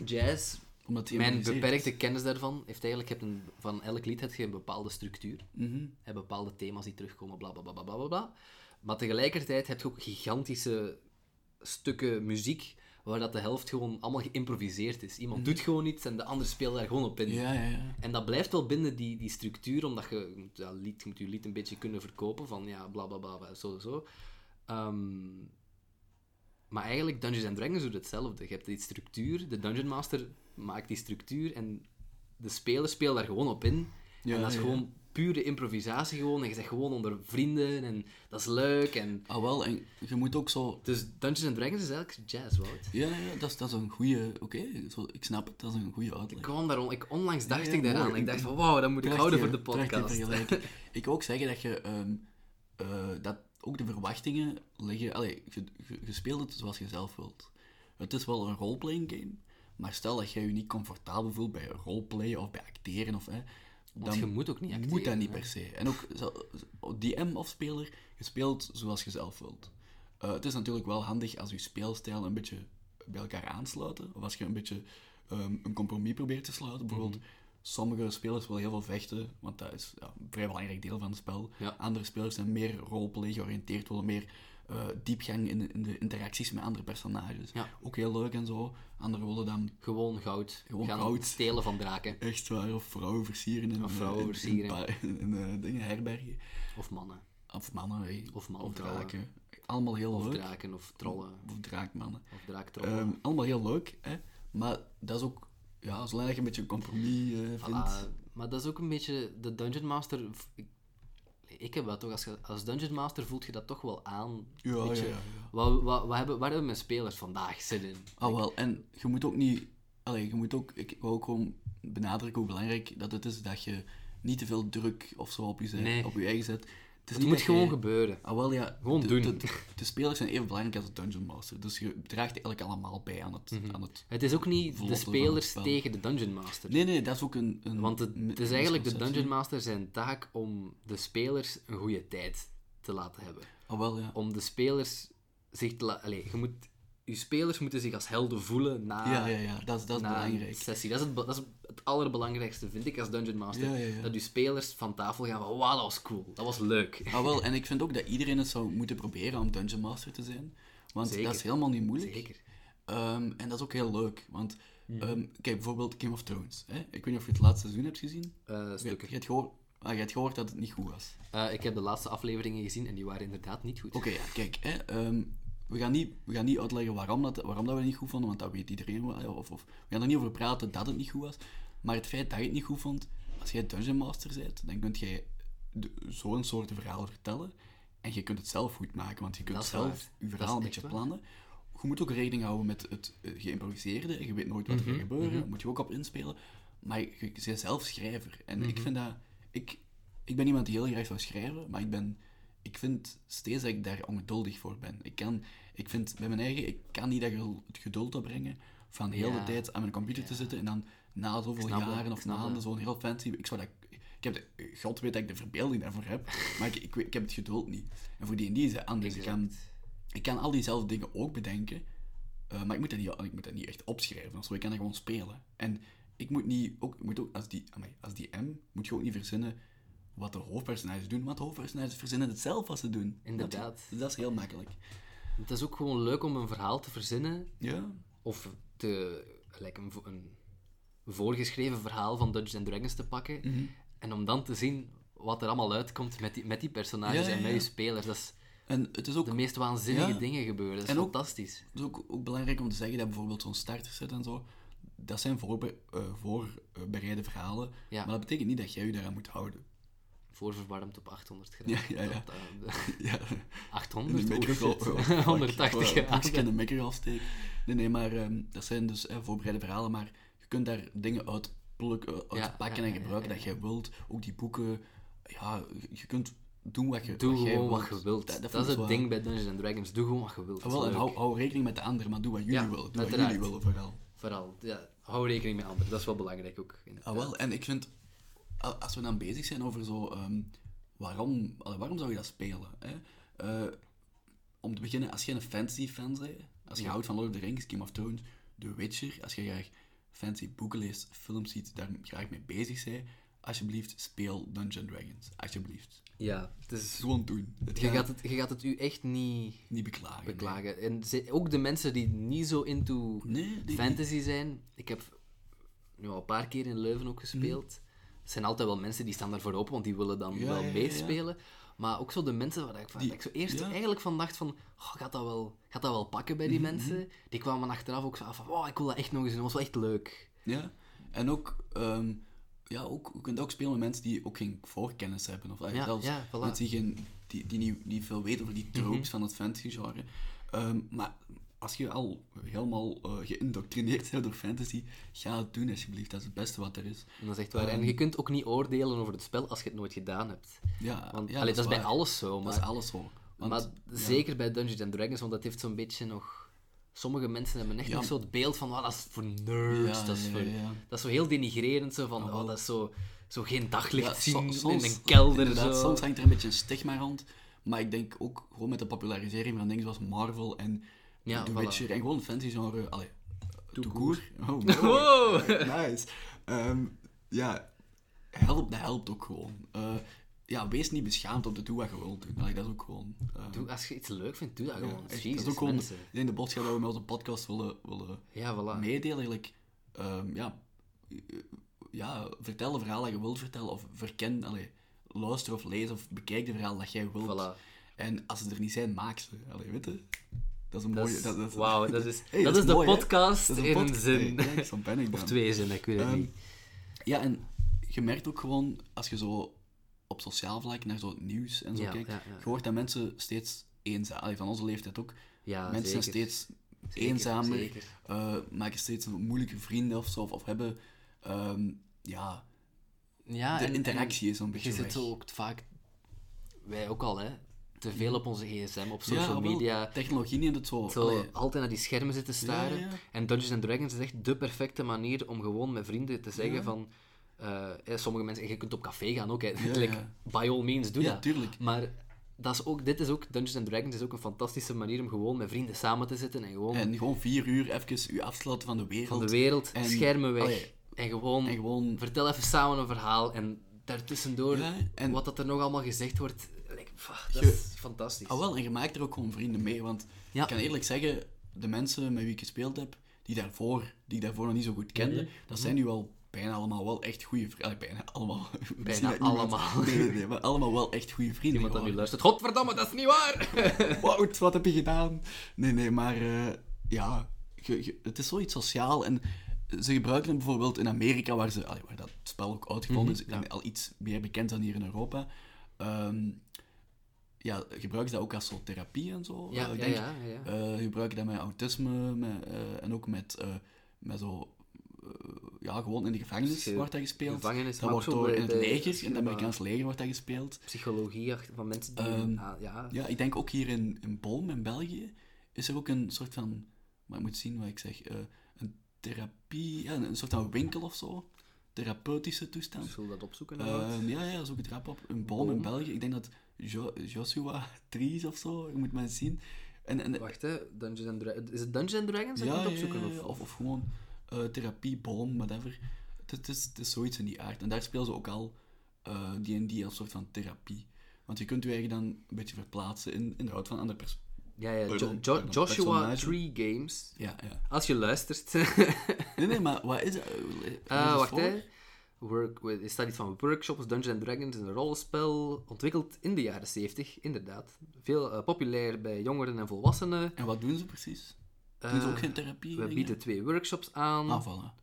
Speaker 1: jazz,
Speaker 2: Omdat die
Speaker 1: mijn
Speaker 2: improviseert.
Speaker 1: beperkte kennis daarvan, heeft eigenlijk, je hebt een, van elk lied heb je een bepaalde structuur.
Speaker 2: Mhm.
Speaker 1: Hè, bepaalde thema's die terugkomen, bla bla bla bla bla bla, bla. Maar tegelijkertijd heb je ook gigantische stukken muziek waar dat de helft gewoon allemaal geïmproviseerd is. Iemand doet gewoon iets en de ander speelt daar gewoon op in.
Speaker 2: Mhm. Ja, ja, ja.
Speaker 1: En dat blijft wel binnen die, die structuur, omdat je je moet, ja, lied, je moet je lied een beetje kunnen verkopen van ja, bla bla bla, bla, zo zo. Ehm, maar eigenlijk, Dungeons and Dragons doet hetzelfde. Je hebt die structuur, de Dungeon Master maakt die structuur en de speler speelt daar gewoon op in.
Speaker 2: Ja,
Speaker 1: en dat is
Speaker 2: ja.
Speaker 1: gewoon pure improvisatie gewoon. En je zegt gewoon onder vrienden en dat is leuk. En...
Speaker 2: Ah, wel, en je moet ook zo...
Speaker 1: Dus Dungeons and Dragons is eigenlijk jazz, Wout.
Speaker 2: Ja, ja, dat is, dat is een goede... Oké, zo ik snap het, dat is een goede uitleg.
Speaker 1: Ik kwam daar on- ik, onlangs dacht
Speaker 2: ja,
Speaker 1: ik daaraan.
Speaker 2: mooi.
Speaker 1: Ik dacht van, wauw, dat moet ik houden voor de
Speaker 2: Prachtige-
Speaker 1: podcast.
Speaker 2: prachtige vergelijking. ik wil ook zeggen dat je... ehm, eh, dat ook de verwachtingen liggen... Allee, je, je, je speelt het zoals je zelf wilt. Het is wel een roleplaying game, maar stel dat jij je niet comfortabel voelt bij roleplayen of bij acteren of... Hè,
Speaker 1: Want je moet ook niet acteren.
Speaker 2: Moet dat niet
Speaker 1: hè.
Speaker 2: per se. En ook zo- zo- DM of speler, je speelt zoals je zelf wilt. Eh, het is natuurlijk wel handig als je speelstijl een beetje bij elkaar aansluiten. Of als je een beetje ehm, een compromis probeert te sluiten. Bijvoorbeeld,
Speaker 1: Mhm.
Speaker 2: sommige spelers willen heel veel vechten, want dat is ja, een vrij belangrijk deel van het spel.
Speaker 1: Ja.
Speaker 2: Andere spelers zijn meer roleplay georiënteerd, willen meer eh, diepgang in de, in de interacties met andere personages.
Speaker 1: Ja.
Speaker 2: Ook heel leuk en zo. Anderen willen dan
Speaker 1: Gewoon goud.
Speaker 2: Gewoon
Speaker 1: gaan
Speaker 2: goud.
Speaker 1: stelen van draken.
Speaker 2: echt waar of vrouwen versieren in, eh,
Speaker 1: vrouwen
Speaker 2: in- in
Speaker 1: versieren.
Speaker 2: pa- in, eh, dingen, herbergen.
Speaker 1: Of mannen.
Speaker 2: Of mannen, hè.
Speaker 1: Of mannen,
Speaker 2: Of
Speaker 1: vrouwen.
Speaker 2: draken. Allemaal heel
Speaker 1: Of
Speaker 2: leuk.
Speaker 1: draken, of trollen.
Speaker 2: Of draakmannen.
Speaker 1: Of draaktrollen.
Speaker 2: Ehm, allemaal heel leuk, hè. Maar dat is ook... Ja, zolang dat je een beetje een compromis eh,
Speaker 1: Ah,
Speaker 2: vindt...
Speaker 1: maar dat is ook een beetje... De Dungeon Master... Ik, ik heb dat toch... Als, je- als Dungeon Master voelt je dat toch wel aan.
Speaker 2: Ja,
Speaker 1: Weet je,
Speaker 2: ja, ja, ja.
Speaker 1: Wat, wat, wat hebben, waar hebben mijn spelers vandaag zin in?
Speaker 2: Ah, wel. En je moet ook niet... Allee, je moet ook... Ik wou ook gewoon benadrukken hoe belangrijk dat het is dat je niet te veel druk of zo op je, zij-
Speaker 1: Nee.
Speaker 2: op je eigen zet. Het, is
Speaker 1: Het moet
Speaker 2: niet dat
Speaker 1: gewoon
Speaker 2: jij-
Speaker 1: gebeuren.
Speaker 2: Ah, wel, ja.
Speaker 1: Gewoon
Speaker 2: de,
Speaker 1: doen.
Speaker 2: De, de spelers zijn even belangrijk als de Dungeon Master. Dus je draagt eigenlijk allemaal bij aan het...
Speaker 1: Mhm.
Speaker 2: Aan het
Speaker 1: Het is ook niet de
Speaker 2: Vlotte van het
Speaker 1: spelers
Speaker 2: spel.
Speaker 1: tegen de Dungeon Master.
Speaker 2: nee, nee, dat is ook een... een
Speaker 1: Want het, het is
Speaker 2: een
Speaker 1: eigenlijk de
Speaker 2: misconceptie.
Speaker 1: Dungeon Master zijn taak om de spelers een goede tijd te laten hebben.
Speaker 2: Ah, wel, ja.
Speaker 1: om de spelers zich te laten. je moet. Je spelers moeten zich als helden voelen na,
Speaker 2: Ja, ja, ja, dat is, dat is
Speaker 1: na een
Speaker 2: belangrijk.
Speaker 1: sessie. Dat is, het, be- dat is het het allerbelangrijkste, vind ik, als Dungeon Master.
Speaker 2: Ja, ja, ja.
Speaker 1: Dat je spelers van tafel gaan van, wauw, dat was cool, dat was leuk.
Speaker 2: Ah, wel, en ik vind ook dat iedereen het zou moeten proberen om Dungeon Master te zijn. Want
Speaker 1: Zeker.
Speaker 2: dat is helemaal niet moeilijk.
Speaker 1: Zeker. Mhm.
Speaker 2: Ehm, en dat is ook heel leuk. Want ehm, kijk, bijvoorbeeld Game of Thrones. Hè? Ik weet niet of je het laatste seizoen hebt gezien.
Speaker 1: Eh,
Speaker 2: Je,
Speaker 1: stukken.
Speaker 2: je, hebt gehoor- ah, je hebt gehoord dat het niet goed was.
Speaker 1: Eh, ik heb de laatste afleveringen gezien en die waren inderdaad niet goed.
Speaker 2: Oké, ja, kijk. Hè, ehm, we, gaan niet, we gaan niet uitleggen waarom dat, waarom dat we het niet goed vonden, want dat weet iedereen wel. Of, of, we gaan er niet over praten dat het niet goed was. Maar het feit dat je het niet goed vond, als jij Dungeon Master bent, dan kun jij de- zo'n soort verhaal vertellen. En je kunt het zelf goed maken, want je kunt
Speaker 1: Dat is
Speaker 2: zelf
Speaker 1: waar.
Speaker 2: je
Speaker 1: Dat
Speaker 2: verhaal
Speaker 1: is
Speaker 2: een
Speaker 1: echt
Speaker 2: beetje
Speaker 1: waar.
Speaker 2: plannen. Je moet ook rekening houden met het eh, geïmproviseerde. en Je weet nooit wat er gaat
Speaker 1: Mhm,
Speaker 2: gebeuren, daar moet je ook op inspelen. Maar je je bent zelf schrijver. En ik
Speaker 1: Mhm.
Speaker 2: vind dat... Ik, ik ben iemand die heel graag zou schrijven, maar ik ben... Ik vind steeds dat ik daar ongeduldig voor ben. Ik kan... Ik vind bij mijn eigen... Ik kan niet dat gel- het geduld opbrengen van heel
Speaker 1: Ja.
Speaker 2: de tijd aan mijn computer te zitten en dan na zoveel
Speaker 1: snap dat,
Speaker 2: jaren
Speaker 1: ik
Speaker 2: of
Speaker 1: snap dat.
Speaker 2: maanden zo'n heel fancy... Ik zou dat... Ik heb de, God weet dat ik de verbeelding daarvoor heb, maar ik, ik, weet- ik heb het geduld niet. En voor die en die is het anders. Ik kan, ik kan al diezelfde dingen ook bedenken, eh, maar ik moet, dat niet, ik moet dat niet echt opschrijven of zo. Ik kan dat gewoon spelen. En ik moet niet, ook, ik moet ook als, die, amai, als die M, moet je ook niet verzinnen wat de hoofdpersonages doen, want de hoofdpersonages verzinnen het zelf wat ze doen.
Speaker 1: Inderdaad.
Speaker 2: Dat, dus dat is heel makkelijk.
Speaker 1: Het is ook gewoon leuk om een verhaal te verzinnen
Speaker 2: Ja,
Speaker 1: of te, gelijk een, vo- een voorgeschreven verhaal van Dungeons and Dragons te pakken
Speaker 2: Mhm.
Speaker 1: en om dan te zien wat er allemaal uitkomt met die, met die personages
Speaker 2: Ja, ja,
Speaker 1: en met
Speaker 2: ja.
Speaker 1: je spelers. Dat is
Speaker 2: en het is ook,
Speaker 1: de meest waanzinnige
Speaker 2: Ja.
Speaker 1: dingen gebeuren. Dat is
Speaker 2: En ook-
Speaker 1: fantastisch.
Speaker 2: het is ook, ook belangrijk om te zeggen dat bijvoorbeeld zo'n starterset en zo, dat zijn voorbe- eh, voorbereide verhalen,
Speaker 1: Ja.
Speaker 2: maar dat betekent niet dat jij je daaraan moet houden.
Speaker 1: Voorverwarmd op 800 graden.
Speaker 2: Ja, ja, ja.
Speaker 1: Dat, eh,
Speaker 2: ja. In de
Speaker 1: 800? Oeh,
Speaker 2: microgolf.
Speaker 1: shit.
Speaker 2: oh, fuck.
Speaker 1: 180
Speaker 2: Ik wou- Ik
Speaker 1: graden.
Speaker 2: ken de microgolf steek. Nee, nee, maar ehm, dat zijn dus eh, voorbereide verhalen, maar je kunt daar dingen uit plukken, uit
Speaker 1: Ja,
Speaker 2: pakken
Speaker 1: ja,
Speaker 2: en
Speaker 1: ja,
Speaker 2: gebruiken
Speaker 1: ja,
Speaker 2: dat jij wilt. Ook die boeken, ja, je kunt doen wat je
Speaker 1: Doe
Speaker 2: wat jij
Speaker 1: gewoon
Speaker 2: wilt.
Speaker 1: wat je wilt. Dat,
Speaker 2: vind
Speaker 1: is
Speaker 2: ik
Speaker 1: het
Speaker 2: wel-
Speaker 1: ding bij Dungeons and Dragons. Doe gewoon wat je wilt.
Speaker 2: Ah, wel,
Speaker 1: Dat
Speaker 2: en
Speaker 1: is
Speaker 2: hou,
Speaker 1: leuk.
Speaker 2: hou rekening met de anderen, maar doe wat jullie
Speaker 1: Ja,
Speaker 2: willen. Doe wat
Speaker 1: uiteraard.
Speaker 2: jullie willen vooral.
Speaker 1: Vooral, ja, hou rekening met anderen. Dat is wel belangrijk ook.
Speaker 2: Ah, wel, en ik vind, a- als we dan bezig zijn over zo, ehm, waarom, allee, waarom zou je dat spelen? Hè? Eh, om te beginnen, als je een fantasy fan bent, als je houdt van Lord of the Rings, Game of Thrones, The Witcher, als je graag fancy boeken leest, films ziet, daar graag mee bezig bent, alsjeblieft, speel Dungeon Dragons. Alsjeblieft.
Speaker 1: Ja, het is,
Speaker 2: Gewoon doen. Het
Speaker 1: je,
Speaker 2: gaat
Speaker 1: gaat het, je gaat het u echt niet
Speaker 2: niet beklagen. nee.
Speaker 1: beklagen. En ze- ook de mensen die niet zo into
Speaker 2: Nee, die-
Speaker 1: fantasy zijn. Ik heb nu al een paar keer in Leuven ook gespeeld. Het zijn altijd wel mensen die staan daarvoor open, want die willen dan
Speaker 2: Ja,
Speaker 1: wel
Speaker 2: ja, ja,
Speaker 1: meespelen. Maar ook zo de mensen waar ik, van, dat ik zo eerst
Speaker 2: ja.
Speaker 1: eigenlijk van dacht van... Oh, gaat, dat wel, gaat dat wel pakken bij die
Speaker 2: Mhm,
Speaker 1: mensen? Die kwamen achteraf ook zo af van... Oh, ik wil dat echt nog eens doen. Dat was wel echt leuk.
Speaker 2: Ja, en ook, ehm, ja, ook, je kunt ook spelen met mensen die ook geen voorkennis hebben. Of eigenlijk
Speaker 1: Ja,
Speaker 2: zelfs
Speaker 1: ja, voilà. Mhm.
Speaker 2: mensen die, geen, die, die niet, niet veel weten over die tropes van het fantasy-genre. Ehm, maar als je al helemaal eh, geïndoctrineerd bent door fantasy, ga het doen alsjeblieft. Dat is het beste wat er is. Ehm,
Speaker 1: En dat is echt waar. en je kunt ook niet oordelen over het spel als je het nooit gedaan hebt.
Speaker 2: Ja,
Speaker 1: Want,
Speaker 2: ja,
Speaker 1: allee, dat is bij
Speaker 2: waar.
Speaker 1: alles zo.
Speaker 2: Dat
Speaker 1: Maar
Speaker 2: is alles zo. Want-
Speaker 1: maar zeker bij Dungeons and Dragons, want dat heeft zo'n beetje nog. Sommige mensen hebben echt
Speaker 2: Ja.
Speaker 1: nog zo het beeld van, "Wauw, dat is voor nerds,
Speaker 2: Ja,
Speaker 1: dat, is
Speaker 2: ja,
Speaker 1: voor,
Speaker 2: ja.
Speaker 1: dat is zo heel denigrerend, zo van, oh, dat is zo, zo geen daglicht
Speaker 2: Ja, so-
Speaker 1: zien
Speaker 2: soms-
Speaker 1: in een kelder,
Speaker 2: inderdaad,
Speaker 1: zo.
Speaker 2: Soms hangt er een beetje een stigma rond. Maar ik denk ook gewoon met de popularisering van dingen zoals Marvel en
Speaker 1: Ja,
Speaker 2: The
Speaker 1: voilà.
Speaker 2: Witcher en gewoon fantasy genre. Allee, to Oh,
Speaker 1: Wow.
Speaker 2: nice. Ehm, ja, help, dat helpt ook gewoon. Eh, ja, wees niet beschaamd om te doen wat je wilt doen. Allee, dat is ook gewoon... eh,
Speaker 1: Doe, als je iets leuk vindt, doe dat
Speaker 2: ja,
Speaker 1: gewoon.
Speaker 2: echt, dat
Speaker 1: Jezus,
Speaker 2: is ook gewoon...
Speaker 1: mensen.
Speaker 2: Ik denk de boodschap dat we met onze podcast willen, willen
Speaker 1: Ja, voilà.
Speaker 2: meedelen, eigenlijk, ehm, ja, eh, ja, vertel een verhaal dat je wilt vertellen, of verken, allee, luister of lees, of bekijk de verhaal dat jij wilt.
Speaker 1: Voilà.
Speaker 2: En als ze er niet zijn, maak ze. Allee, weet je? Dat is een
Speaker 1: Dat
Speaker 2: mooie...
Speaker 1: is-
Speaker 2: Dat, dat is-
Speaker 1: Wauw, dat is,
Speaker 2: Hey,
Speaker 1: dat
Speaker 2: dat
Speaker 1: is
Speaker 2: is
Speaker 1: de
Speaker 2: mooi, hè?
Speaker 1: podcast
Speaker 2: dat is
Speaker 1: in een
Speaker 2: podcast.
Speaker 1: zin.
Speaker 2: Hey, kijk, zo ben ik
Speaker 1: of
Speaker 2: dan.
Speaker 1: twee zinnen, ik weet het
Speaker 2: Ehm,
Speaker 1: niet.
Speaker 2: Ja, en je merkt ook gewoon, als je zo op sociaal vlak naar zo het nieuws en zo
Speaker 1: Ja,
Speaker 2: kijkt,
Speaker 1: ja, ja.
Speaker 2: je hoort dat mensen steeds eenzaam, allee, van onze leeftijd ook,
Speaker 1: Ja,
Speaker 2: mensen zijn
Speaker 1: zeker.
Speaker 2: steeds eenzamer,
Speaker 1: zeker.
Speaker 2: eh, maken steeds moeilijke vrienden of zo, of, of hebben, ehm, ja,
Speaker 1: Ja,
Speaker 2: de
Speaker 1: Ah, en- en-
Speaker 2: interactie is zo'n beetje
Speaker 1: Je zit
Speaker 2: weg.
Speaker 1: zo ook vaak, wij ook al, hè, te veel op onze gsm, op
Speaker 2: Ja,
Speaker 1: social
Speaker 2: wel,
Speaker 1: media.
Speaker 2: Technologie neemt het zo.
Speaker 1: Zo
Speaker 2: allee,
Speaker 1: altijd naar die schermen zitten staren.
Speaker 2: Ja, ja.
Speaker 1: En Dungeons and Dragons is echt de perfecte manier om gewoon met vrienden te zeggen van... eh, hè, sommige mensen... en Je kunt op café gaan ook, hè. Like,
Speaker 2: ja.
Speaker 1: By all means, doe
Speaker 2: Ja,
Speaker 1: dat.
Speaker 2: tuurlijk.
Speaker 1: Maar dat is ook, dit is ook... Dungeons and Dragons is ook een fantastische manier om gewoon met vrienden samen te zitten en gewoon
Speaker 2: en gewoon vier uur even je afsluiten van de wereld.
Speaker 1: van de wereld,
Speaker 2: en-
Speaker 1: schermen weg.
Speaker 2: allee,
Speaker 1: En gewoon,
Speaker 2: En gewoon...
Speaker 1: vertel even samen een verhaal en daartussendoor
Speaker 2: Ja, en-
Speaker 1: wat dat er nog allemaal gezegd wordt. like, pff, dat
Speaker 2: Je-
Speaker 1: is fantastisch.
Speaker 2: Ah wel, en je maakt er ook gewoon vrienden mee. Want
Speaker 1: Ja.
Speaker 2: ik kan eerlijk zeggen, de mensen met wie ik gespeeld heb, die, daarvoor, die ik daarvoor nog niet zo goed kende,
Speaker 1: Mhm.
Speaker 2: dat zijn nu al bijna allemaal wel echt goede vrienden. Bijna allemaal. Misschien dat niemand-
Speaker 1: allemaal.
Speaker 2: Nee, nee, nee, maar allemaal wel echt goede vrienden.
Speaker 1: Iemand dat nu
Speaker 2: geworden.
Speaker 1: luistert. Godverdamme, dat is niet waar!
Speaker 2: Wout, wat heb je gedaan? Nee, nee, maar eh, ja, ge- ge- het is zoiets sociaal. En ze gebruiken het bijvoorbeeld in Amerika, waar, ze, allee, waar dat spel ook uitgevonden
Speaker 1: Mhm,
Speaker 2: is, en al iets meer bekend dan hier in Europa. ehm, ja, gebruiken ze dat ook als soort therapie en zo?
Speaker 1: Ja,
Speaker 2: Eh, ik
Speaker 1: ja,
Speaker 2: denk,
Speaker 1: ja, ja.
Speaker 2: eh, gebruiken dat met autisme met, eh, en ook met, eh, met zo... eh, ja, gewoon in de gevangenis
Speaker 1: Ge-
Speaker 2: wordt dat gespeeld.
Speaker 1: gevangenis,
Speaker 2: dat
Speaker 1: maar
Speaker 2: wordt
Speaker 1: ook zo
Speaker 2: door
Speaker 1: bij
Speaker 2: in het
Speaker 1: de-
Speaker 2: leger, in
Speaker 1: ja.
Speaker 2: het Amerikaans leger wordt dat gespeeld.
Speaker 1: Psychologie achter- van mensen die...
Speaker 2: Ehm,
Speaker 1: ah, ja.
Speaker 2: Ja, ik denk ook hier in, in Bolm, in België, is er ook een soort van, maar ik moet zien wat ik zeg, eh, een therapie, ja, een, een soort van winkel of zo. Therapeutische toestand.
Speaker 1: Zullen we dat opzoeken? inderdaad?
Speaker 2: Ehm, ja, ja, zoek het rap op. Een Bolm in
Speaker 1: Bolm?
Speaker 2: België, ik denk dat Jo- Joshua Tries of zo, je moet maar eens zien. En, en,
Speaker 1: Wacht, hè. Dungeons and Dragons. Is het Dungeons and Dragons? dat je
Speaker 2: ja,
Speaker 1: moet
Speaker 2: ja,
Speaker 1: opzoeken,
Speaker 2: ja,
Speaker 1: of-
Speaker 2: ja, of, of gewoon eh, therapie, boom, whatever. Het, het, is, het is zoiets in die aard. En daar spelen ze ook al eh, D&D als soort van therapie. Want je kunt je eigen dan een beetje verplaatsen in, in de hout van andere persoon.
Speaker 1: Ja, ja. Jo-
Speaker 2: Pardon,
Speaker 1: Jo-
Speaker 2: pardon,
Speaker 1: Joshua
Speaker 2: personage.
Speaker 1: Tree Games.
Speaker 2: Ja, ja.
Speaker 1: Als je luistert.
Speaker 2: Nee, nee, maar wat is dat? Eh, lees
Speaker 1: Ah,
Speaker 2: eens
Speaker 1: wacht,
Speaker 2: voor.
Speaker 1: hè. Work, er staat iets van workshops, Dungeons and Dragons is een rollenspel, ontwikkeld in de jaren 70, inderdaad. Veel eh, populair bij jongeren en volwassenen.
Speaker 2: En wat doen ze precies?
Speaker 1: Eh,
Speaker 2: doen ze ook geen therapie?
Speaker 1: we
Speaker 2: dingen?
Speaker 1: bieden twee workshops aan
Speaker 2: Ah, voilà.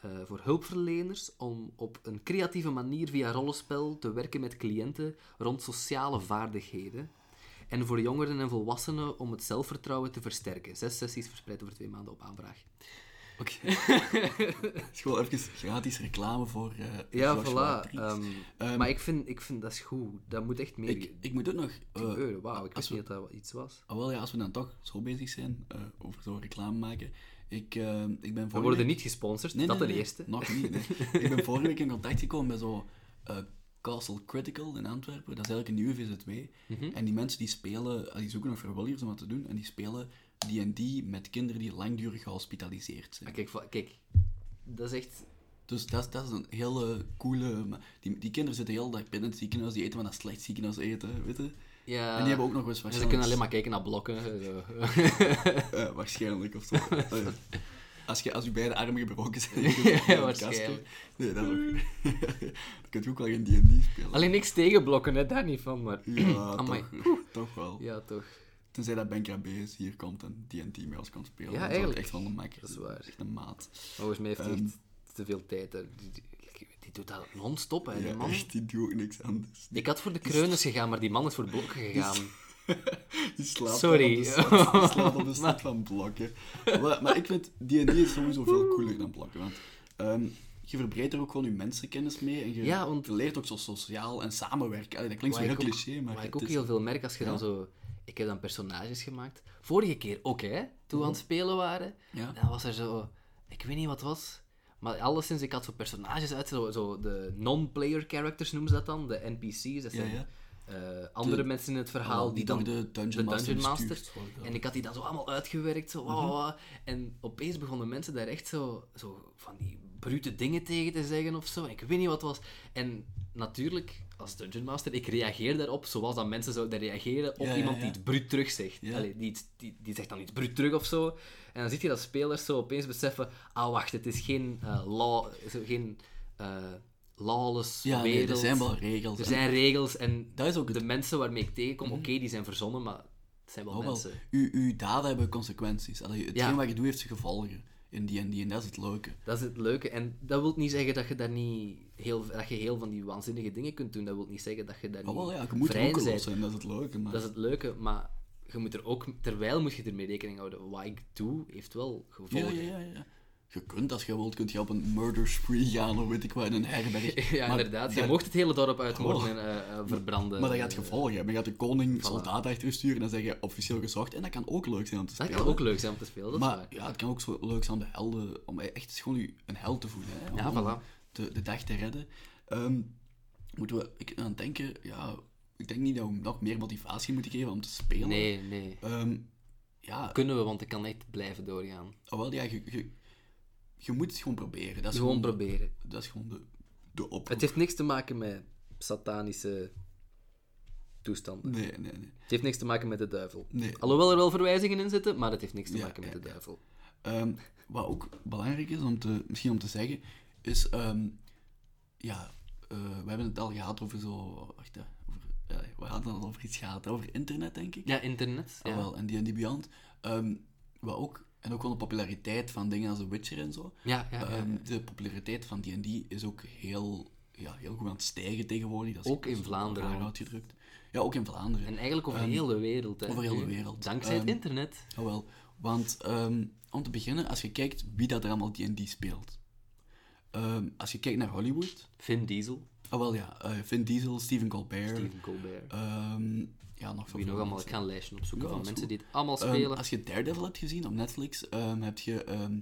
Speaker 1: eh, voor hulpverleners om op een creatieve manier via rollenspel te werken met cliënten rond sociale vaardigheden. En voor jongeren en volwassenen om het zelfvertrouwen te versterken. Zes sessies verspreid over twee maanden op aanvraag.
Speaker 2: Oké. Het is gewoon even gratis reclame voor eh
Speaker 1: Ja,
Speaker 2: Joshua
Speaker 1: voilà.
Speaker 2: Tree.
Speaker 1: ehm, maar ik vind, ik vind dat is goed. Dat moet echt meer
Speaker 2: ik, ik moet ook nog... eh,
Speaker 1: gebeuren. Wauw, ik
Speaker 2: als
Speaker 1: wist
Speaker 2: we-
Speaker 1: niet dat dat iets was.
Speaker 2: Ah, wel ja, als we dan toch zo bezig zijn eh, over zo'n reclame maken. Ik, eh, ik ben
Speaker 1: We
Speaker 2: vorige
Speaker 1: worden
Speaker 2: week-
Speaker 1: niet gesponsord,
Speaker 2: Nee,
Speaker 1: dat
Speaker 2: nee,
Speaker 1: ten
Speaker 2: nee,
Speaker 1: eerste.
Speaker 2: Nog niet, nee. ik ben vorige week in contact gekomen met zo eh, Castle Critical in Antwerpen. Dat is eigenlijk een nieuwe VZ2.
Speaker 1: Mhm.
Speaker 2: En die mensen die spelen, ah, die zoeken nog vrijwilligers om wat te doen. En die spelen D&D met kinderen die langdurig gehospitaliseerd zijn.
Speaker 1: Ah, kijk, va- kijk, dat is echt...
Speaker 2: Dus dat, is- dat is een hele coole... ma- Die, die kinderen zitten heel de dag binnen het ziekenhuis. Die eten van dat slecht ziekenhuis eten, weet je.
Speaker 1: Ja,
Speaker 2: En die hebben ook nog eens
Speaker 1: en Eh, dus ze kunnen alleen maar kijken naar blokken. eh, zo.
Speaker 2: Eh, waarschijnlijk of zo. Eh, als, je, als je beide armen gebroken zijn, dan kun je
Speaker 1: Ja,
Speaker 2: een
Speaker 1: waarschijnlijk.
Speaker 2: kastje- Nee, dat ook. dan kun je ook wel geen D&D spelen.
Speaker 1: alleen niks tegen blokken, hè, daar niet van, maar...
Speaker 2: Ja,
Speaker 1: Amai.
Speaker 2: toch, toch wel.
Speaker 1: Ja, toch.
Speaker 2: Tenzij dat Ben Krabbees hier komt en D&D mee ons kan spelen.
Speaker 1: Ja,
Speaker 2: dan zou ik
Speaker 1: eigenlijk.
Speaker 2: echt wel een makker.
Speaker 1: Dat is waar.
Speaker 2: Echt een maat.
Speaker 1: Volgens mij heeft hij
Speaker 2: Ehm.
Speaker 1: echt te veel tijd. hè. Die, die- die doet dat non-stop, hè, die
Speaker 2: Ja,
Speaker 1: man.
Speaker 2: echt, die doet ook niks anders. Die,
Speaker 1: Ik had voor de kreuners gegaan, maar die man is voor blokken gegaan.
Speaker 2: die slaapt
Speaker 1: Sorry.
Speaker 2: op de stad, die slaapt op de stad van blokken. Maar, maar ik vind, D&D is sowieso veel cooler dan blokken, want... ehm, je verbreidt er ook gewoon je mensenkennis mee en je,
Speaker 1: Ja, want-
Speaker 2: je leert ook zo sociaal en samenwerken. Allee, dat klinkt zo
Speaker 1: Waar
Speaker 2: heel
Speaker 1: ik ook-
Speaker 2: cliché, maar
Speaker 1: Waar ik
Speaker 2: het
Speaker 1: ook
Speaker 2: is-
Speaker 1: heel veel merk als je dan zo... Ik heb dan personages gemaakt. Vorige keer ook, hè. Toen we aan het spelen waren.
Speaker 2: Mhm. Ja.
Speaker 1: Dan was er zo... Ik weet niet wat het was. Maar alleszins, ik had zo personages uit. Zo, zo de non-player characters noemen ze dat dan. De NPC's. Dat
Speaker 2: Ja,
Speaker 1: zijn
Speaker 2: ja.
Speaker 1: eh, andere
Speaker 2: De-
Speaker 1: mensen in het verhaal die,
Speaker 2: die
Speaker 1: dan...
Speaker 2: door de Dungeon Master bestuurd worden.
Speaker 1: En ik had die dan zo allemaal uitgewerkt. Zo,
Speaker 2: Mhm.
Speaker 1: wauw, wauw. En opeens begonnen mensen daar echt zo, zo van die brute dingen tegen te zeggen of zo. En ik weet niet wat het was. En natuurlijk, als Dungeon Master, ik reageer daarop zoals dat mensen zouden reageren op
Speaker 2: Ja, ja,
Speaker 1: iemand
Speaker 2: ja.
Speaker 1: die het bruut terug zegt.
Speaker 2: Ja.
Speaker 1: Allee, die, iets- die, die zegt dan iets bruut terug of zo. En dan zie je dat spelers zo opeens beseffen: ah, wacht, het is geen eh, law, zo, geen eh, lawless
Speaker 2: Ja, nee,
Speaker 1: wereld.
Speaker 2: er zijn wel regels.
Speaker 1: Er
Speaker 2: en-
Speaker 1: zijn regels en
Speaker 2: Dat is ook
Speaker 1: de mensen waarmee ik tegenkom, oké, die zijn verzonnen, maar het zijn wel
Speaker 2: Oh, wel.
Speaker 1: mensen.
Speaker 2: Uw, uw daden hebben consequenties. Allee, hetgeen
Speaker 1: Ja.
Speaker 2: wat je doet heeft zijn gevolgen. In die en die en dat is het leuke.
Speaker 1: Dat is het leuke. En dat wil niet zeggen dat je daar niet heel, dat je heel van die waanzinnige dingen kunt doen. Dat wil niet zeggen dat je daar
Speaker 2: Oh, wel,
Speaker 1: niet
Speaker 2: ja, je moet
Speaker 1: vrij
Speaker 2: roekeloos
Speaker 1: bent.
Speaker 2: zijn, dat is het leuke. Maar...
Speaker 1: Dat is het leuke, maar je moet er ook, terwijl moet je ermee rekening houden. Wat ik doe, heeft wel
Speaker 2: ja,
Speaker 1: gevolgen.
Speaker 2: ja, ja, ja. Je kunt, als je wilt, kunt je op een murder spree gaan of weet ik wat, in een herberg.
Speaker 1: Ja,
Speaker 2: Maar
Speaker 1: inderdaad. Je
Speaker 2: dat- Oh.
Speaker 1: mocht het hele dorp uitmoorden en eh, eh, verbranden.
Speaker 2: Maar dat gaat gevolgen hebben. Je gaat de koning soldaten achter je sturen en dan zeg je officieel gezocht. En dat kan ook leuk zijn om te
Speaker 1: Dat
Speaker 2: spelen.
Speaker 1: kan ook leuk zijn om te spelen, dat is
Speaker 2: Maar
Speaker 1: waar.
Speaker 2: ja, het kan ook zo leuk zijn om de helden, om echt gewoon je een held te voelen. Hè? Om
Speaker 1: Ja, voilà.
Speaker 2: de, de dag te redden. Ehm, moeten we ik, aan het denken, ja, ik denk niet dat we nog meer motivatie moeten geven om te spelen.
Speaker 1: Nee, nee.
Speaker 2: Ehm, ja, oh,
Speaker 1: Kunnen we, want ik kan echt blijven doorgaan.
Speaker 2: alhoewel, ja, je, je, je moet het gewoon proberen. Dat is
Speaker 1: Gewoon
Speaker 2: gewoon,
Speaker 1: proberen.
Speaker 2: dat is gewoon de, de oproep.
Speaker 1: Het heeft niks te maken met satanische toestanden.
Speaker 2: Nee, nee, nee.
Speaker 1: Het heeft niks te maken met de duivel.
Speaker 2: Nee.
Speaker 1: Alhoewel er wel verwijzingen in zitten, maar het heeft niks te
Speaker 2: Ja,
Speaker 1: maken met
Speaker 2: ja,
Speaker 1: de duivel.
Speaker 2: Ehm, wat ook belangrijk is om te, misschien om te zeggen, is ehm, ja, eh, we hebben het al gehad over zo. Wacht, hè, over, ja, we hadden al over iets gehad, hè, over internet, denk ik.
Speaker 1: Ja, internet.
Speaker 2: Ah, wel, en die en die Beyond. Ehm, wat ook, en ook wel de populariteit van dingen als The Witcher en zo.
Speaker 1: Ja, ja, ja.
Speaker 2: Ehm, de populariteit van D&D is ook heel, ja, heel goed aan het stijgen tegenwoordig. Dat is
Speaker 1: Ook in
Speaker 2: dat is
Speaker 1: Vlaanderen,
Speaker 2: raar
Speaker 1: hoor.
Speaker 2: uitgedrukt. Ja, ook in Vlaanderen.
Speaker 1: En eigenlijk over heel de wereld. Hè,
Speaker 2: ehm, over heel de
Speaker 1: nu.
Speaker 2: wereld.
Speaker 1: Dankzij het
Speaker 2: Ehm,
Speaker 1: internet.
Speaker 2: Jawel, want ehm, om te beginnen, als je kijkt wie dat er allemaal D&D speelt. Ehm, als je kijkt naar Hollywood,
Speaker 1: Vin Diesel,
Speaker 2: ah wel ja, eh, Vin Diesel, Stephen Colbert,
Speaker 1: Stephen Colbert.
Speaker 2: ehm, ja, nog
Speaker 1: Wie
Speaker 2: zoveel
Speaker 1: nog allemaal, ik
Speaker 2: mensen.
Speaker 1: ga een lijstje opzoeken
Speaker 2: Ja,
Speaker 1: van
Speaker 2: dat is
Speaker 1: mensen
Speaker 2: goed.
Speaker 1: die het allemaal
Speaker 2: Ehm,
Speaker 1: spelen.
Speaker 2: als je Daredevil hebt gezien op Netflix, ehm, heb je ehm,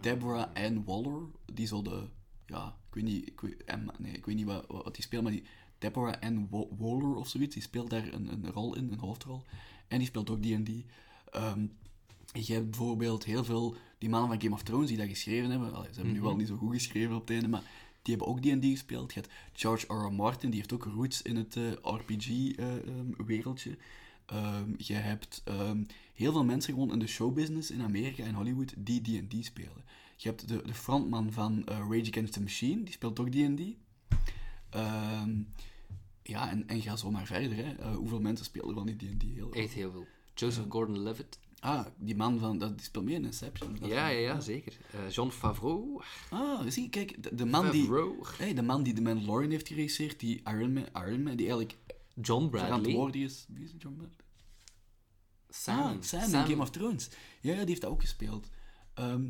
Speaker 2: Deborah Ann Waller, die zo de, ja, ik weet niet, ik weet, Em- nee, ik weet niet wat, wat die speelt, maar die Deborah Ann Wa- Waller of zoiets, die speelt daar een, een rol in, een hoofdrol, en die speelt ook D&D. Ehm, je hebt bijvoorbeeld heel veel, die mannen van Game of Thrones die dat geschreven hebben, allee, ze hebben nu wel niet zo goed geschreven op het einde, maar die hebben ook D&D gespeeld. Je hebt George R. R. Martin, die heeft ook roots in het eh, RPG-wereldje. ehm, je hebt ehm, heel veel mensen gewoon in de showbusiness in Amerika en Hollywood die D&D spelen. Je hebt de, de frontman van eh, Rage Against the Machine, die speelt ook D&D. Ehm, ja, en, en ga zo maar verder. Hè. Eh, hoeveel mensen spelen wel niet D&D? Heel...
Speaker 1: Echt heel veel. Joseph Gordon-Levitt.
Speaker 2: Ah, die man van, dat, die speelt mee in Inception. Dat-
Speaker 1: Ja, ja, ja, zeker. Eh John Favreau.
Speaker 2: Ah, zie, kijk, de, de man die...
Speaker 1: Favreau.
Speaker 2: Hey, de man die de Mandalorian heeft geregisseerd, die Iron Man, Iron Man die eigenlijk
Speaker 1: John Bradley.
Speaker 2: verantwoordelijk is... Wie is het, John Bradley?
Speaker 1: Sam.
Speaker 2: Ah, Sam, in Game of Thrones. Ja, ja, die heeft dat ook gespeeld. Ehm,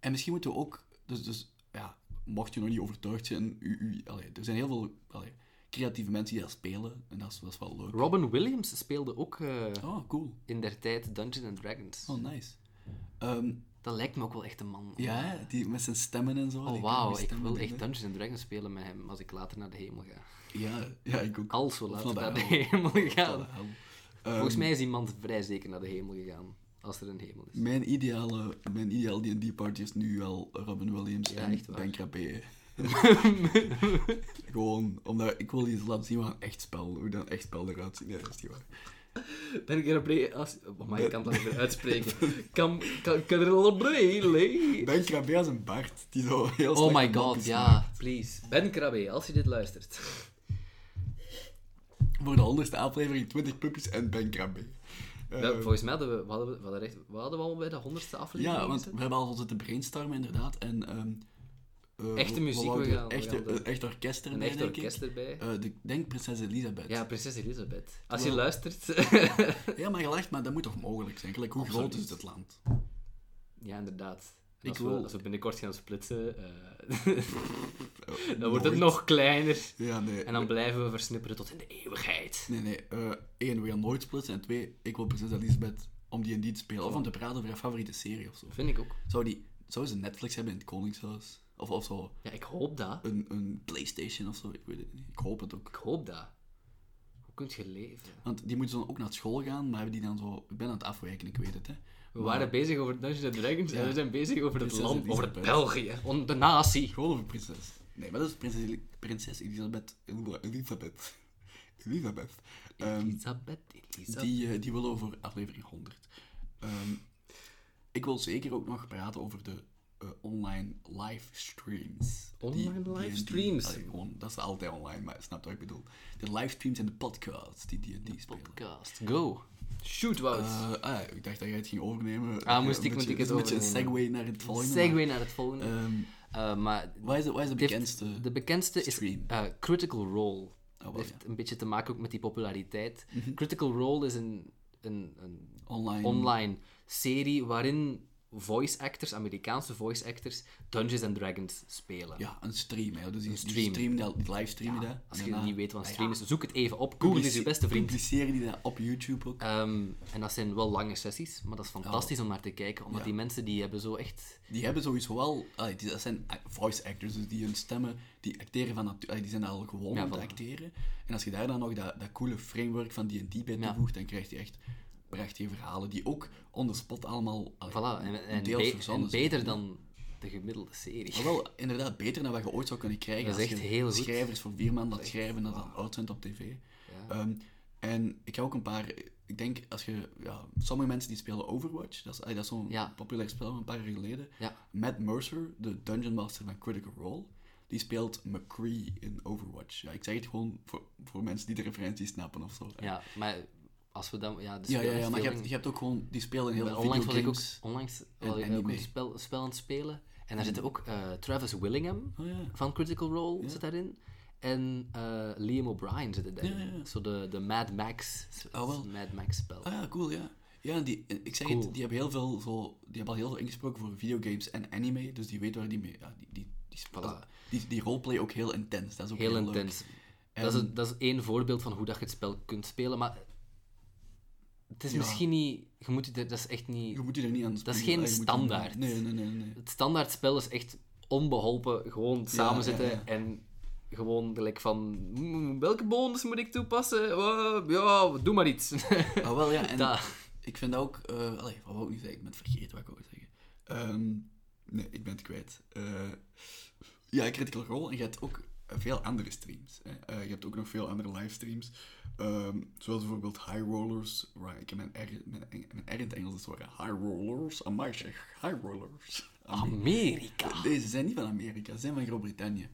Speaker 2: en misschien moeten we ook... Dus, dus ja, mocht je nog niet overtuigd zijn... U, u, allee, er zijn heel veel allee, creatieve mensen die dat spelen. En dat is, dat is wel leuk.
Speaker 1: Robin Williams speelde ook eh,
Speaker 2: Oh, cool.
Speaker 1: in der tijd Dungeons and Dragons.
Speaker 2: Oh, nice. Ehm,
Speaker 1: Dat lijkt me ook wel echt een man.
Speaker 2: ja, die met zijn stemmen en zo.
Speaker 1: Oh,
Speaker 2: die
Speaker 1: wauw,
Speaker 2: die
Speaker 1: ik
Speaker 2: stemmen
Speaker 1: wil
Speaker 2: en
Speaker 1: echt
Speaker 2: dingen.
Speaker 1: Dungeons and Dragons spelen met hem als ik later naar de hemel ga.
Speaker 2: Ja, ja, ik ook.
Speaker 1: Als we
Speaker 2: Of
Speaker 1: later naar de
Speaker 2: hel.
Speaker 1: hemel
Speaker 2: Of naar
Speaker 1: gaan.
Speaker 2: de hel.
Speaker 1: Volgens
Speaker 2: Ehm,
Speaker 1: mij is iemand vrij zeker naar de hemel gegaan, als er een hemel is.
Speaker 2: Mijn ideale, mijn ideale D&D-party is nu wel Robin Williams
Speaker 1: Ja,
Speaker 2: en
Speaker 1: echt waar.
Speaker 2: Ben Krabbe. Gewoon, omdat ik wil iets laten zien van een echt spel, hoe dat echt spel eruit ziet. Nee, dat is niet waar.
Speaker 1: Ben ik er op als... Oh, maar ik kan dat niet meer uitspreken. Kan, kan, kan er al op brei-
Speaker 2: Ben Krabbe als een Bart, die zo heel
Speaker 1: Oh
Speaker 2: slechte
Speaker 1: my god,
Speaker 2: mopjes
Speaker 1: ja, please. Ben Krabbe, als je dit luistert.
Speaker 2: maakt. Voor de honderdste aflevering 20 puppies en Ben Krabbe. Eh,
Speaker 1: Ja, volgens mij hadden we, wat hadden we, wat hadden we, echt- wat hadden we al bij de honderdste aflevering.
Speaker 2: ja, want
Speaker 1: gezet?
Speaker 2: we hebben al zitten brainstormen inderdaad. En, ehm, eh,
Speaker 1: Echte
Speaker 2: we- we
Speaker 1: muziek, we
Speaker 2: wouden
Speaker 1: gaan- we
Speaker 2: echte-
Speaker 1: gaan de-
Speaker 2: een echt orkest erbij,
Speaker 1: een echt
Speaker 2: denk ik.
Speaker 1: orkest erbij.
Speaker 2: Eh, de- denk Prinses Elisabeth.
Speaker 1: Ja, prinses Elisabeth. Als je
Speaker 2: Wel.
Speaker 1: luistert.
Speaker 2: Ja, maar je lacht, maar dat moet toch mogelijk zijn? Gelijk, hoe groot
Speaker 1: Absoluut.
Speaker 2: is dit land?
Speaker 1: ja, inderdaad. En
Speaker 2: Ik
Speaker 1: als,
Speaker 2: wil-
Speaker 1: we, als we binnenkort gaan splitsen, eh,
Speaker 2: Eh,
Speaker 1: dan wordt het
Speaker 2: nooit.
Speaker 1: nog kleiner.
Speaker 2: Ja, nee.
Speaker 1: En dan blijven we versnipperen tot in de eeuwigheid.
Speaker 2: Nee, nee. eh één, we gaan nooit splitsen. En twee, ik wil Prinses Elisabeth om die en die te spelen. Of om te praten over haar favoriete serie of zo.
Speaker 1: Vind ik ook.
Speaker 2: Zou, die, zou ze Netflix hebben in het Koningshuis? Of, of zo
Speaker 1: Ja, ik hoop dat.
Speaker 2: een, een Playstation of zo? Ik weet het niet. Ik hoop het ook.
Speaker 1: Ik hoop dat. Hoe kun je leven?
Speaker 2: Want die moeten dan ook naar school gaan, maar hebben die dan zo... Ik ben aan het afwijken, ik weet het, hè.
Speaker 1: We waren bezig over Dungeons and Dragons en we zijn bezig over het
Speaker 2: Prinses
Speaker 1: land, over
Speaker 2: Elisabeth.
Speaker 1: België, om de natie.
Speaker 2: Gewoon over prinses. Nee, maar dat is prinses, Eli- prinses Elisabeth. Elisabeth. Elisabeth. Ehm,
Speaker 1: Elisabeth, Elisabeth.
Speaker 2: Die, eh, die willen we voor aflevering 100. Ehm, ik wil zeker ook nog praten over de eh, online livestreams.
Speaker 1: Online
Speaker 2: Die- die- die-
Speaker 1: livestreams?
Speaker 2: allee, gewoon, dat is altijd online, maar snap wat ik bedoel. De livestreams en de podcasts die die, die spelen.
Speaker 1: Podcast, go. Shoot, Wout.
Speaker 2: Eh, ah, ik dacht dat jij het ging overnemen. eh,
Speaker 1: Ah, moest
Speaker 2: Een
Speaker 1: ik-
Speaker 2: beetje-
Speaker 1: moet ik
Speaker 2: het is
Speaker 1: het
Speaker 2: Een beetje een
Speaker 1: overnemen?
Speaker 2: segue naar het volgende.
Speaker 1: Segway naar het volgende.
Speaker 2: maar, ehm,
Speaker 1: Eh, maar
Speaker 2: wat is de, wat is de
Speaker 1: heeft-
Speaker 2: bekendste?
Speaker 1: de bekendste is
Speaker 2: stream? Oh,
Speaker 1: eh, Critical Role.
Speaker 2: wel,
Speaker 1: Dat heeft een beetje te maken ook met die populariteit.
Speaker 2: Mhm.
Speaker 1: Critical Role is een, een, een
Speaker 2: online.
Speaker 1: online serie waarin voice actors, Amerikaanse voice actors, Dungeons and Dragons spelen.
Speaker 2: Ja, een stream. Hè. Dus die, die
Speaker 1: stream.
Speaker 2: streamen dat- die livestreamen dat.
Speaker 1: Als
Speaker 2: En
Speaker 1: je
Speaker 2: daarna
Speaker 1: niet weet wat een stream is, zoek het even op. Google is je beste vriend.
Speaker 2: Publiceren die dat op YouTube ook.
Speaker 1: Ehm, en dat zijn wel lange sessies, maar dat is fantastisch om naar te kijken, omdat
Speaker 2: Oh. Ja.
Speaker 1: die mensen die hebben zo echt...
Speaker 2: Die hebben sowieso wel, allee, die, dat zijn a- voice actors, dus die hun stemmen, die acteren van natu- allee, die zijn al gewoon
Speaker 1: Ja,
Speaker 2: om te
Speaker 1: voilà.
Speaker 2: acteren. En als je daar dan nog dat, dat coole framework van D&D bij toevoegt, dan krijg je echt prachtige verhalen die ook on the spot allemaal allee,
Speaker 1: Voilà, en, en,
Speaker 2: deels
Speaker 1: be- en
Speaker 2: verzonnen zijn.
Speaker 1: beter dan de gemiddelde serie.
Speaker 2: Maar Ah, wel inderdaad beter dan wat je ooit zou kunnen krijgen.
Speaker 1: Dat is
Speaker 2: als
Speaker 1: echt
Speaker 2: je
Speaker 1: heel goed.
Speaker 2: Schrijvers voor vier maanden dat schrijven en dat dan uitzendt op tv. Ehm, en ik heb ook een paar... Ik denk, als je... Ja, sommige mensen die spelen Overwatch. Dat is, allee, dat is zo'n
Speaker 1: Ja.
Speaker 2: populair spel van een paar jaar geleden.
Speaker 1: Ja.
Speaker 2: Matt Mercer, de Dungeon Master van Critical Role, die speelt McCree in Overwatch. Ja, ik zeg het gewoon voor, voor mensen die de referentie snappen of zo.
Speaker 1: Ja, maar als we dan... Ja, de
Speaker 2: ja, ja, ja, maar je
Speaker 1: speelverdeling-
Speaker 2: hebt, je hebt ook gewoon... Die spelen heel veel
Speaker 1: onlangs was ik ook,
Speaker 2: videogames.
Speaker 1: onlangs
Speaker 2: en Hmm.
Speaker 1: was ik ook
Speaker 2: anime.
Speaker 1: een spel, spel aan het spelen. En daar zitten ook eh, Travis Willingham
Speaker 2: Oh, ja.
Speaker 1: van Critical Role zit daarin. En eh, Liam O'Brien zit er daarin.
Speaker 2: Ja, ja, ja.
Speaker 1: Zo de, de Mad Max,
Speaker 2: Oh, wel.
Speaker 1: Mad Max spel.
Speaker 2: Ah ja, cool, ja. Ja, die, ik zeg
Speaker 1: Cool.
Speaker 2: het, die hebben, heel veel zo, die hebben al heel veel ingesproken voor videogames en anime, dus die weten waar die mee... Ja, die, die, die,
Speaker 1: Voilà.
Speaker 2: die, die roleplay ook heel intens, dat is ook heel,
Speaker 1: Heel
Speaker 2: leuk.
Speaker 1: intens. Dat, is, een- dat is één voorbeeld van hoe dat je het spel kunt spelen, maar het is
Speaker 2: Ja.
Speaker 1: misschien niet... Je moet, je- dat is echt
Speaker 2: Je
Speaker 1: niet...
Speaker 2: moet je er niet aan
Speaker 1: is
Speaker 2: springen,
Speaker 1: geen
Speaker 2: je moet er niet-
Speaker 1: standaard.
Speaker 2: Nee, nee, nee. nee.
Speaker 1: Het standaard spel is echt onbeholpen, gewoon samen zitten
Speaker 2: ja, ja.
Speaker 1: en gewoon gelijk van... "Mm, Welke bonus moet ik toepassen? Oh, ja, doe maar iets.
Speaker 2: Ah, wel, ja, en
Speaker 1: Da.
Speaker 2: ik vind dat ook... eh allee, wat wou ik nu zeggen? Ik ben het vergeten wat ik wou zeggen. Ehm, nee, ik ben het kwijt. Eh, ja, Critical Role, en je hebt ook veel andere streams. Hè. Eh, je hebt ook nog veel andere livestreams. Ehm, zoals bijvoorbeeld High Rollers. Right, ik heb mijn R, mijn, Eng- mijn R in het Engels is waar. High Rollers. Amai zeg, High Rollers.
Speaker 1: Amerika.
Speaker 2: Deze zijn niet van Amerika, ze zijn van Groot-Brittannië.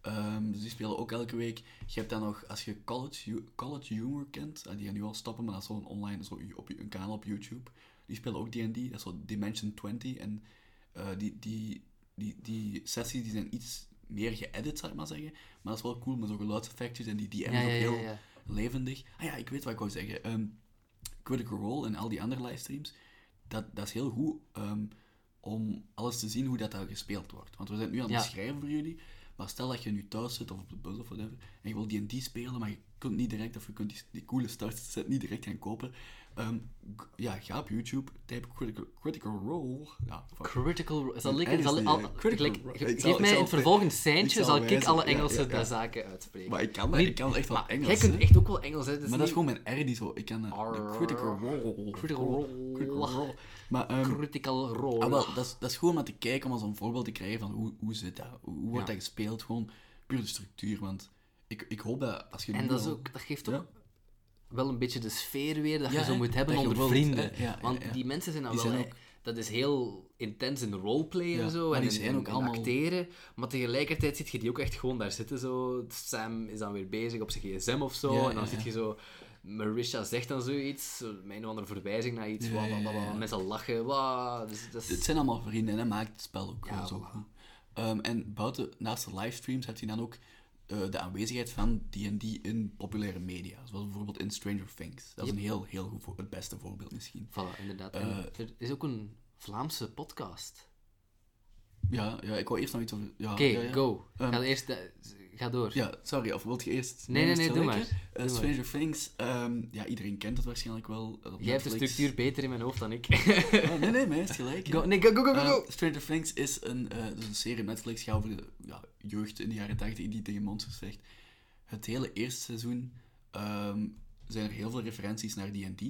Speaker 2: Ehm, dus die spelen ook elke week. Je hebt dan nog, als je College, Hu- college Humor kent, ah, die gaan nu al stoppen, maar dat is zo'n online, zo op, een kanaal op YouTube. Die spelen ook D&D, dat is zo Dimension 20. En eh, die, die, die, die sessies die zijn iets meer geëdit, zou ik maar zeggen. Maar dat is wel cool, met zo'n geluidseffectjes en die DM is
Speaker 1: Ja,
Speaker 2: ook
Speaker 1: ja, ja,
Speaker 2: heel
Speaker 1: ja.
Speaker 2: levendig. Ah ja, ik weet wat ik wou zeggen. Ehm, Critical Role en al die andere livestreams, dat, dat is heel goed ehm, om alles te zien hoe dat daar gespeeld wordt. Want we zijn nu aan het
Speaker 1: Ja.
Speaker 2: schrijven voor jullie, maar stel dat je nu thuis zit of op de bus of whatever, en je wil die en die spelen, maar je kunt niet direct, of je kunt die, die coole startset niet direct gaan kopen, ehm, g- ja, ga op YouTube, type Critical, critical Role. Ja, fuck.
Speaker 1: Critical Role. Zal ik,
Speaker 2: Engels
Speaker 1: zal,
Speaker 2: niet,
Speaker 1: al,
Speaker 2: hè. uh, Critical
Speaker 1: gelijk,
Speaker 2: Role.
Speaker 1: ge-
Speaker 2: Ik zal-
Speaker 1: geef
Speaker 2: ik
Speaker 1: mij
Speaker 2: zal-
Speaker 1: in het vervolg een
Speaker 2: ik
Speaker 1: seintje,
Speaker 2: zal
Speaker 1: zal, ik
Speaker 2: wijzen.
Speaker 1: alle
Speaker 2: Ja,
Speaker 1: Engelse
Speaker 2: ja, ja.
Speaker 1: daar zaken uitspreken.
Speaker 2: maar ik kan, dat-
Speaker 1: Niet-
Speaker 2: ik kan echt wel
Speaker 1: maar
Speaker 2: Engels.
Speaker 1: Jij kunt
Speaker 2: hè.
Speaker 1: echt ook wel Engels, hè? Het is
Speaker 2: Maar dat is
Speaker 1: niet-
Speaker 2: gewoon mijn R die zo. Ik kan eh, de
Speaker 1: Arr.
Speaker 2: critical role.
Speaker 1: Critical role.
Speaker 2: Critical role. Maar ehm,
Speaker 1: Critical Role.
Speaker 2: ah, wel, dat, is, dat is gewoon maar te kijken om als een voorbeeld te krijgen van hoe, hoe zit dat? Hoe, hoe wordt
Speaker 1: Ja.
Speaker 2: dat gespeeld? Gewoon puur de structuur. Want ik, ik hoop dat als je. nu
Speaker 1: en dat, is
Speaker 2: al-
Speaker 1: ook, dat geeft ook
Speaker 2: Ja.
Speaker 1: wel een beetje de sfeer weer dat
Speaker 2: Ja,
Speaker 1: je zo
Speaker 2: hè,
Speaker 1: moet hebben
Speaker 2: dat je
Speaker 1: onder
Speaker 2: wilt,
Speaker 1: vrienden.
Speaker 2: hè, ja, ja,
Speaker 1: Want
Speaker 2: ja.
Speaker 1: die mensen zijn nou
Speaker 2: Die
Speaker 1: wel...
Speaker 2: zijn
Speaker 1: hè,
Speaker 2: ook-
Speaker 1: dat is heel intens in roleplay
Speaker 2: Ja,
Speaker 1: en zo.
Speaker 2: maar
Speaker 1: en
Speaker 2: die
Speaker 1: in-
Speaker 2: zijn
Speaker 1: en-
Speaker 2: ook
Speaker 1: en
Speaker 2: allemaal-
Speaker 1: acteren. Maar tegelijkertijd zit je die ook echt gewoon daar zitten. Zo. Sam is dan weer bezig op zijn gsm of zo.
Speaker 2: Ja,
Speaker 1: en dan
Speaker 2: ja,
Speaker 1: zit je zo... Marisha zegt dan zoiets, zo met een of andere verwijzing naar iets,
Speaker 2: Ja,
Speaker 1: wa, wa,
Speaker 2: ja,
Speaker 1: wa, wa,
Speaker 2: ja.
Speaker 1: mensen lachen, wa, dus, dat is-
Speaker 2: Het zijn allemaal vrienden en dat maakt het spel ook gewoon zo
Speaker 1: voilà.
Speaker 2: goed. Ehm, en buiten, naast de livestreams, heb je dan ook eh, de aanwezigheid van D&D in populaire media. Zoals bijvoorbeeld in Stranger Things. Dat is een heel, heel goed voor, het beste voorbeeld misschien.
Speaker 1: Voilà, inderdaad.
Speaker 2: Eh,
Speaker 1: En er is ook een Vlaamse podcast.
Speaker 2: Ja, ja ik wou eerst nog iets over... Ja,
Speaker 1: Oké,
Speaker 2: ja, ja.
Speaker 1: go.
Speaker 2: Ehm,
Speaker 1: ga, eerst, eh, ga door.
Speaker 2: Ja, sorry, of wilt je eerst...
Speaker 1: Nee, nee, nee,
Speaker 2: eerst
Speaker 1: doe
Speaker 2: gelijk,
Speaker 1: maar.
Speaker 2: hè? Eh, Stranger Things, ehm, ja, iedereen kent het waarschijnlijk wel. eh, op
Speaker 1: Jij hebt de
Speaker 2: Netflix.
Speaker 1: structuur beter in mijn hoofd dan ik.
Speaker 2: Ah, nee, nee, maar hij is gelijk. hè.
Speaker 1: Go, nee, go, go, go, go, go.
Speaker 2: Eh, Stranger Things is een, eh, dus een serie op Netflix, gaat over de ja, jeugd in de jaren 80 die tegen monsters vecht. Het hele eerste seizoen ehm, zijn er heel veel referenties naar D&D.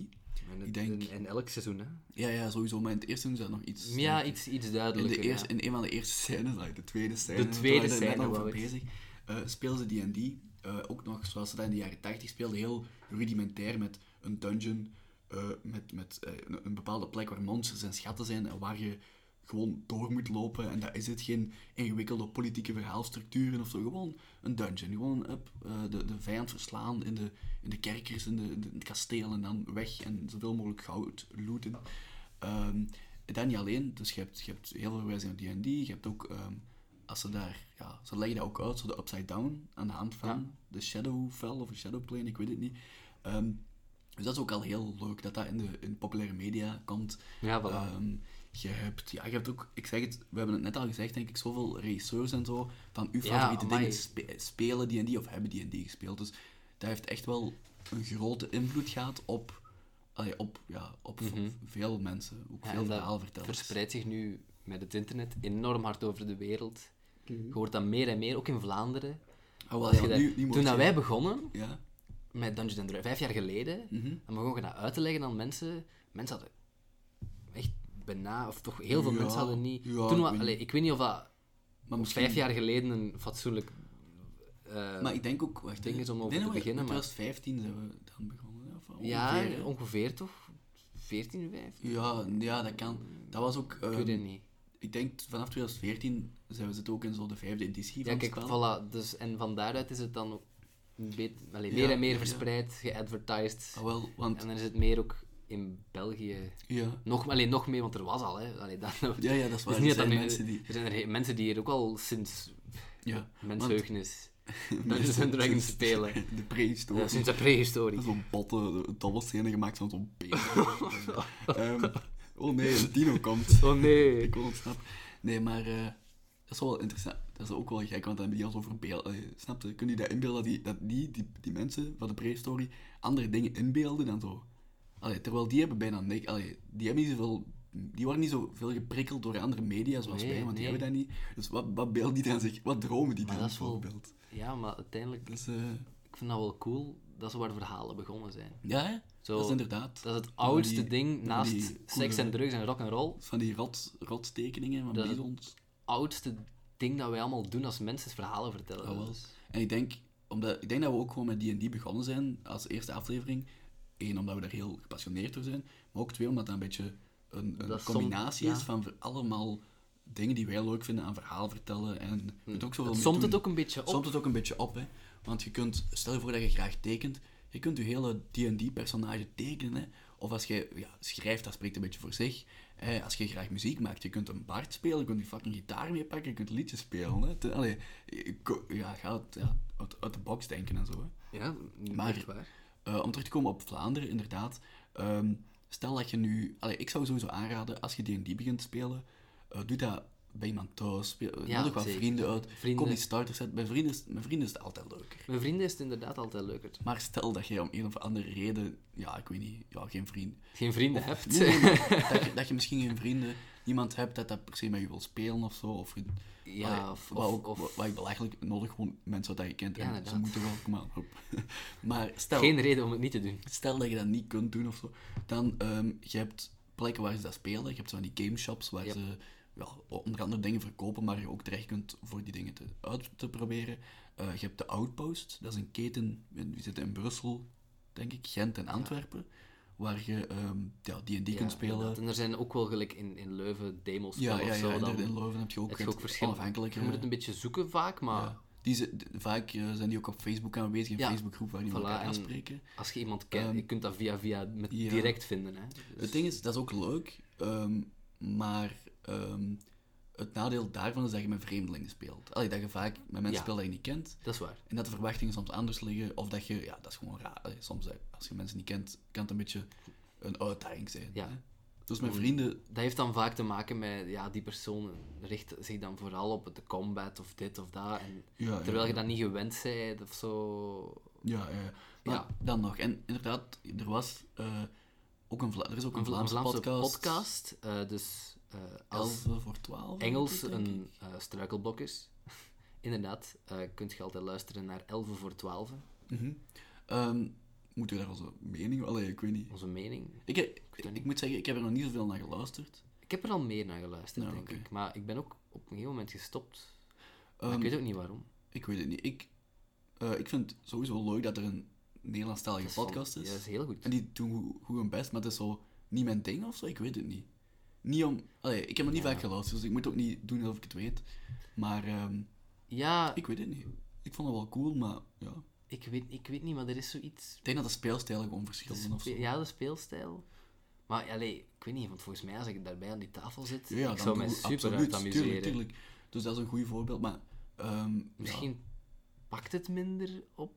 Speaker 1: En
Speaker 2: ik denk-
Speaker 1: in, in elk seizoen, hè?
Speaker 2: Ja, ja, sowieso, maar in het eerste seizoen is dat nog iets...
Speaker 1: Ja, iets, iets
Speaker 2: In, de
Speaker 1: duidelijker.
Speaker 2: eerste,
Speaker 1: ja.
Speaker 2: in een van de eerste scènes, like de tweede scène,
Speaker 1: tweede
Speaker 2: daar waren we
Speaker 1: scène,
Speaker 2: net over
Speaker 1: wou ik.
Speaker 2: bezig, eh speelden ze D&D. eh, ook nog, zoals ze dat in de jaren 80 speelden, heel rudimentair met een dungeon, eh, met, met eh, een, een bepaalde plek waar monsters en schatten zijn en waar je gewoon door moet lopen. En dat is het, geen ingewikkelde politieke verhaalstructuren of zo, gewoon een dungeon. Gewoon up, eh, de, de vijand verslaan in de, in de kerkers, in, de, in het kasteel en dan weg en zoveel mogelijk goud looten. Ehm, dat niet alleen, dus je hebt, je hebt heel veel verwijzingen naar D&D, je hebt ook, ehm, als ze daar, ja, ze leggen dat ook uit, zo de upside down, aan de hand van de Shadowfell of een Shadowplane, ik weet het niet. Ehm, dus dat is ook al heel leuk, dat dat in de in populaire media komt.
Speaker 1: Ja, voilà.
Speaker 2: Ehm, je hebt, ja, je hebt ook, ik zeg het, we hebben het net al gezegd, denk ik, zoveel regisseurs en zo, van uw
Speaker 1: Ja,
Speaker 2: favoriete
Speaker 1: amai.
Speaker 2: dingen spe- spelen D&D of hebben D&D gespeeld. Dus dat heeft echt wel een grote invloed gehad op, allee, op, ja, op v- veel mensen, ook
Speaker 1: Mhm. Ja, en
Speaker 2: veel
Speaker 1: dat
Speaker 2: verhaal vertellen.
Speaker 1: verspreidt zich nu met het internet enorm hard over de wereld. Je hoort dat meer en meer, ook in Vlaanderen.
Speaker 2: Ah, Mhm. wel,
Speaker 1: Als
Speaker 2: ja,
Speaker 1: je dat-
Speaker 2: nu- nu moet
Speaker 1: toen
Speaker 2: je-
Speaker 1: dat wij begonnen,
Speaker 2: Ja,
Speaker 1: met Dungeons
Speaker 2: Mhm.
Speaker 1: and Dragons, vijf jaar geleden, dan begon je dat uit te leggen aan mensen. Mensen hadden echt bijna, of toch heel veel
Speaker 2: Ja,
Speaker 1: mensen hadden niet.
Speaker 2: ja,
Speaker 1: toen
Speaker 2: ik
Speaker 1: wa-
Speaker 2: weet
Speaker 1: allee, ik weet niet of dat
Speaker 2: Maar
Speaker 1: of vijf jaar geleden een fatsoenlijk eh,
Speaker 2: Maar ik denk ook... Wacht,
Speaker 1: ding
Speaker 2: hè.
Speaker 1: is om
Speaker 2: Ik
Speaker 1: over
Speaker 2: denk
Speaker 1: te
Speaker 2: dat we
Speaker 1: beginnen,
Speaker 2: in
Speaker 1: maar-
Speaker 2: 2015 zijn we dan begonnen. hè, of wel,
Speaker 1: Ja,
Speaker 2: ongeveer,
Speaker 1: ongeveer,
Speaker 2: hè.
Speaker 1: toch? 14, 15?
Speaker 2: Ja, ja, dat kan. Dat was ook...
Speaker 1: Ik
Speaker 2: ehm,
Speaker 1: weet het niet.
Speaker 2: ik denk vanaf 2014 zijn we zitten ook in zo de vijfde editie
Speaker 1: Ja,
Speaker 2: van
Speaker 1: kijk,
Speaker 2: het spel.
Speaker 1: voilà. Dus, en van daaruit is het dan ook een beetje- allee,
Speaker 2: Ja,
Speaker 1: meer en meer
Speaker 2: ja.
Speaker 1: verspreid, geadvertised.
Speaker 2: Ah, wel, want...
Speaker 1: En dan is het meer ook in België.
Speaker 2: Ja.
Speaker 1: Nog, allee, nog meer, want er was al. Hè. Allee, dat, het
Speaker 2: Ja, ja, dat is
Speaker 1: is
Speaker 2: waar.
Speaker 1: niet dat dat
Speaker 2: Er zijn
Speaker 1: nu-
Speaker 2: mensen die...
Speaker 1: Er zijn er he- mensen die hier ook al sinds
Speaker 2: Ja.
Speaker 1: mensheugenis Dungeons
Speaker 2: Mensen
Speaker 1: and Dragons
Speaker 2: sinds
Speaker 1: spelen.
Speaker 2: De prehistorie.
Speaker 1: Ja, sinds de
Speaker 2: Dat
Speaker 1: prehistorie.
Speaker 2: is Zo'n botte, dolle scène gemaakt van zo'n beest. Ehm, oh nee, een dino komt.
Speaker 1: Oh nee.
Speaker 2: Ik wil ontsnappen. Nee, maar eh, dat is wel interessant. Dat is ook wel gek, want dan hebben die al over beelden. Snap je? Kun je dat inbeelden dat die, dat die, die, die mensen van de prehistorie andere dingen inbeelden dan zo? Allee, terwijl die hebben bijna niks. Allee, die, hebben niet zoveel, die worden niet zoveel geprikkeld door andere media zoals
Speaker 1: Nee,
Speaker 2: wij, want die
Speaker 1: nee.
Speaker 2: hebben dat niet. Dus wat, wat beelden die dan zich? Wat dromen die
Speaker 1: Maar
Speaker 2: dan
Speaker 1: dat is wel-
Speaker 2: bijvoorbeeld?
Speaker 1: Ja, maar uiteindelijk,
Speaker 2: Dus, eh,
Speaker 1: ik vind dat wel cool. Dat is waar verhalen begonnen zijn.
Speaker 2: ja, hè?
Speaker 1: Zo,
Speaker 2: dat is inderdaad.
Speaker 1: Dat is het oudste
Speaker 2: die-
Speaker 1: ding
Speaker 2: van
Speaker 1: naast
Speaker 2: die
Speaker 1: seks
Speaker 2: coole-
Speaker 1: en drugs en rock and roll.
Speaker 2: Van die rot, rotstekeningen van
Speaker 1: Dat-
Speaker 2: bizons.
Speaker 1: Oudste ding dat wij allemaal doen als mensen is verhalen vertellen. Dus,
Speaker 2: Ah, wel. En ik denk, omdat, ik denk dat we ook gewoon met D&D begonnen zijn als eerste aflevering. Eén, omdat we daar heel gepassioneerd door zijn. Maar ook twee, omdat dat een beetje een,
Speaker 1: Dat
Speaker 2: een
Speaker 1: is
Speaker 2: combinatie
Speaker 1: som-
Speaker 2: is
Speaker 1: ja.
Speaker 2: van ver- allemaal dingen die wij leuk vinden aan verhaal vertellen. En je kunt ook zoveel
Speaker 1: Het
Speaker 2: mee
Speaker 1: somt
Speaker 2: doen.
Speaker 1: het ook een beetje op.
Speaker 2: Somt het ook een beetje op, hè. Want je kunt, stel je voor dat je graag tekent, je kunt je hele D&D-personage tekenen, hè. Of als je ja, schrijft, dat spreekt een beetje voor zich. Eh, als je graag muziek maakt, je kunt een bard spelen, je kunt je fucking gitaar mee pakken, je kunt liedjes spelen, hè. Te- Allee, je ko- ja, ga uit, ja, uit, uit de box denken en zo, hè.
Speaker 1: Ja,
Speaker 2: Maar-
Speaker 1: echt waar.
Speaker 2: Eh, om terug te komen op Vlaanderen, inderdaad. Ehm, stel dat je nu... Allee, ik zou sowieso aanraden, als je D&D begint te spelen, eh, doe dat bij iemand thuis. Speel, eh,
Speaker 1: Ja,
Speaker 2: nodig wat
Speaker 1: zeker.
Speaker 2: vrienden uit.
Speaker 1: Vrienden.
Speaker 2: Kom die starters uit. Mijn vrienden, is- mijn vrienden is het altijd leuker.
Speaker 1: Mijn vrienden is het inderdaad altijd leuker.
Speaker 2: Maar stel dat jij om een of andere reden, ja, ik weet niet, ja, geen vriend.
Speaker 1: Geen vrienden hebt.
Speaker 2: Nee, nee, maar dat, je, dat je misschien geen vrienden, niemand hebt dat dat per se met je wil spelen of zo. Of, je-
Speaker 1: Ja,
Speaker 2: Allee,
Speaker 1: of-
Speaker 2: wat,
Speaker 1: of-
Speaker 2: ook-
Speaker 1: of-
Speaker 2: wat- wat ik belachelijk nodig gewoon mensen dat je kent.
Speaker 1: Ja,
Speaker 2: en ze
Speaker 1: inderdaad.
Speaker 2: moeten wel, kom maar op. Maar stel,
Speaker 1: Geen reden om het niet te doen.
Speaker 2: stel dat je dat niet kunt doen of zo, dan ehm je hebt plekken waar ze dat spelen. Je hebt zo van die game shops waar
Speaker 1: Ja.
Speaker 2: ze ja, onder andere dingen verkopen, maar je ook terecht kunt voor die dingen te, uit te proberen. Eh, je hebt de Outpost, dat is een keten, in- die zit in Brussel, denk ik, Gent en Antwerpen, waar je ehm, ja, die en die
Speaker 1: Ja,
Speaker 2: kunt spelen.
Speaker 1: inderdaad. En er zijn ook wel gelijk in, in Leuven demos
Speaker 2: Ja, ja,
Speaker 1: of
Speaker 2: ja,
Speaker 1: zo.
Speaker 2: en
Speaker 1: dan
Speaker 2: daar in Leuven heb je ook,
Speaker 1: heb je ook verschillende.
Speaker 2: onafhankelijke...
Speaker 1: Je moet het een beetje zoeken vaak, maar
Speaker 2: ja. die, zi- d- vaak eh, zijn die ook op Facebook aanwezig, een
Speaker 1: Ja.
Speaker 2: Facebookgroep waar die
Speaker 1: Voilà,
Speaker 2: elkaar
Speaker 1: en-
Speaker 2: aanspreken.
Speaker 1: als je iemand kent,
Speaker 2: Ehm,
Speaker 1: je kunt dat via via met,
Speaker 2: ja.
Speaker 1: direct vinden. Hè. Dus-
Speaker 2: Het ding is, dat is ook leuk, ehm, maar ehm, het nadeel daarvan is dat je met vreemdelingen speelt. Allee, dat je vaak met mensen
Speaker 1: Ja.
Speaker 2: speelt die je niet kent.
Speaker 1: dat is waar.
Speaker 2: En dat de verwachtingen soms anders liggen, of dat je, ja, dat is gewoon raar. Allee, soms, eh, als je mensen niet kent, kan het een beetje een uitdaging zijn.
Speaker 1: Ja.
Speaker 2: hè. Dus mijn vrienden,
Speaker 1: Dat heeft dan vaak te maken met, ja, die persoon richt zich dan vooral op de combat of dit of dat. En
Speaker 2: Ja, ja,
Speaker 1: terwijl je
Speaker 2: ja.
Speaker 1: dat niet gewend bent of zo.
Speaker 2: ja, ja. ja. Maar
Speaker 1: Ja.
Speaker 2: dan nog. En inderdaad, er was eh, ook een, Vla- er is ook een,
Speaker 1: Een Vla- een
Speaker 2: Vlaamse,
Speaker 1: Vlaamse
Speaker 2: podcast.
Speaker 1: podcast. eh, dus eh, als
Speaker 2: 11 voor 12.
Speaker 1: Engels
Speaker 2: denk ik.
Speaker 1: een eh, struikelblok is, inderdaad, eh kunt je altijd luisteren naar 11 voor 12,
Speaker 2: Mhm. Ehm, moeten we daar onze mening... Allee, ik weet niet.
Speaker 1: onze mening.
Speaker 2: Ik, ik,
Speaker 1: weet dat
Speaker 2: ik moet zeggen, ik heb er nog niet zoveel naar geluisterd.
Speaker 1: Ik heb er al meer naar geluisterd,
Speaker 2: Ja,
Speaker 1: denk
Speaker 2: oké.
Speaker 1: ik. Maar ik ben ook op een gegeven moment gestopt. Maar
Speaker 2: Ehm,
Speaker 1: ik weet ook niet waarom.
Speaker 2: ik weet het niet. Ik, eh, ik vind het sowieso leuk dat er een Nederlandstalige
Speaker 1: Dat
Speaker 2: podcast
Speaker 1: van-
Speaker 2: is.
Speaker 1: Ja, dat is heel goed.
Speaker 2: En die doen goed- goed hun best, maar het is zo niet mijn ding of zo. Ik weet het niet. Niet om... Allee, ik heb er niet vaak geluisterd, dus ik moet ook niet doen alsof ik het weet. Maar ehm,
Speaker 1: Ja, ik,
Speaker 2: ik weet het niet. Ik vond het wel cool, maar ja.
Speaker 1: weet, ik weet niet, maar er is zoiets...
Speaker 2: Ik denk dat de speelstijlen gewoon verschillen
Speaker 1: de
Speaker 2: of zo.
Speaker 1: spe- ja, de speelstijl. Maar allee, ik weet niet, want volgens mij als ik daarbij aan die tafel zit,
Speaker 2: Ja, ja,
Speaker 1: ik
Speaker 2: dan
Speaker 1: zou mij
Speaker 2: doe-
Speaker 1: super
Speaker 2: absoluut,
Speaker 1: uit
Speaker 2: tuurlijk,
Speaker 1: amuseren.
Speaker 2: tuurlijk. Dus dat is een goed voorbeeld, maar... ehm, ja.
Speaker 1: Misschien pakt het minder op.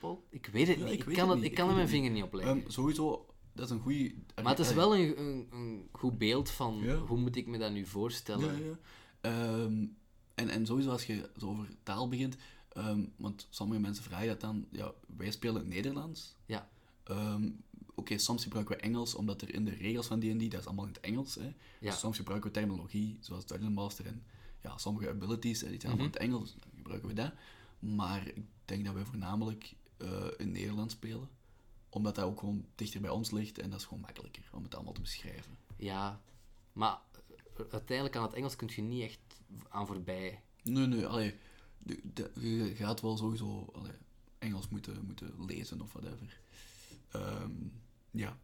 Speaker 1: op- Ik weet het
Speaker 2: Ja,
Speaker 1: niet.
Speaker 2: ik
Speaker 1: Ik,
Speaker 2: weet
Speaker 1: kan,
Speaker 2: het
Speaker 1: het,
Speaker 2: niet,
Speaker 1: ik kan
Speaker 2: ik
Speaker 1: er
Speaker 2: weet
Speaker 1: mijn vinger
Speaker 2: het niet.
Speaker 1: niet op leggen.
Speaker 2: Ehm, sowieso, dat is een goede.
Speaker 1: Maar het is wel een, een, een goed beeld van
Speaker 2: Ja.
Speaker 1: hoe moet ik me dat nu voorstellen.
Speaker 2: Ja, ja. Ehm, en, en sowieso als je zo over taal begint, ehm, want sommige mensen vragen dat dan, ja, wij spelen Nederlands.
Speaker 1: Ja.
Speaker 2: Ehm, Oké, soms gebruiken we Engels, omdat er in de regels van D&D, dat is allemaal in het Engels. Hè.
Speaker 1: Ja.
Speaker 2: Dus soms gebruiken we terminologie, zoals Dungeon Master en ja, sommige abilities, hè, die zijn
Speaker 1: Mhm.
Speaker 2: allemaal in het Engels, dus dan gebruiken we dat. Maar ik denk dat wij voornamelijk eh, in Nederlands spelen, omdat dat ook gewoon dichter bij ons ligt en dat is gewoon makkelijker om het allemaal te beschrijven.
Speaker 1: Ja, Maar eh, uiteindelijk aan het Engels kun je niet echt aan voorbij.
Speaker 2: Nee, nee, allee. de- de- je gaat wel sowieso allee, Engels moeten, moeten lezen of whatever. Ehm, ja.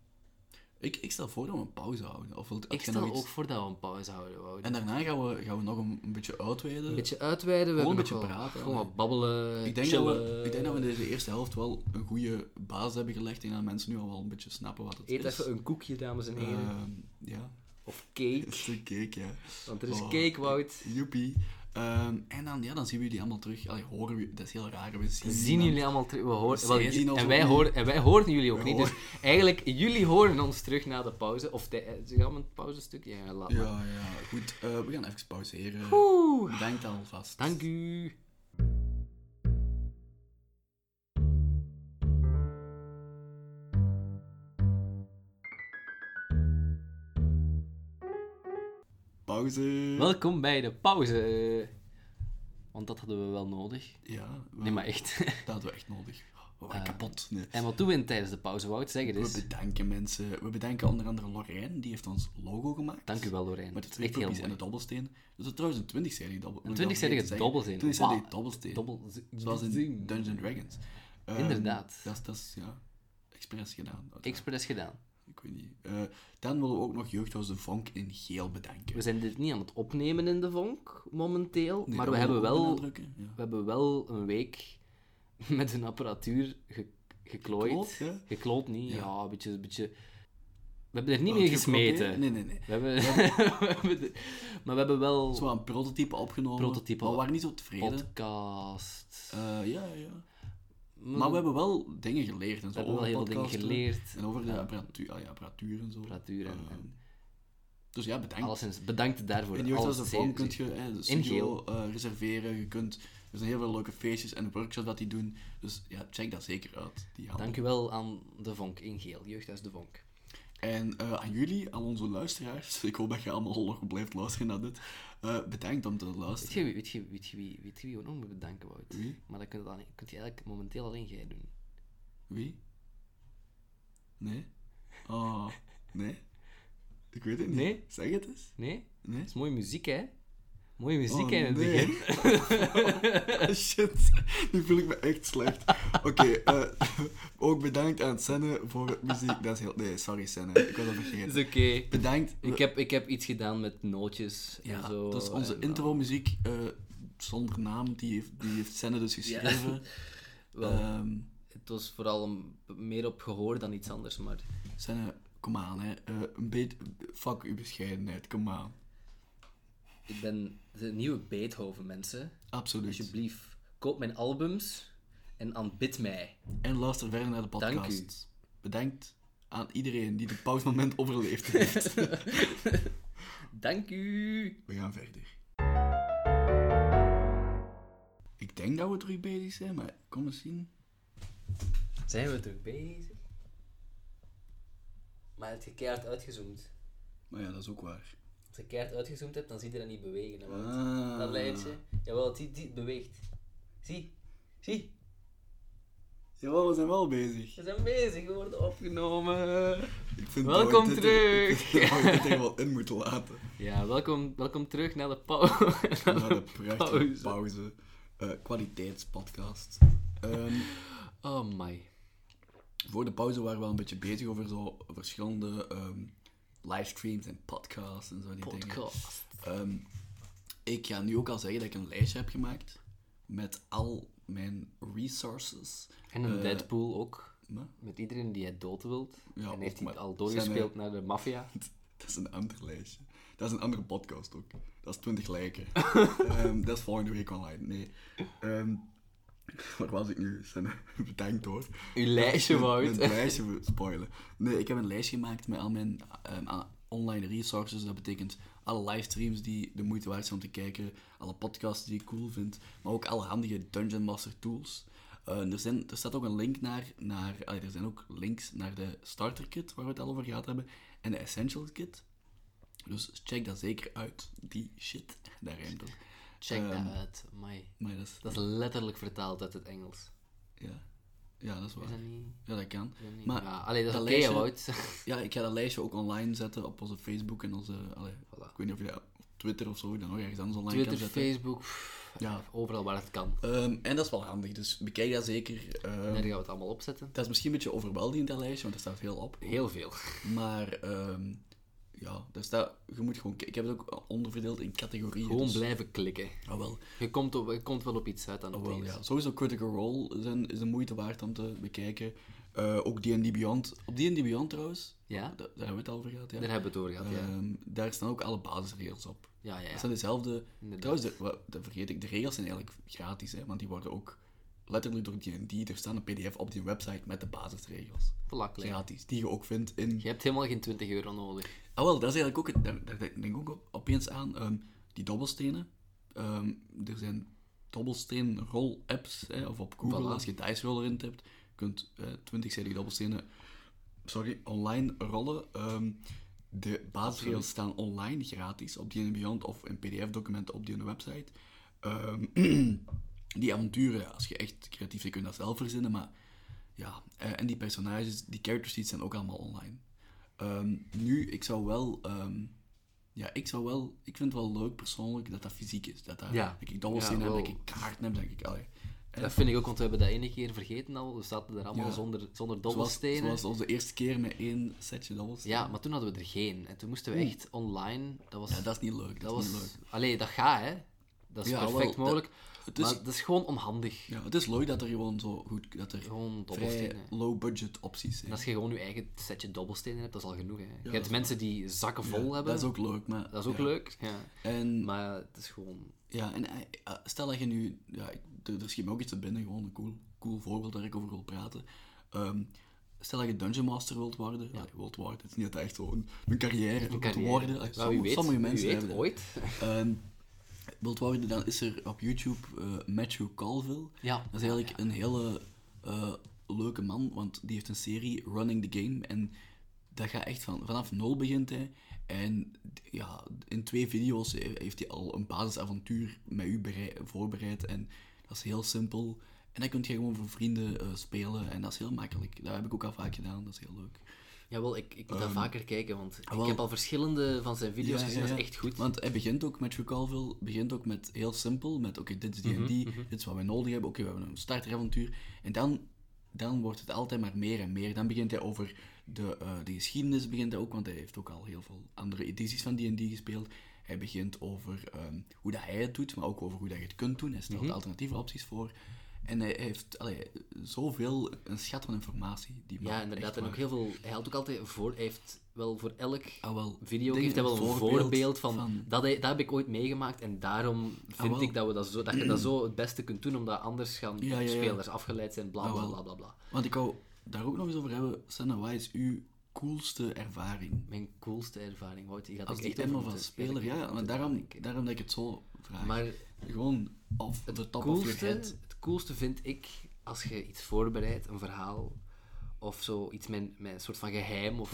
Speaker 2: Ik, ik stel voor dat we een pauze houden. Of wilt, had
Speaker 1: Ik
Speaker 2: jij
Speaker 1: stel
Speaker 2: nog iets-
Speaker 1: ook voor dat we een pauze houden, Wout.
Speaker 2: En daarna gaan we, gaan we nog een, een beetje uitweiden.
Speaker 1: Een beetje uitweiden. We
Speaker 2: Gewoon een
Speaker 1: hebben
Speaker 2: beetje
Speaker 1: nog wel-
Speaker 2: praten,
Speaker 1: Gewoon
Speaker 2: hè.
Speaker 1: wat babbelen,
Speaker 2: ik, denk dat
Speaker 1: chillen.
Speaker 2: we, ik denk dat we in deze eerste helft wel een goede basis hebben gelegd. En dat mensen nu al wel een beetje snappen wat het
Speaker 1: Eet
Speaker 2: is.
Speaker 1: even een koekje, dames en heren.
Speaker 2: Ehm, ja,
Speaker 1: Of cake.
Speaker 2: een stuk cake, ja.
Speaker 1: Want er is
Speaker 2: Oh,
Speaker 1: cake, Wout.
Speaker 2: Joepie. Ehm, en dan, ja, dan zien we jullie allemaal terug. Allee, horen we, dat is heel raar. We zien,
Speaker 1: Zien
Speaker 2: niemand.
Speaker 1: jullie allemaal terug? We horen,
Speaker 2: Zij
Speaker 1: wel,
Speaker 2: zien ons
Speaker 1: en,
Speaker 2: ook
Speaker 1: wij
Speaker 2: niet.
Speaker 1: horen, en wij horen jullie ook
Speaker 2: Wij
Speaker 1: niet. Dus eigenlijk, jullie horen ons terug na de pauze. Of de, eh, gaan we een pauzestuk? Ja, laat maar.
Speaker 2: Ja, ja, goed. Eh, we gaan even pauzeren.
Speaker 1: Oeh,
Speaker 2: Bedankt alvast.
Speaker 1: dank u.
Speaker 2: Pauze.
Speaker 1: Welkom bij de pauze. Want dat hadden we wel nodig.
Speaker 2: Ja, we,
Speaker 1: Nee, maar echt.
Speaker 2: dat hadden we echt nodig. We waren
Speaker 1: Eh,
Speaker 2: kapot. Nee.
Speaker 1: En wat doen we in tijdens de pauze, Wout? Zeg het
Speaker 2: We
Speaker 1: eens.
Speaker 2: bedanken mensen. We bedanken onder andere Lorraine, die heeft ons logo gemaakt.
Speaker 1: Dank u wel, Lorijn.
Speaker 2: Met de
Speaker 1: Dat is
Speaker 2: twee
Speaker 1: echt heel
Speaker 2: puppies en
Speaker 1: mooi.
Speaker 2: de dobbelsteen. Dat is trouwens een 20-serie dobbelsteen.
Speaker 1: Een 20-serige dobbelsteen.
Speaker 2: 20-serie
Speaker 1: Wauw.
Speaker 2: dobbelsteen.
Speaker 1: Dobbel...
Speaker 2: Zoals in Dungeons Dragons. Ehm,
Speaker 1: Inderdaad.
Speaker 2: Dat is, dat is, ja, expres gedaan. uiteraard.
Speaker 1: Expres gedaan.
Speaker 2: Ik weet niet. Eh, dan willen we ook nog Jeugdhuis de Vonk in geel bedanken.
Speaker 1: We zijn dit niet aan het opnemen in de vonk, momenteel.
Speaker 2: Nee,
Speaker 1: maar
Speaker 2: dat
Speaker 1: we hebben,
Speaker 2: willen ook
Speaker 1: wel, we
Speaker 2: benadrukken, Ja.
Speaker 1: hebben wel een week met een apparatuur ge- geklooid.
Speaker 2: Gekloot, ja.
Speaker 1: Gekloot niet, ja.
Speaker 2: Ja.
Speaker 1: een beetje, een beetje... We hebben er niet
Speaker 2: Wel
Speaker 1: mee
Speaker 2: geprobeerd?
Speaker 1: gesmeten.
Speaker 2: Nee, nee, nee.
Speaker 1: We hebben... we hebben de- maar we hebben wel
Speaker 2: Zo een prototype opgenomen.
Speaker 1: Prototype.
Speaker 2: Maar we waren niet zo tevreden.
Speaker 1: podcast...
Speaker 2: Eh, ja, ja. Maar we hebben wel dingen geleerd en
Speaker 1: we
Speaker 2: zo.
Speaker 1: hebben wel
Speaker 2: over
Speaker 1: heel veel dingen
Speaker 2: podcasten
Speaker 1: geleerd.
Speaker 2: En over de apparatuur, ah ja, apparatuur en zo.
Speaker 1: Apparatuur en-
Speaker 2: Ehm,
Speaker 1: en-
Speaker 2: dus ja, bedankt.
Speaker 1: Alleszins, bedankt daarvoor.
Speaker 2: in Jeugdhuis de
Speaker 1: Alles
Speaker 2: Vorm
Speaker 1: zeer-
Speaker 2: kun je eh, de studio
Speaker 1: geel.
Speaker 2: eh, reserveren. Je kunt, er zijn heel veel leuke feestjes en workshops dat die doen. Dus ja, check dat zeker uit. Die handel.
Speaker 1: Dank u wel aan de vonk in geel, Jeugdhuis de vonk.
Speaker 2: En eh, aan jullie, aan onze luisteraars, ik hoop dat je allemaal nog blijft luisteren naar dit. Eh, bedankt om te
Speaker 1: Weet
Speaker 2: luisteren.
Speaker 1: je, wie- weet, je, weet, je, wie- weet je wie we nog moeten bedanken, Wout?
Speaker 2: Wie?
Speaker 1: Maar dat kun je, dan, kun je eigenlijk momenteel alleen jij doen.
Speaker 2: Wie? Nee? Oh, nee? Ik weet het niet.
Speaker 1: Nee?
Speaker 2: Zeg het eens.
Speaker 1: Nee?
Speaker 2: Nee?
Speaker 1: Dat is mooie muziek, hè? Mooie muziek,
Speaker 2: Oh,
Speaker 1: hè, in het
Speaker 2: nee. Oh,
Speaker 1: begin.
Speaker 2: Shit, nu voel ik me echt slecht. Oké, eh, ook bedankt aan Senne voor muziek. Dat is heel... Nee, sorry Senne, ik was dat vergeten.
Speaker 1: is oké.
Speaker 2: Bedankt.
Speaker 1: Ik, heb, ik heb iets gedaan met nootjes en
Speaker 2: Ja,
Speaker 1: zo.
Speaker 2: dat is onze
Speaker 1: en,
Speaker 2: intro-muziek eh, zonder naam. Die heeft, die heeft Senne dus geschreven.
Speaker 1: wel,
Speaker 2: Ehm,
Speaker 1: het was vooral een- meer op gehoor dan iets anders, maar...
Speaker 2: Senne, kom aan, hè. Eh, een beetje... Fuck uw bescheidenheid, kom aan.
Speaker 1: Ik ben de nieuwe Beethoven, mensen.
Speaker 2: Absoluut.
Speaker 1: Alsjeblieft, koop mijn albums en aanbid mij.
Speaker 2: En luister verder naar de podcast.
Speaker 1: Dank u.
Speaker 2: Bedankt aan iedereen die de pauzemoment overleefd heeft.
Speaker 1: Dank u!
Speaker 2: We gaan verder. Ik denk dat we terug bezig zijn, maar kom eens zien.
Speaker 1: Zijn we terug bezig? Maar het gekeerd uitgezoomd.
Speaker 2: Maar ja, dat is ook waar.
Speaker 1: Als je keihard uitgezoomd hebt, dan zie je dat niet bewegen. Hè, want
Speaker 2: Ah.
Speaker 1: Dat lijntje. Jawel, die, die beweegt. Zie. Zie.
Speaker 2: Jawel, we zijn wel bezig.
Speaker 1: We zijn bezig. We worden opgenomen.
Speaker 2: Ik vind
Speaker 1: Welkom
Speaker 2: dat we dit er-
Speaker 1: terug.
Speaker 2: Ik vind dat we dit er wel in moeten laten.
Speaker 1: Ja, welkom, welkom terug naar de pauze.
Speaker 2: Na de prachtige pauze.
Speaker 1: Pauze.
Speaker 2: Eh, kwaliteitspodcast. Ehm,
Speaker 1: Oh my.
Speaker 2: voor de pauze waren we wel een beetje bezig over zo verschillende ehm, livestreams en podcasts en zo die dingen.
Speaker 1: Podcast.
Speaker 2: Ehm, ik ga nu ook al zeggen dat ik een lijstje heb gemaakt met al mijn resources.
Speaker 1: En een
Speaker 2: Eh,
Speaker 1: Deadpool ook.
Speaker 2: maar-
Speaker 1: Met iedereen die hij dood wilt.
Speaker 2: Ja,
Speaker 1: en heeft
Speaker 2: ook,
Speaker 1: hij
Speaker 2: maar
Speaker 1: het al
Speaker 2: zijn eh,
Speaker 1: doorgespeeld
Speaker 2: er-
Speaker 1: naar de maffia.
Speaker 2: Dat is een ander lijstje. Dat is een andere podcast ook. Dat is 20 lijken. Ehm, dat is volgende week online. Nee. Ehm, waar was ik nu? Senne, Bedankt hoor.
Speaker 1: Uw lijstje,
Speaker 2: Mijn
Speaker 1: Wout.
Speaker 2: lijstje spoilen. Nee, ik heb een lijstje gemaakt met al mijn ehm, a- online resources. Dat betekent alle livestreams die de moeite waard zijn om te kijken. Alle podcasts die ik cool vind. Maar ook alle handige Dungeon Master tools. Eh, er, zijn, er staat ook een link naar, naar allee, er zijn ook links naar de starter kit waar we het al over gehad hebben. En de essentials kit. Dus check dat zeker uit. Die shit. Daar ruimt op.
Speaker 1: Check
Speaker 2: Ehm,
Speaker 1: dat uit. My.
Speaker 2: Maar dat is...
Speaker 1: Dat is letterlijk vertaald uit het Engels.
Speaker 2: Ja. Ja, dat is
Speaker 1: Is
Speaker 2: waar.
Speaker 1: dat niet?
Speaker 2: Ja, dat kan.
Speaker 1: Maar,
Speaker 2: Maar
Speaker 1: ja, allee, dat is
Speaker 2: dat
Speaker 1: oké,
Speaker 2: lijstje-
Speaker 1: Wout.
Speaker 2: ja, ik ga dat lijstje ook online zetten op onze Facebook en onze... allee,
Speaker 1: Voilà.
Speaker 2: Ik weet niet of je dat op Twitter of zo dan nog ergens anders online
Speaker 1: Twitter,
Speaker 2: kan zetten.
Speaker 1: Facebook, pff,
Speaker 2: Ja.
Speaker 1: overal waar het kan.
Speaker 2: Ehm, en dat is wel handig, dus bekijk dat zeker. Ehm,
Speaker 1: Daar gaan we het allemaal opzetten.
Speaker 2: Dat is misschien een beetje overweldigend, dat lijstje, want er staat heel op.
Speaker 1: Heel veel.
Speaker 2: Maar ehm, ja, daar staat, je moet gewoon... Ik heb het ook onderverdeeld in categorieën.
Speaker 1: Gewoon
Speaker 2: dus-
Speaker 1: blijven klikken.
Speaker 2: Ah, wel.
Speaker 1: Je komt, op, je komt wel op iets uit aan
Speaker 2: Ah,
Speaker 1: het
Speaker 2: wel,
Speaker 1: eens.
Speaker 2: ja. Sowieso Critical Role is een, is een moeite waard om te bekijken. Eh, ook D&D Beyond. Op D&D Beyond trouwens,
Speaker 1: Ja?
Speaker 2: da- daar hebben we het al over gehad, ja.
Speaker 1: Daar hebben we het over gehad, ja.
Speaker 2: Ehm, daar staan ook alle basisregels op.
Speaker 1: Ja, ja,
Speaker 2: Het
Speaker 1: ja.
Speaker 2: zijn dezelfde...
Speaker 1: Inderdaad.
Speaker 2: Trouwens, de, wa- dat vergeet ik, de regels zijn eigenlijk gratis, hè, want die worden ook letterlijk door D&D... Er staat een pdf op die website met de basisregels.
Speaker 1: Voilà, klein.
Speaker 2: Gratis, die je ook vindt in...
Speaker 1: Je hebt helemaal geen 20 euro nodig.
Speaker 2: Ah wel, dat is eigenlijk ook... het- Daar, daar denk ik ook op- opeens aan. ehm, die dobbelstenen. Ehm, er zijn dobbelsteenrol-apps, hè, of op Google,
Speaker 1: Voilà.
Speaker 2: als je Dice Roller in hebt, kunt eh 20 CD dobbelstenen sorry, online rollen. Ehm, de basisregels staan online, gratis, op die Beyond of in pdf-documenten op die website. Ehm, die avonturen, ja, als je echt creatief bent, kun je dat zelf verzinnen, maar ja. eh, en die personages, die character sheets zijn ook allemaal online. Ehm, nu, ik zou wel... ehm, ja, ik zou wel... Ik vind het wel leuk persoonlijk dat dat fysiek is. Dat, dat,
Speaker 1: Ja.
Speaker 2: dat ik dobbelstenen
Speaker 1: Ja,
Speaker 2: heb, dat
Speaker 1: wel.
Speaker 2: ik kaarten heb, dat ik... Allee, Eh, En-
Speaker 1: Dat vind ik ook, want we hebben dat ene keer vergeten al. We zaten er allemaal
Speaker 2: Ja.
Speaker 1: zonder, zonder
Speaker 2: zoals,
Speaker 1: dobbelstenen.
Speaker 2: zoals onze eerste keer met één setje dobbelstenen.
Speaker 1: Ja, maar toen hadden we er geen. En toen moesten we echt online... Dat was...
Speaker 2: Ja, dat is niet leuk. Dat,
Speaker 1: dat
Speaker 2: is
Speaker 1: was...
Speaker 2: niet leuk.
Speaker 1: Allee, dat gaat, hè. Dat is
Speaker 2: Ja, wel,
Speaker 1: perfect
Speaker 2: dat-
Speaker 1: mogelijk.
Speaker 2: het is-
Speaker 1: Maar dat is gewoon onhandig.
Speaker 2: Ja, het is leuk dat er gewoon zo goed... Dat er
Speaker 1: Gewoon
Speaker 2: vrij
Speaker 1: dobbelstenen.
Speaker 2: low-budget opties zijn.
Speaker 1: En als je gewoon je eigen setje dobbelstenen hebt, dat is al genoeg. Hè. je
Speaker 2: dat
Speaker 1: hebt
Speaker 2: is
Speaker 1: mensen die zakken vol
Speaker 2: Ja,
Speaker 1: hebben.
Speaker 2: Dat is ook leuk, maar...
Speaker 1: dat is ook
Speaker 2: ja.
Speaker 1: leuk. Ja.
Speaker 2: En
Speaker 1: Maar het is gewoon...
Speaker 2: Ja, en eh, eh, stel dat je nu... Ja, ik- er er schiet me ook iets te binnen, gewoon een cool, cool voorbeeld waar ik over wil praten. Ehm, stel dat je Dungeon Master wilt worden. Ja. wilt worden. Het is niet dat dat echt zo'n een carrière wilt
Speaker 1: carrière.
Speaker 2: worden. Eh,
Speaker 1: Maar wie
Speaker 2: somm-
Speaker 1: weet,
Speaker 2: sommige
Speaker 1: wie
Speaker 2: mensen
Speaker 1: weet,
Speaker 2: hebben dat.
Speaker 1: ooit.
Speaker 2: Ehm, wilt worden, dan is er op YouTube eh, Matthew Colville.
Speaker 1: Ja.
Speaker 2: Dat is eigenlijk een hele eh, leuke man, want die heeft een serie Running the Game. En dat gaat echt van, vanaf nul begint hij. En d- ja, in twee video's he- heeft hij al een basisavontuur met u berei- voorbereid. En dat is heel simpel. En dat kun je gewoon voor vrienden eh, spelen. En dat is heel makkelijk. Dat heb ik ook al vaak gedaan. Dat is heel leuk.
Speaker 1: Jawel, ik, ik moet
Speaker 2: Ehm,
Speaker 1: dat vaker kijken, want ik
Speaker 2: wel.
Speaker 1: heb al verschillende van zijn video's gezien. Dat is echt goed.
Speaker 2: Want hij begint ook met Calville, begint ook met heel simpel, met oké, dit is die
Speaker 1: Mhm,
Speaker 2: en die, dit is wat we nodig hebben, oké, we hebben een starteravontuur. En dan, dan wordt het altijd maar meer en meer. Dan begint hij over de, eh, de geschiedenis, begint hij ook, want hij heeft ook al heel veel andere edities van die en die gespeeld. Hij begint over ehm, hoe dat hij het doet, maar ook over hoe dat je het kunt doen. Hij stelt
Speaker 1: Mhm.
Speaker 2: alternatieve opties voor. En hij heeft allee, zoveel, een schat van informatie. Die man
Speaker 1: ja,
Speaker 2: echt
Speaker 1: inderdaad. En ook
Speaker 2: waar-
Speaker 1: heel veel... Hij had ook altijd voor... Hij heeft wel voor elk
Speaker 2: Ah, wel,
Speaker 1: video
Speaker 2: dingen,
Speaker 1: heeft hij wel een voorbeeld, van...
Speaker 2: van-
Speaker 1: Dat, he- dat heb ik ooit meegemaakt en daarom vind
Speaker 2: wel.
Speaker 1: ik dat, we dat, zo, dat je dat zo het beste kunt doen, omdat anders gaan
Speaker 2: Ja, ja, ja.
Speaker 1: spelers afgeleid zijn, bla, bla,
Speaker 2: wel.
Speaker 1: bla, bla, bla.
Speaker 2: Want ik wou daar ook nog eens over hebben. Senna, wat is uw coolste ervaring?
Speaker 1: Mijn coolste ervaring, ooit. Je gaat
Speaker 2: Als
Speaker 1: er
Speaker 2: die
Speaker 1: echt over
Speaker 2: emmer van
Speaker 1: moeten-
Speaker 2: speler,
Speaker 1: je gaat er
Speaker 2: ja.
Speaker 1: echt
Speaker 2: Maar
Speaker 1: over
Speaker 2: daarom,
Speaker 1: nadenken.
Speaker 2: daarom dat ik het zo vraag.
Speaker 1: Maar
Speaker 2: Gewoon of de top of
Speaker 1: coolste,
Speaker 2: your head.
Speaker 1: het coolste vind ik als je iets voorbereidt, een verhaal of zo, iets met, met een soort van geheim of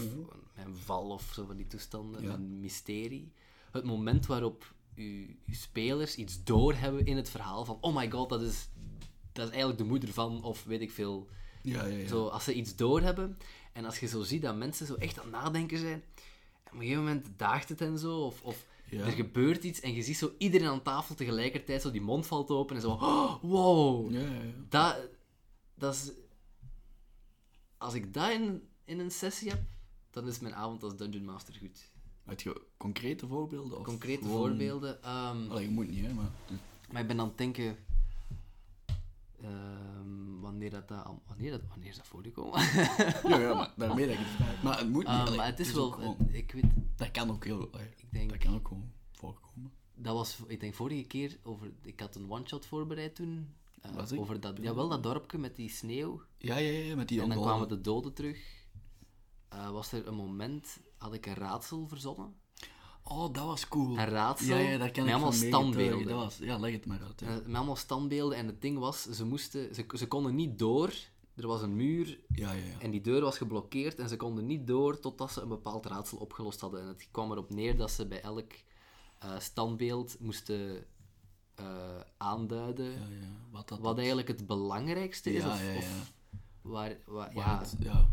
Speaker 1: met een val of zo van die toestanden,
Speaker 2: Ja.
Speaker 1: een mysterie. Het moment waarop uw uw spelers iets doorhebben in het verhaal van oh my god, dat is, dat is eigenlijk de moeder van of weet ik veel.
Speaker 2: Ja, ja, ja.
Speaker 1: Zo, als ze iets doorhebben en als je zo ziet dat mensen zo echt aan het nadenken zijn, en op een gegeven moment daagt het en zo, of, of
Speaker 2: Ja.
Speaker 1: er gebeurt iets en je ziet zo iedereen aan tafel tegelijkertijd, zo die mond valt open en zo, "Oh, wow,
Speaker 2: Ja, ja, ja.
Speaker 1: dat, dat is... Als ik dat in, in een sessie heb, dan is mijn avond als Dungeon Master goed.
Speaker 2: Had je concrete voorbeelden? Of
Speaker 1: Concrete
Speaker 2: gewoon-
Speaker 1: voorbeelden. ehm,
Speaker 2: Allee, je moet niet, hè, maar...
Speaker 1: maar ik ben aan het denken. ehm, wanneer, dat, dat, al- wanneer, dat, wanneer is dat voorgekomen?
Speaker 2: Ja, ja, maar daarmee dat ik het vraag. Maar het moet niet.
Speaker 1: Ah,
Speaker 2: allee, dus
Speaker 1: maar het is
Speaker 2: ook
Speaker 1: wel.
Speaker 2: gewoon-
Speaker 1: ik weet,
Speaker 2: dat kan ook heel... allee,
Speaker 1: ik denk,
Speaker 2: dat kan ook gewoon voorkomen.
Speaker 1: dat was, ik denk vorige keer over. Ik had een one-shot voorbereid toen. eh,
Speaker 2: Was ik?
Speaker 1: Over dat, jawel, dat dorpje met die sneeuw.
Speaker 2: Ja, ja, ja, met die
Speaker 1: En dan
Speaker 2: onbeholpen-
Speaker 1: kwamen de doden terug. Eh, was er een moment, had ik een raadsel verzonnen?
Speaker 2: Oh, dat was cool.
Speaker 1: Een raadsel
Speaker 2: Ja, ja, dat kan
Speaker 1: met
Speaker 2: ik
Speaker 1: allemaal
Speaker 2: van meegetuigen.
Speaker 1: standbeelden.
Speaker 2: Dat was... Ja, leg het maar uit. ja.
Speaker 1: Eh, met allemaal standbeelden. En het ding was, ze, moesten, ze, ze konden niet door. Er was een muur
Speaker 2: Ja, ja, ja.
Speaker 1: en die deur was geblokkeerd. En ze konden niet door totdat ze een bepaald raadsel opgelost hadden. En het kwam erop neer dat ze bij elk eh, standbeeld moesten eh, aanduiden.
Speaker 2: ja, ja. Wat dat
Speaker 1: Wat eigenlijk het belangrijkste is.
Speaker 2: Ja,
Speaker 1: of,
Speaker 2: ja, ja.
Speaker 1: of Waar, waar,
Speaker 2: Ja.
Speaker 1: ja,
Speaker 2: het- ja.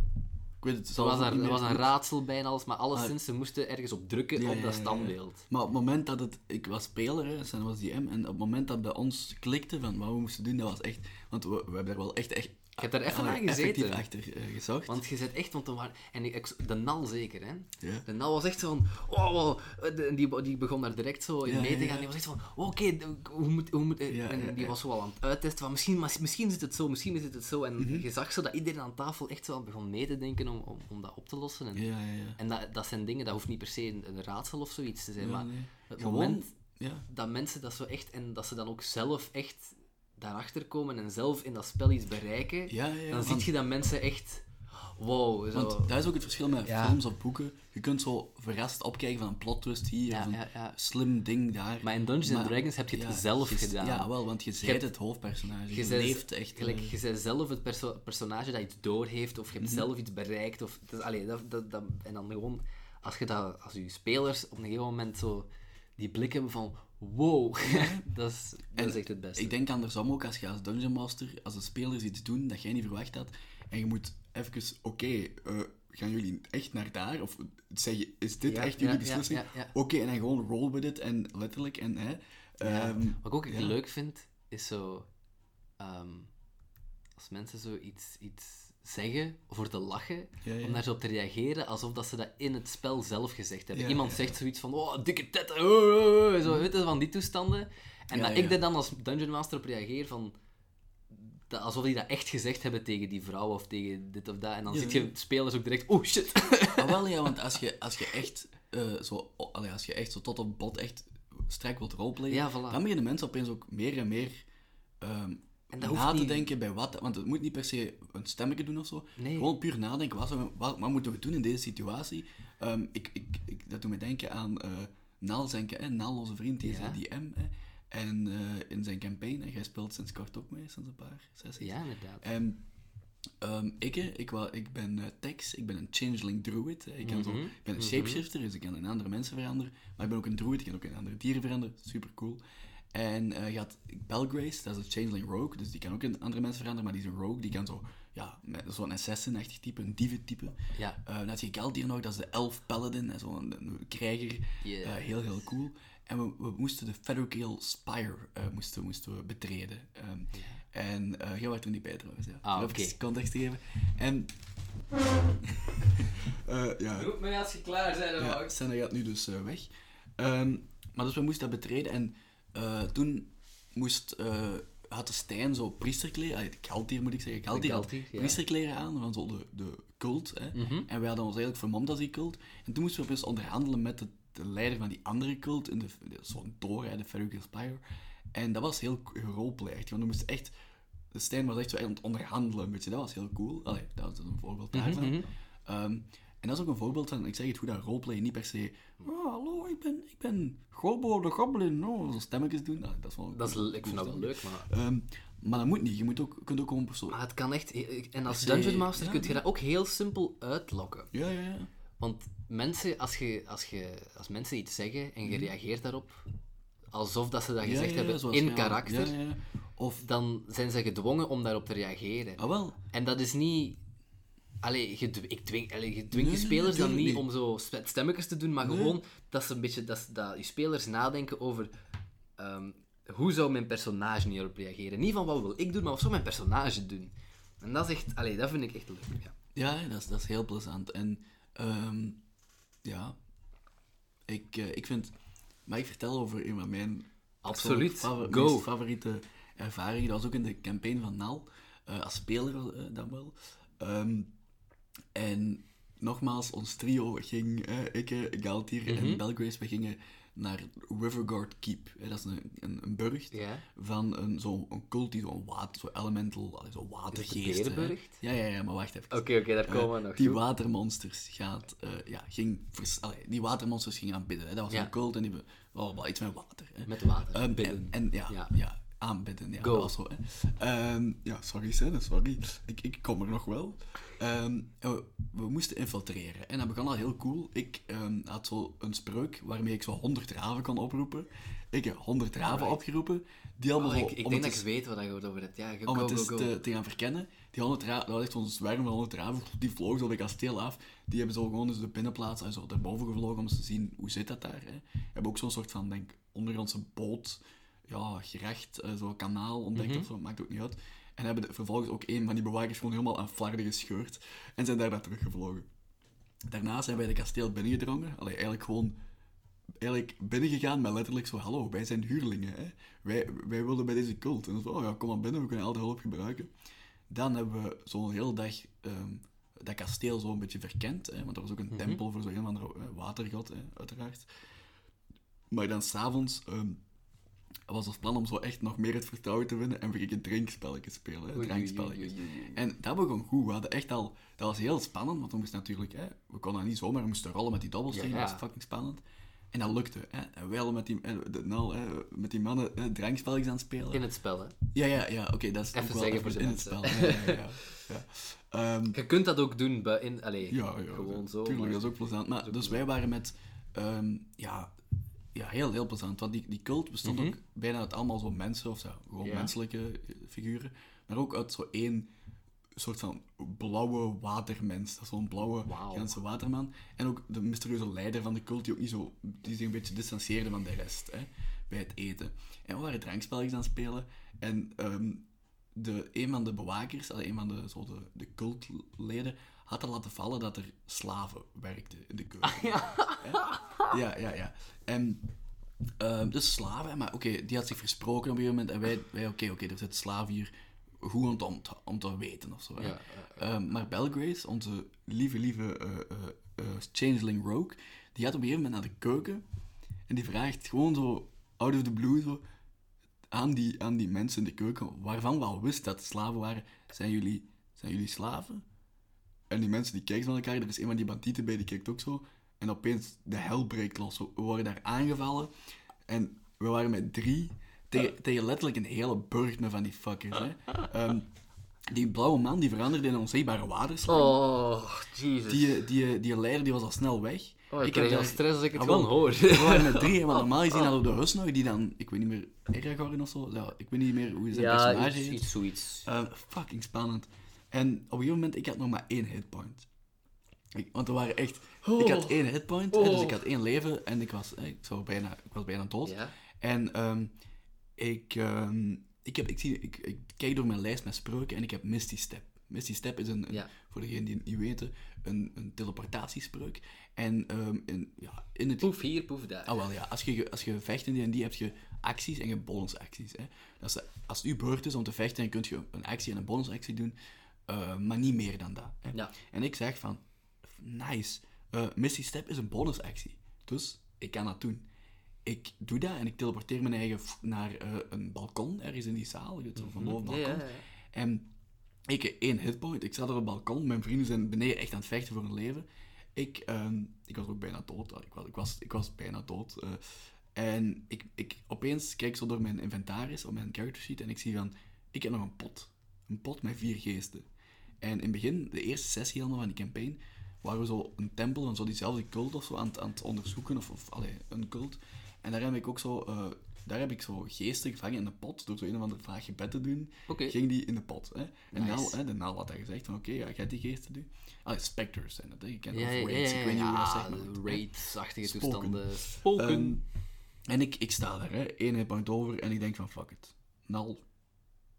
Speaker 2: Ik weet het
Speaker 1: er
Speaker 2: zelf
Speaker 1: was,
Speaker 2: ook
Speaker 1: daar,
Speaker 2: niet
Speaker 1: er was
Speaker 2: meer
Speaker 1: een
Speaker 2: goed. Ah.
Speaker 1: raadsel bij en alles, maar alleszins, ze moesten ergens op drukken
Speaker 2: Ja,
Speaker 1: op
Speaker 2: ja,
Speaker 1: dat
Speaker 2: ja, ja.
Speaker 1: standbeeld.
Speaker 2: Maar op het moment dat het... Ik was speler, hè, Sen was DM, en op het moment dat bij ons klikte van wat we moesten doen, dat was echt... Want we, we hebben daar wel echt... echt
Speaker 1: Ik heb daar even
Speaker 2: ja,
Speaker 1: aan gezeten.
Speaker 2: Effectief achter eh, gezocht.
Speaker 1: Want je zit echt, want er waren- en ik- ik- de nal zeker, hè?
Speaker 2: Ja.
Speaker 1: De nal was echt zo van, wow, wow. De- die, die begon daar direct zo in
Speaker 2: Ja,
Speaker 1: mee te
Speaker 2: ja,
Speaker 1: gaan.
Speaker 2: ja.
Speaker 1: Die was echt van, wow, oké, d- hoe moet, hoe moet, eh,
Speaker 2: Ja,
Speaker 1: en
Speaker 2: ja,
Speaker 1: die
Speaker 2: ja.
Speaker 1: was zo al aan het uittesten van, misschien, mas- misschien zit het zo, misschien zit het zo. En
Speaker 2: Mhm.
Speaker 1: je zag zo dat iedereen aan tafel echt zo aan begon mee te denken om, om, om dat op te lossen. En,
Speaker 2: Ja, ja, ja.
Speaker 1: en dat, dat zijn dingen, dat hoeft niet per se een, een raadsel of zoiets te zijn, maar
Speaker 2: nee.
Speaker 1: het
Speaker 2: Gewoon,
Speaker 1: moment
Speaker 2: Ja.
Speaker 1: dat mensen dat zo echt, en dat ze dan ook zelf echt daarachter komen en zelf in dat spel iets bereiken,
Speaker 2: Ja, ja, ja,
Speaker 1: dan
Speaker 2: want-
Speaker 1: zie je dat mensen echt, wow, zo...
Speaker 2: Want dat is ook het verschil met
Speaker 1: Ja.
Speaker 2: films of boeken. Je kunt zo verrast opkijken van een plot twist hier,
Speaker 1: Ja,
Speaker 2: of een
Speaker 1: ja, ja.
Speaker 2: slim ding daar.
Speaker 1: Maar in Dungeons and
Speaker 2: Maar-
Speaker 1: Dragons heb je het
Speaker 2: Ja,
Speaker 1: zelf
Speaker 2: je is-
Speaker 1: gedaan.
Speaker 2: Ja, wel, want je bent het hoofdpersonage. Je,
Speaker 1: bent-
Speaker 2: leeft echt.
Speaker 1: gelijk,
Speaker 2: eh,
Speaker 1: je bent zelf het perso- personage dat iets doorheeft, of je hebt zelf iets bereikt. Of, dus, allee, dat, dat, dat, en dan gewoon, als je, dat, als je spelers op een gegeven moment zo die blik hebben van wow, dat, is, dat is echt het beste.
Speaker 2: Ik denk andersom ook, als je als Dungeon Master, als de spelers iets doen dat jij niet verwacht had, en je moet even, oké, eh, gaan jullie echt naar daar? Of zeg je, is dit
Speaker 1: Ja,
Speaker 2: echt
Speaker 1: ja,
Speaker 2: jullie
Speaker 1: ja,
Speaker 2: beslissing?
Speaker 1: ja, ja.
Speaker 2: Oké, en dan gewoon roll with it, en letterlijk, en hè. ehm,
Speaker 1: Wat ik ook echt
Speaker 2: ja.
Speaker 1: leuk vind, is zo... ehm, als mensen zo iets, iets zeggen voor te lachen,
Speaker 2: Ja, ja.
Speaker 1: om daar zo op te reageren alsof dat ze dat in het spel zelf gezegd hebben.
Speaker 2: Ja,
Speaker 1: Iemand
Speaker 2: ja,
Speaker 1: zegt zoiets van, oh, dikke tetten, oh, oh, oh," zo, weet je, van die toestanden. En
Speaker 2: Ja,
Speaker 1: dat
Speaker 2: ja.
Speaker 1: ik daar dan als Dungeon Master op reageer van... dat- alsof die dat echt gezegd hebben tegen die vrouw of tegen dit of dat. En dan
Speaker 2: Ja,
Speaker 1: ziet
Speaker 2: ja.
Speaker 1: je spelers ook direct, oh shit.
Speaker 2: Ah, wel ja, want als je, als je echt eh, zo, oh, allee, als je echt zo tot op bot echt strak wilt roleplayen,
Speaker 1: Ja, voilà.
Speaker 2: dan beginnen mensen opeens ook meer en meer ehm,
Speaker 1: En dat hoeft
Speaker 2: na te
Speaker 1: niet.
Speaker 2: denken bij wat, want het moet niet per se een stemmetje doen of zo.
Speaker 1: Nee.
Speaker 2: Gewoon puur nadenken, wat, zou- wat, wat moeten we doen in deze situatie? Ehm, ik, ik, ik, dat doet me denken aan eh Naal, zijn, ca- eh, Naal, onze vriend, die is
Speaker 1: Ja.
Speaker 2: DM, hè, en eh, in zijn campaign, en jij speelt sinds kort ook mee, sinds een paar sessies.
Speaker 1: Ja, inderdaad.
Speaker 2: En ehm, ik, hè, ik, wa- ik ben eh, Tex, ik ben een changeling druid. hè. Ik, kan zo, ik ben een shapeshifter, dus ik kan in andere mensen veranderen. Maar ik ben ook een druid, ik kan ook in andere dieren veranderen. Super cool. En eh je had Belgrace, dat is een changeling rogue, dus die kan ook in andere mensen veranderen, maar die is een rogue, die kan zo, ja, met- zo'n assassin-achtig type, een dieven-type.
Speaker 1: Ja.
Speaker 2: Eh, dan had je Galdir nog, dat is de elf paladin, hè, zo'n een krijger.
Speaker 1: Yes.
Speaker 2: Eh, heel, heel cool. En we, we moesten de Federal Spire eh, moesten, moesten we betreden. Ehm, En eh, jij was toen niet bij trouwens. Ja.
Speaker 1: Ah,
Speaker 2: Om
Speaker 1: oké.
Speaker 2: Even context te geven. En... Eh, ja,
Speaker 1: Roep mij als je klaar bent,
Speaker 2: ja, Senna gaat nu dus eh, weg. Ehm, maar dus we moesten dat betreden en eh, toen moest, eh, had de Stijn zo priesterkleren, allee, de Galtier moet ik zeggen, Galtier had
Speaker 1: Galtier, ja. Mhm.
Speaker 2: priesterkleren aan, van zo de, de cult. Hè. En wij hadden ons eigenlijk vermomd als die cult. En toen moesten we opeens onderhandelen met de, de leider van die andere cult, in de, de- zo'n Dora, de Ferrugil Spire. En dat was heel roleplay, echt, want we moesten echt... De Stijn was echt zo aan het onderhandelen, een beetje. Dat was heel cool. Allee, dat was een voorbeeld
Speaker 1: Mhm,
Speaker 2: daarvan. Ehm, en dat is ook een voorbeeld van, ik zeg het goed, dat roleplay niet per se... Oh, hallo, ik ben, ik ben Gobo de Goblin. Oh, zo stemmetjes doen. Nou, dat is wel
Speaker 1: Dat is, ik vind dat wel leuk, Ah. maar...
Speaker 2: Ehm, maar dat moet niet. Je moet ook, je kunt ook gewoon persoon...
Speaker 1: Maar het kan echt... En als
Speaker 2: se-
Speaker 1: Dungeon Master
Speaker 2: ja.
Speaker 1: kun je dat ook heel simpel uitlokken.
Speaker 2: Ja, ja, ja.
Speaker 1: Want mensen, als, je, als, je, als mensen iets zeggen en je reageert daarop, alsof dat ze dat
Speaker 2: Mhm. Ja,
Speaker 1: gezegd
Speaker 2: ja, ja,
Speaker 1: hebben
Speaker 2: zoals
Speaker 1: in
Speaker 2: jij-
Speaker 1: karakter,
Speaker 2: Ja, ja, ja. Of...
Speaker 1: dan zijn ze gedwongen om daarop te reageren.
Speaker 2: Ah, wel.
Speaker 1: En dat is niet... Allee, je, dw- ik dwing, allee, je dwingt
Speaker 2: Nee,
Speaker 1: je
Speaker 2: nee,
Speaker 1: spelers dan niet
Speaker 2: natuurlijk
Speaker 1: om zo st- stemmetjes te doen, maar gewoon dat, ze een beetje, dat, ze- dat je spelers nadenken over ehm, hoe zou mijn personage hierop reageren. Niet van wat wil ik doen, maar wat zou mijn personage doen. En dat is echt... Allee, dat vind ik echt leuk. Ja.
Speaker 2: Ja, dat is, dat is heel plezant. En ehm, ja, ik, eh, ik vind. Mag ik vertellen over een van mijn
Speaker 1: Absoluut.
Speaker 2: persoonlijk
Speaker 1: Go.
Speaker 2: meest favoriete ervaringen? Dat was ook in de campaign van NAL, eh, als speler eh, dan wel. Ehm, en nogmaals, ons trio ging, eh, ik, eh, Galtier
Speaker 1: Mhm.
Speaker 2: en Belgrace, we gingen naar Riverguard Keep. Eh, dat is een, een, een burcht
Speaker 1: Ja.
Speaker 2: van een, zo'n een cult die zo'n water, zo'n elemental, allee, zo'n watergeest. hè.
Speaker 1: berenburcht?
Speaker 2: Ja, ja, ja, maar wacht even.
Speaker 1: Oké, oké, daar komen we nog
Speaker 2: Eh, Die
Speaker 1: toe.
Speaker 2: watermonsters gaat, eh, ja, ging vers- allee, die watermonsters gingen aanbidden. Hè. Dat was
Speaker 1: Ja.
Speaker 2: een cult en die be- oh, wel wel iets met water. Hè.
Speaker 1: Met water.
Speaker 2: Ehm,
Speaker 1: Bidden.
Speaker 2: En, en ja,
Speaker 1: Ja.
Speaker 2: ja. aanbidden. Ja,
Speaker 1: Go.
Speaker 2: dat was zo, hè. Ehm, ja, sorry, Senne, sorry. Ik, ik kom er nog wel. Ehm, en we, we moesten infiltreren. En dat begon al heel cool. Ik ehm, had zo een spreuk waarmee ik zo 100 raven kon oproepen. Ik heb honderd raven opgeroepen, die allemaal
Speaker 1: Oh, ik,
Speaker 2: om
Speaker 1: ik
Speaker 2: het
Speaker 1: denk dat
Speaker 2: eens-
Speaker 1: ik weet waar je het over hebt. Ja, go,
Speaker 2: om
Speaker 1: go,
Speaker 2: het
Speaker 1: go,
Speaker 2: eens
Speaker 1: go.
Speaker 2: te, te gaan verkennen. Die 100 raven, dat was echt zo'n zwerm van 100 raven, die vlogen zo op een kasteel af. Die hebben zo gewoon dus de binnenplaats en zo daarboven gevlogen om eens te zien hoe zit dat daar. Hè. Hebben ook zo'n soort van, denk ondergrondse boot, ja, gerecht, eh, zo'n kanaal ontdekt
Speaker 1: Mhm.
Speaker 2: of zo, maakt ook niet uit. En hebben de- vervolgens ook een van die bewakers gewoon helemaal aan flarden gescheurd en zijn daarna teruggevlogen. Daarna zijn wij de kasteel binnengedrongen. Allee, eigenlijk gewoon eigenlijk binnengegaan met letterlijk zo, hallo, wij zijn huurlingen. Hè? Wij, wij willen bij deze cult. En dan zo, oh ja, kom maar binnen, we kunnen al de hulp gebruiken. Dan hebben we zo'n hele dag ehm, dat kasteel zo een beetje verkend. Hè? Want er was ook een
Speaker 1: Mhm.
Speaker 2: tempel voor zo'n een of andere eh, watergod, hè? uiteraard. Maar dan s'avonds ehm was ons plan om zo echt nog meer het vertrouwen te winnen. En we gingen drinkspelletjes spelen, hè?
Speaker 1: oei,
Speaker 2: drankspelletjes.
Speaker 1: oei, oei, oei.
Speaker 2: En dat begon goed. We hadden echt al... Dat was heel spannend, want we moesten natuurlijk... Hè, we konden dat niet zomaar, we moesten rollen met die dobbelstenen.
Speaker 1: Ja, ja.
Speaker 2: Dat was fucking spannend. En dat lukte. Hè. En wij al met die, eh, de- nou, eh, met die mannen eh, drankspelletjes aan het spelen.
Speaker 1: In het spel, hè.
Speaker 2: Ja, ja, ja. Oké, dat is
Speaker 1: Even
Speaker 2: ook wel
Speaker 1: zeggen voor de
Speaker 2: in het
Speaker 1: mensen.
Speaker 2: spel. Ja, ja, ja. ja. ja. Ehm,
Speaker 1: Je kunt dat ook doen, bij- in, allee,
Speaker 2: ja, ja,
Speaker 1: gewoon zo.
Speaker 2: Tuurlijk,
Speaker 1: maar-
Speaker 2: dat is ook plezant. Maar, dus wij waren met... ehm, ja, ja, heel, heel plezant. Want die, die cult bestond ook bijna uit allemaal zo mensen, of zo, gewoon
Speaker 1: Mhm. Ja.
Speaker 2: menselijke eh, figuren. Maar ook uit zo één soort van blauwe watermens. Dat is zo'n blauwe
Speaker 1: Wauw.
Speaker 2: Gentse waterman. En ook de mysterieuze leider van de cult, die ook niet zo... Die zich een beetje distancieerde van de rest, hè, bij het eten. En we waren drankspelletjes aan het spelen. En ehm, de, een van de bewakers, allee, een van de, zo de, de cultleden, had er laten vallen dat er slaven werkten in de keuken. Hè? ja, ja, ja. En... Ehm, dus slaven, maar oké, die had zich versproken op een gegeven moment. En wij, wij oké, oké, er zit slaaf hier. Goed om te, om te, om te weten of zo. hè.
Speaker 1: Ja, ja,
Speaker 2: Ehm, maar Belgrace, onze lieve, lieve eh, eh, eh, changeling rogue, die gaat op een gegeven moment naar de keuken. En die vraagt gewoon zo, out of the blue, zo, aan, die, aan die mensen in de keuken, waarvan we al wisten dat het slaven waren, zijn jullie, zijn jullie slaven? En die mensen die kijken zo naar elkaar, er is een van die bandieten bij, die kijkt ook zo. En opeens, de hel breekt los. We worden daar aangevallen. En we waren met drie tegen, tegen letterlijk een hele burcht met van die fuckers. Hè. Ehm, die blauwe man die veranderde in een onzichtbare waterslang.
Speaker 1: Oh, Jesus.
Speaker 2: Die, eh, die, eh, die leider die was al snel weg.
Speaker 1: Oh, ik, krijg al
Speaker 2: daar-
Speaker 1: stress als ik het
Speaker 2: Ah, wel.
Speaker 1: gewoon hoor.
Speaker 2: We waren met drie, maar normaal gezien hadden we de hus nog, die dan, ik weet niet meer, Eragorin of zo, ja, ik weet niet meer hoe zijn
Speaker 1: ja,
Speaker 2: personage
Speaker 1: iets,
Speaker 2: heet.
Speaker 1: iets zoiets.
Speaker 2: Eh, fucking spannend. En op een gegeven moment, ik had nog maar één hitpoint. Ik- want er waren echt... Ik
Speaker 1: Oh.
Speaker 2: had één hitpoint, hè, dus ik had één leven en ik was, eh, ik zou bijna, ik was bijna dood.
Speaker 1: Ja.
Speaker 2: En ehm, ik, ehm, ik, heb, ik, zie, ik, ik kijk door mijn lijst met spreuken en ik heb Misty Step. Misty Step is een, een-
Speaker 1: Ja.
Speaker 2: voor degenen die het niet weten, een, een teleportatiespreuk. En ehm, in, ja, in het
Speaker 1: Poef hier, poef daar.
Speaker 2: Ah, wel ja. Als je, ge- als je vecht in die en die, heb je acties en je bonusacties. Hè. Dat is, als het uw beurt is om te vechten, dan kun je een actie en een bonusactie doen, eh, maar niet meer dan dat. Hè.
Speaker 1: Ja.
Speaker 2: En ik zeg van, nice, eh, Misty Step is een bonusactie. Dus ik kan dat doen. Ik doe dat en ik teleporteer mijn eigen f- naar eh, een balkon ergens in die zaal. Je weet, zo van boven
Speaker 1: Mhm. Ja, ja,
Speaker 2: balkon.
Speaker 1: ja.
Speaker 2: En ik heb één hitpoint. Ik zat op het balkon. Mijn vrienden zijn beneden echt aan het vechten voor hun leven. Ik, ehm, ik was ook bijna dood. Ik was, ik was, ik was bijna dood. eh. en ik, ik opeens kijk zo door mijn inventaris, op mijn character sheet, en ik zie van, ik heb nog een pot. Een pot met vier geesten. En in het begin, de eerste sessie helemaal van die campaign, waren we zo een tempel van zo diezelfde cult of zo aan, het- aan het onderzoeken, of, of allee, een cult. En daar heb ik ook zo, eh, daar heb ik zo geesten gevangen in een pot, door zo een of ander vaag gebed te doen
Speaker 1: Oké.
Speaker 2: ging die in de pot. Hè? En
Speaker 1: Nice.
Speaker 2: Nel, hè, de Nel had daar gezegd van, oké, ja, ik ga die geesten doen. Ah, specters zijn dat, hè. Je kent
Speaker 1: Ja,
Speaker 2: dat
Speaker 1: ja,
Speaker 2: of
Speaker 1: ja,
Speaker 2: raids, ik weet niet hoe dat
Speaker 1: ja,
Speaker 2: zegt, maar goed, hè.
Speaker 1: raids-achtige
Speaker 2: Spoken.
Speaker 1: toestanden.
Speaker 2: Ehm,
Speaker 1: Spoken.
Speaker 2: en ik, ik sta daar, hè, één hitpoint over, en ik denk van, fuck it. Nal,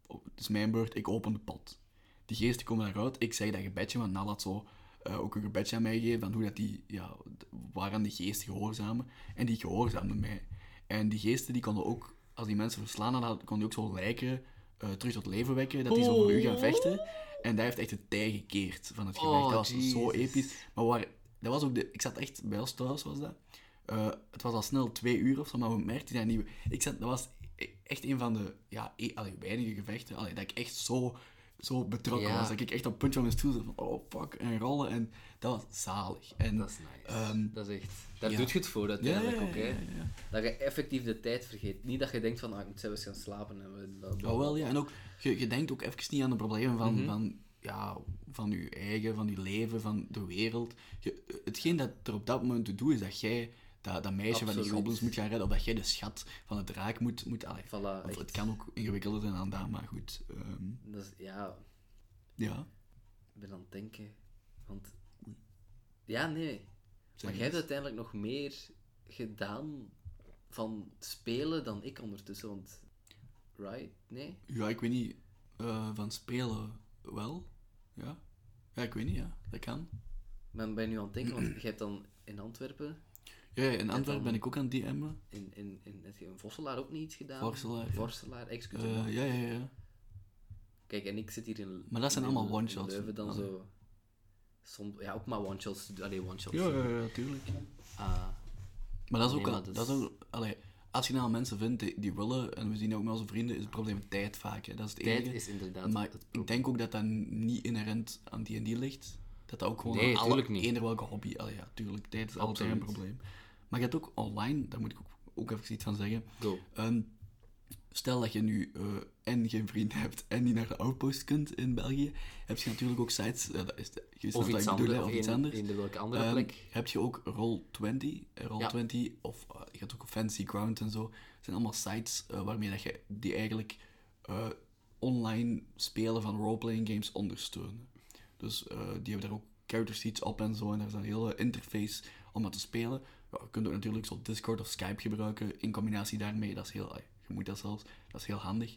Speaker 2: oh, het is mijn beurt, ik open de pot. Die geesten komen daaruit, ik zeg dat gebedje, want Nal had zo eh, ook een gebedje aan mij gegeven, van hoe dat die, ja, d- waaraan die geesten gehoorzamen. En die gehoorzaamden mij. En die geesten, die konden ook, als die mensen verslaan hadden, konden die ook zo lijken eh, terug tot leven wekken, dat die zo voor u gaan vechten. En daar heeft echt de tij gekeerd van het gevecht.
Speaker 1: Oh,
Speaker 2: dat was zo
Speaker 1: Jesus.
Speaker 2: episch. Maar waar, dat was ook de, ik zat echt bij ons thuis, was dat. Eh, het was al snel twee uur of zo, maar we merkten dat niet. Ik zat, dat was e- echt een van de ja, e- allee, weinige gevechten allee, dat ik echt zo, zo betrokken
Speaker 1: Ja.
Speaker 2: was. Dat ik echt op het puntje van mijn stoel zat van, oh fuck, en rollen. En dat was zalig. En,
Speaker 1: Dat is nice.
Speaker 2: ehm,
Speaker 1: dat is echt... Daar
Speaker 2: ja.
Speaker 1: doet je het voor uiteindelijk
Speaker 2: Ja, ja,
Speaker 1: ook, hè.
Speaker 2: ja,
Speaker 1: Dat je effectief de tijd vergeet. Niet dat je denkt van, ah, ik moet zelfs gaan slapen. En we- dat-
Speaker 2: Oh, wel, ja. En ook, je, je denkt ook even niet aan de problemen van, van, ja, van je eigen, van je leven, van de wereld. Je, hetgeen dat er op dat moment te doen is dat jij dat, dat meisje van die
Speaker 1: Absoluut.
Speaker 2: goblins moet gaan redden, of dat jij de schat van de draak moet... moet allee,
Speaker 1: Voilà,
Speaker 2: want het
Speaker 1: echt.
Speaker 2: kan ook ingewikkelder zijn dan dat, maar goed. ehm,
Speaker 1: Dat is, ja,
Speaker 2: ja,
Speaker 1: ik ben aan het denken. Want... Ja, nee.
Speaker 2: Zeg
Speaker 1: maar jij
Speaker 2: eens.
Speaker 1: hebt uiteindelijk nog meer gedaan van spelen dan ik ondertussen, want... Right? Nee?
Speaker 2: ja, ik weet niet. eh, van spelen wel? Ja? Ja, ik weet niet, ja. Dat kan.
Speaker 1: Maar ben je nu aan het denken, want jij hebt dan in Antwerpen,
Speaker 2: Ja, ja, in Antwerpen
Speaker 1: dan-
Speaker 2: ben ik ook aan het DM'en.
Speaker 1: in, in, in, heb je in Vosselaar ook niet iets gedaan?
Speaker 2: Vorselaar, ja.
Speaker 1: Vorselaar, excuus.
Speaker 2: Eh, ja, ja, ja.
Speaker 1: Kijk, en ik zit hier in
Speaker 2: Maar dat zijn
Speaker 1: in-
Speaker 2: allemaal
Speaker 1: in
Speaker 2: one-shots,
Speaker 1: Leuven dan
Speaker 2: hè?
Speaker 1: zo... Soms, ja, ook maar one-shots. Allee, one-shots.
Speaker 2: Ja, ja, ja, tuurlijk.
Speaker 1: Ah,
Speaker 2: Maar dat is ook...
Speaker 1: Nee,
Speaker 2: al-
Speaker 1: maar dat
Speaker 2: dat is ook allee, als je nou mensen vindt die, die willen, en we zien dat ook met onze vrienden, is het probleem tijd vaak. Hè. Dat is het
Speaker 1: tijd
Speaker 2: enige.
Speaker 1: is inderdaad
Speaker 2: Maar
Speaker 1: het probleem.
Speaker 2: ik denk ook dat dat niet inherent aan die en die ligt. Dat dat ook gewoon
Speaker 1: Nee,
Speaker 2: aan alle,
Speaker 1: tuurlijk niet.
Speaker 2: eender welke hobby. Allee, ja, tuurlijk, tijd is altijd een
Speaker 1: Absoluut.
Speaker 2: probleem. Maar je hebt ook online, daar moet ik ook, ook even iets van zeggen.
Speaker 1: Go.
Speaker 2: Ehm, stel dat je nu eh, en geen vriend hebt en niet naar de outpost kunt in België, heb je natuurlijk ook sites, ja, dat is de, je snapt
Speaker 1: Of
Speaker 2: wat
Speaker 1: iets
Speaker 2: ik
Speaker 1: anders.
Speaker 2: bedoel, hè,
Speaker 1: Of
Speaker 2: of iets
Speaker 1: een-
Speaker 2: anders.
Speaker 1: eender welke andere
Speaker 2: Ehm,
Speaker 1: plek.
Speaker 2: Heb je ook Roll20, eh, Roll20 of eh, je hebt ook Fancy Ground en zo. Het zijn allemaal sites eh, waarmee dat je die eigenlijk eh, online spelen van roleplaying games ondersteunen. Dus eh, die hebben daar ook character sheets op en zo en daar is een hele interface om dat te spelen. Ja, je kunt ook natuurlijk zo Discord of Skype gebruiken in combinatie daarmee. Dat is heel, eh, je moet dat zelfs, dat is heel handig.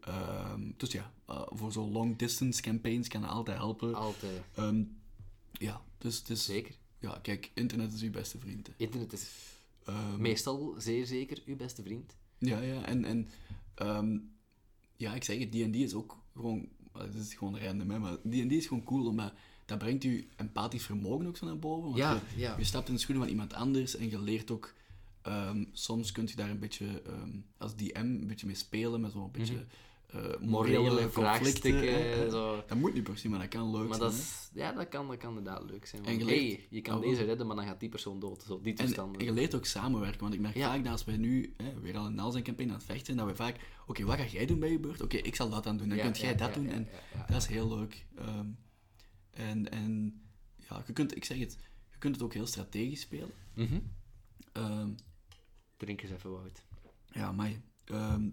Speaker 2: Ehm, dus ja, eh, voor zo long distance campaigns kan dat altijd helpen.
Speaker 1: Altijd.
Speaker 2: Ehm, ja, dus het is,
Speaker 1: Zeker.
Speaker 2: ja, kijk, internet is uw beste vriend. hè.
Speaker 1: Internet is
Speaker 2: Ehm,
Speaker 1: meestal zeer zeker uw beste vriend.
Speaker 2: ja, ja, en, en ehm, ja, ik zeg het, D&D is ook gewoon, het is gewoon random, hè, maar D&D is gewoon cool, omdat dat brengt je empathisch vermogen ook zo naar boven. Want
Speaker 1: Ja,
Speaker 2: je,
Speaker 1: ja.
Speaker 2: je stapt in de schoenen van iemand anders en je leert ook, ehm, soms kunt je daar een beetje, ehm, als DM, een beetje mee spelen, met zo'n beetje eh, morele
Speaker 1: Mhm. Morele
Speaker 2: conflicten.
Speaker 1: vraagstukken
Speaker 2: hè, hè.
Speaker 1: en zo.
Speaker 2: Dat moet niet per se, maar dat kan leuk
Speaker 1: Maar
Speaker 2: zijn.
Speaker 1: dat,
Speaker 2: hè.
Speaker 1: is, ja, dat, kan, dat kan inderdaad leuk zijn.
Speaker 2: En
Speaker 1: Want,
Speaker 2: je leert-
Speaker 1: hey, je kan
Speaker 2: Ah, wel.
Speaker 1: deze redden, maar dan gaat die persoon dood. Zo, die
Speaker 2: En,
Speaker 1: toestanden.
Speaker 2: en je leert ook samenwerken, want ik merk
Speaker 1: Dus eh, Ja.
Speaker 2: vaak dat als wij nu hè, weer al in al zijn campagne aan het vechten zijn, dat we vaak, oké, wat ga jij doen bij je beurt? Oké, ik zal dat dan doen, dan
Speaker 1: Ja,
Speaker 2: kunt jij
Speaker 1: ja,
Speaker 2: dat
Speaker 1: ja,
Speaker 2: doen.
Speaker 1: ja,
Speaker 2: en
Speaker 1: ja, ja,
Speaker 2: dat is heel leuk. Ehm, en, en ja, je kunt, ik zeg het, je kunt het ook heel strategisch spelen.
Speaker 1: Mhm.
Speaker 2: Ehm,
Speaker 1: Drink eens even Wout.
Speaker 2: ja, maar. ehm,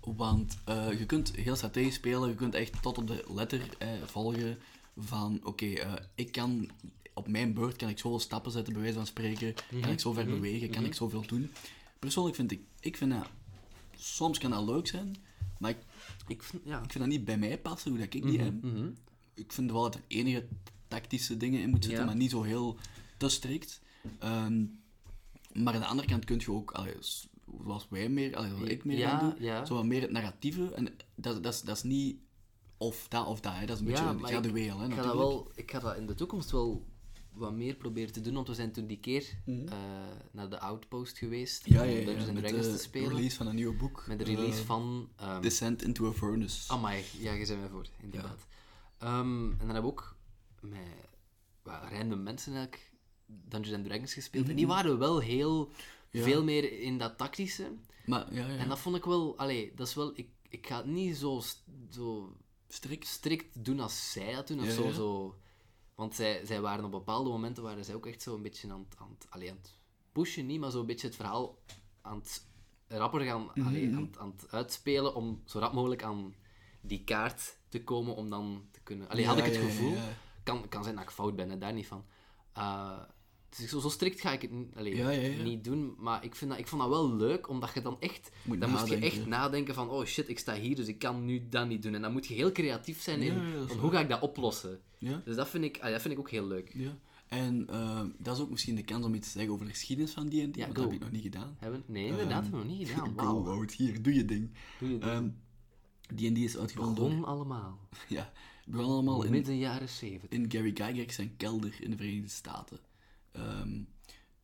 Speaker 2: want eh, je kunt heel strategisch spelen, je kunt echt tot op de letter eh, volgen van oké, eh, ik kan op mijn beurt kan ik zoveel stappen zetten, bij wijze van spreken, kan
Speaker 1: Mhm.
Speaker 2: ik zo ver bewegen, kan ik zoveel doen. Persoonlijk vind ik, ik vind dat, soms kan dat leuk zijn, maar ik,
Speaker 1: Ik vind, ja. Mhm.
Speaker 2: ik vind dat niet bij mij passen, hoe dat ik die heb. Ik vind wel dat er enige tactische dingen in moeten zitten,
Speaker 1: Ja.
Speaker 2: maar niet zo heel te strikt. Ehm, maar aan de andere kant kun je ook, allee, s- zoals wij meer, allee, zoals ik meer
Speaker 1: Ja,
Speaker 2: aan doe,
Speaker 1: ja.
Speaker 2: zo wat meer het narratieve. En dat, dat, is, dat is niet of dat of dat, hè. dat is een beetje
Speaker 1: maar
Speaker 2: gradueel. Hè,
Speaker 1: ik, ik, ga dat
Speaker 2: natuurlijk.
Speaker 1: wel, ik ga dat in de toekomst wel wat meer proberen te doen, want we zijn toen die keer eh, naar de Outpost geweest
Speaker 2: Mhm. ja,
Speaker 1: om
Speaker 2: ja, ja,
Speaker 1: Dungeons and
Speaker 2: met
Speaker 1: Dragons
Speaker 2: de
Speaker 1: te spelen.
Speaker 2: release van een nieuw boek.
Speaker 1: Met de release
Speaker 2: eh,
Speaker 1: van... ehm
Speaker 2: Descent into Avernus.
Speaker 1: Amai, ja, je bent mij voor, inderdaad. Ehm, en dan hebben we ook met wat random mensen eigenlijk Dungeons and Dragons gespeeld. En die waren wel heel... Veel meer in dat tactische.
Speaker 2: maar ja, ja,
Speaker 1: En dat vond ik wel... Allee, dat is wel... Ik, ik ga het niet zo, st- zo
Speaker 2: strikt.
Speaker 1: strikt doen als zij dat doen. Of
Speaker 2: Ja,
Speaker 1: zo,
Speaker 2: ja.
Speaker 1: zo. Want zij, zij waren op bepaalde momenten waren zij ook echt zo een beetje aan het, aan het, allee, aan het pushen, niet, maar zo een beetje het verhaal aan het rapper gaan
Speaker 2: Mhm,
Speaker 1: allee, aan, het- aan het uitspelen om zo rap mogelijk aan die kaart te komen om dan te kunnen. Allee,
Speaker 2: Ja,
Speaker 1: had ik het
Speaker 2: ja, ja,
Speaker 1: gevoel.
Speaker 2: ja.
Speaker 1: Kan, kan zijn dat ik fout ben, hè, daar niet van. Eh, dus ik- zo, zo strikt ga ik het niet- allee,
Speaker 2: Ja, ja, ja.
Speaker 1: niet doen, maar ik, vind dat, ik vond dat wel leuk, omdat je dan echt...
Speaker 2: Moet
Speaker 1: dan moest je
Speaker 2: nadenken.
Speaker 1: echt nadenken van, oh shit, ik sta hier, dus ik kan nu dat niet doen. En dan moet je heel creatief zijn in,
Speaker 2: Ja, ja, dat is
Speaker 1: van, hoe ga ik dat oplossen?
Speaker 2: Ja.
Speaker 1: Dus dat vind, ik, ah, dat vind ik ook heel leuk.
Speaker 2: Ja. En eh, dat is ook misschien de kans om iets te zeggen over de geschiedenis van die en die,
Speaker 1: Ja,
Speaker 2: want
Speaker 1: go.
Speaker 2: dat heb ik nog niet gedaan.
Speaker 1: Hebben, nee, inderdaad, hebben we nog niet gedaan.
Speaker 2: Go,
Speaker 1: Wauw.
Speaker 2: Wout, hier, doe je ding.
Speaker 1: Doe je ding.
Speaker 2: Ehm, die en die is uitgevonden door...
Speaker 1: Begon allemaal.
Speaker 2: Ja, het begon allemaal eh, in,
Speaker 1: Midden jaren zeventig.
Speaker 2: in Gary Gygax zijn kelder in de Verenigde Staten. Ehm,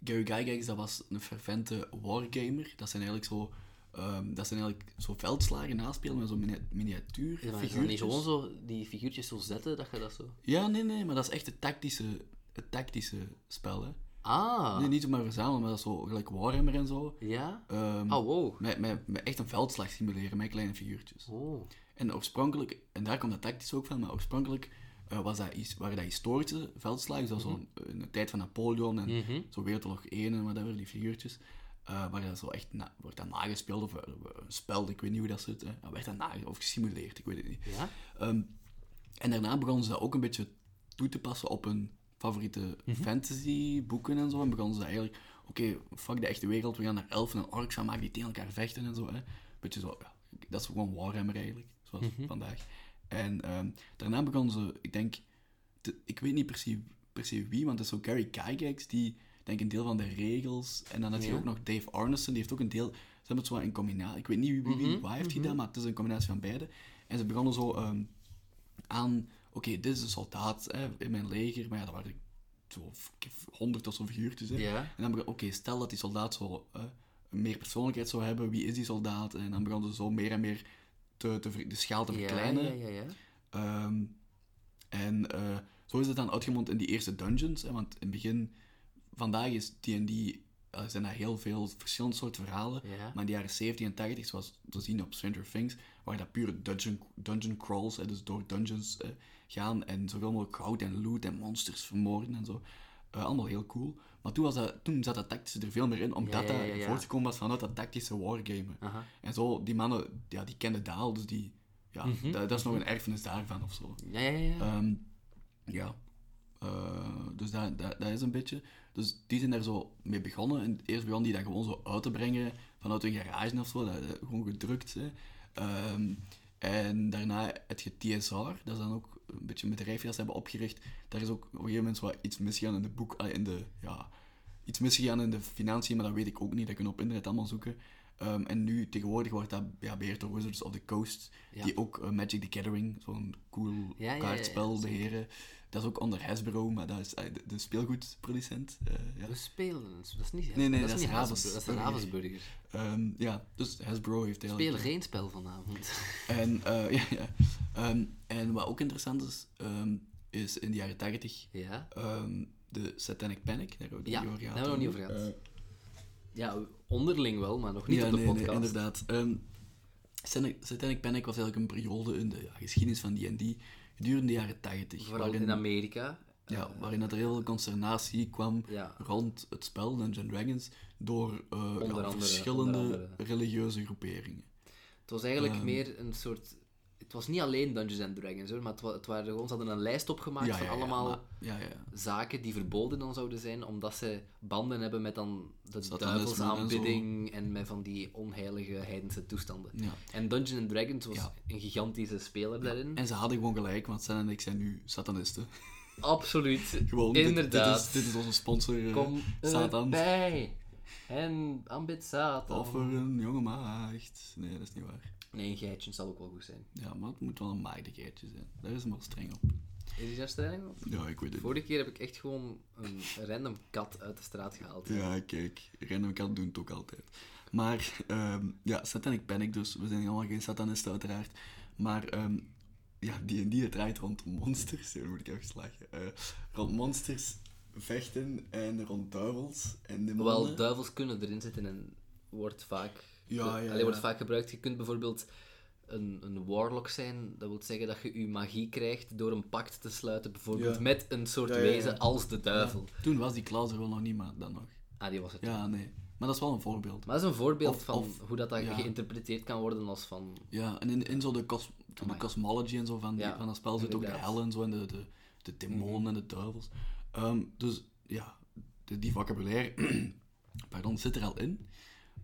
Speaker 2: Gary Gygax, dat was een fervente wargamer. Dat zijn eigenlijk zo... ehm, dat zijn eigenlijk zo veldslagen naspelen met zo'n mini- miniatuur
Speaker 1: Ja, maar is dat niet
Speaker 2: figuurtjes.
Speaker 1: gewoon zo die figuurtjes zo zetten, dat je dat zo...
Speaker 2: Ja, nee, nee, maar dat is echt het tactische, het tactische spel, hè.
Speaker 1: Ah,
Speaker 2: Nee, niet maar verzamelen, maar dat is zo gelijk Warhammer en zo.
Speaker 1: ja?
Speaker 2: Ehm,
Speaker 1: Oh, wow.
Speaker 2: met, met, met echt een veldslag simuleren met kleine figuurtjes.
Speaker 1: Oh.
Speaker 2: En oorspronkelijk, en daar komt dat tactisch ook van, maar oorspronkelijk eh, was dat, his- waren dat historische veldslagen, zoals zo'n- in de tijd van Napoleon en zo Wereldoorlog 1 en whatever, die figuurtjes. eh waar dat zo echt na- wordt dat nagespeeld of eh, een spel, ik weet niet hoe dat zit. Hè. Dat werd dat nage- of gesimuleerd, ik weet het niet.
Speaker 1: Ja?
Speaker 2: Ehm, en daarna begonnen ze dat ook een beetje toe te passen op hun favoriete fantasy boeken en zo. En begonnen ze eigenlijk, oké, fuck de echte wereld, we gaan naar elfen en orks van maken die tegen elkaar vechten en zo. Hè. Beetje zo, ja, dat is gewoon Warhammer eigenlijk, zoals vandaag. En ehm, daarna begonnen ze, ik denk, te- ik weet niet precies, precies wie, want dat is zo Gary Gygax, die denk een deel van de regels. En dan had je
Speaker 1: Ja.
Speaker 2: ook nog Dave Arneson, die heeft ook een deel. Ze hebben het zo wat in combinatie. Ik weet niet wie, wie, wie
Speaker 1: Mhm,
Speaker 2: waar heeft gedaan, maar het is een combinatie van beide. En ze begonnen zo ehm, aan, oké, dit is een soldaat hè, in mijn leger, maar ja, dat waren zo honderd of zo figuurtjes. Hè.
Speaker 1: Ja.
Speaker 2: En dan begon, oké, stel dat die soldaat zo eh, meer persoonlijkheid zou hebben, wie is die soldaat? En dan begonnen ze zo meer en meer te, te, ver- de schaal te verkleinen.
Speaker 1: Ja, ja, ja. ja.
Speaker 2: Ehm, en eh, zo is het dan uitgemond in die eerste dungeons. Hè, want in het begin, vandaag is D&D, eh, zijn daar heel veel verschillende soorten verhalen.
Speaker 1: Ja.
Speaker 2: Maar in de jaren 70 en 80, zoals te zien op Stranger Things, waren dat pure dungeon, dungeon crawls. Hè, dus door dungeons eh, gaan en zoveel mogelijk goud en loot en monsters vermoorden en zo. Eh, allemaal heel cool. Maar toen, was dat, toen zat dat tactische er veel meer in, omdat
Speaker 1: ja, ja,
Speaker 2: dat
Speaker 1: ja.
Speaker 2: voortgekomen was vanuit dat tactische wargamen.
Speaker 1: Aha.
Speaker 2: En zo, die mannen, ja, die kenden dat al, dus die, ja,
Speaker 1: Mhm.
Speaker 2: dat, dat is nog een erfenis daarvan of zo.
Speaker 1: Ja, ja, ja.
Speaker 2: Ehm, ja. Eh, dus dat, dat, dat is een beetje. Dus die zijn daar zo mee begonnen. En eerst begonnen die dat gewoon zo uit te brengen vanuit hun garage of zo. Dat, dat- gewoon gedrukt. Hè. Ehm, en daarna het je TSR, dat is dan ook een beetje een bedrijfje dat ze hebben opgericht. Daar is ook op een gegeven moment zo wat iets misgegaan in de boek. eh, In de, ja, iets misgegaan in de financiën, maar dat weet ik ook niet. Dat kunnen we op internet allemaal zoeken. Ehm, en nu tegenwoordig wordt dat ja, beheerd door Wizards of the Coast,
Speaker 1: Ja.
Speaker 2: die ook eh, Magic the Gathering, zo'n cool
Speaker 1: Ja, ja, ja,
Speaker 2: kaartspel beheren. Dat is ook onder Hasbro, maar dat is eh, de, de speelgoedproducent. eh, ja.
Speaker 1: We spelen. Dat is niet...
Speaker 2: Nee, nee, dat
Speaker 1: niet
Speaker 2: is Havens-
Speaker 1: Havens- Dat is een
Speaker 2: Burger.
Speaker 1: Havensburger.
Speaker 2: Ehm, ja, dus Hasbro heeft
Speaker 1: We
Speaker 2: eigenlijk...
Speaker 1: spelen geen spel vanavond.
Speaker 2: En, eh, ja, ja. Ehm, en wat ook interessant is, ehm, is in de jaren 80
Speaker 1: Ja.
Speaker 2: ehm, de Satanic Panic. Daar hebben we het
Speaker 1: Ja,
Speaker 2: niet over
Speaker 1: daar
Speaker 2: gehad. Eh,
Speaker 1: hebben we nog niet over gehad. Ja, onderling wel, maar nog niet
Speaker 2: ja,
Speaker 1: op de
Speaker 2: nee,
Speaker 1: podcast.
Speaker 2: Nee, inderdaad. Ehm, Satanic, Satanic Panic was eigenlijk een periode in de ja, geschiedenis van D&D gedurende de jaren 80.
Speaker 1: Vooral
Speaker 2: waarin-
Speaker 1: in Amerika.
Speaker 2: Ja, waarin dat er heel veel consternatie kwam
Speaker 1: Ja.
Speaker 2: rond het spel Dungeons and Dragons door eh, ja,
Speaker 1: andere,
Speaker 2: verschillende
Speaker 1: onder andere.
Speaker 2: religieuze groeperingen.
Speaker 1: Het was eigenlijk meer een soort... Het was niet alleen Dungeons and Dragons, hoor, maar het, wa- het waren gewoon... Ze hadden een lijst opgemaakt van Ah, allemaal
Speaker 2: maar- ja, ja.
Speaker 1: zaken die verboden dan zouden zijn, omdat ze banden hebben met dan de
Speaker 2: Satanisme
Speaker 1: duivelsaanbidding en, met van die onheilige heidense toestanden.
Speaker 2: Ja.
Speaker 1: En Dungeons and Dragons was
Speaker 2: Ja.
Speaker 1: een gigantische speler daarin.
Speaker 2: En ze hadden gewoon gelijk, want Sen en ik zijn nu satanisten.
Speaker 1: Absoluut.
Speaker 2: Gewoon, dit-
Speaker 1: Inderdaad.
Speaker 2: Dit, is, dit is onze sponsor, eh,
Speaker 1: Kom
Speaker 2: Satan.
Speaker 1: erbij. En aanbid Satan.
Speaker 2: Offer een jonge maagd. Nee, dat is niet waar.
Speaker 1: Nee, een geitje zal ook wel goed zijn.
Speaker 2: Ja, maar het moet wel een maagdigheidje zijn. Daar is hem wel streng op.
Speaker 1: Is die daar streng op?
Speaker 2: Ja, ik weet het.
Speaker 1: Vorige keer heb ik echt gewoon een random kat uit de straat gehaald.
Speaker 2: Ja, kijk, random cat doen het ook altijd. Maar ehm, ja, Satanic Panic, dus we zijn allemaal geen satanisten uiteraard. Maar ehm ja, die en die draait rond monsters. Daar word ik even slagen. Eh, rond monsters vechten en rond duivels en demonen.
Speaker 1: Hoewel duivels kunnen erin zitten en wordt vaak,
Speaker 2: Ja, ja,
Speaker 1: Allee,
Speaker 2: ja.
Speaker 1: wordt vaak gebruikt. Je kunt bijvoorbeeld een, een warlock zijn. Dat wil zeggen dat je je magie krijgt door een pact te sluiten. Bijvoorbeeld
Speaker 2: Ja.
Speaker 1: met een soort
Speaker 2: Ja, ja, ja.
Speaker 1: wezen als de duivel.
Speaker 2: Toen was die Klaus er wel nog niet, maar dan nog.
Speaker 1: Ah, die was het.
Speaker 2: Ja, nee. Maar dat is wel een voorbeeld.
Speaker 1: Maar dat is een voorbeeld
Speaker 2: Of-
Speaker 1: van
Speaker 2: of-
Speaker 1: hoe dat, dat
Speaker 2: ja.
Speaker 1: geïnterpreteerd kan worden als van...
Speaker 2: Ja, en in, in zo de, cos de cosmology en zo van, die-
Speaker 1: Ja,
Speaker 2: van dat spel zit ook de
Speaker 1: inderdaad. Mhm.
Speaker 2: hel en zo en de, de, de demonen en de duivels. Ehm, dus ja, de- die vocabulaire pardon, zit er al in.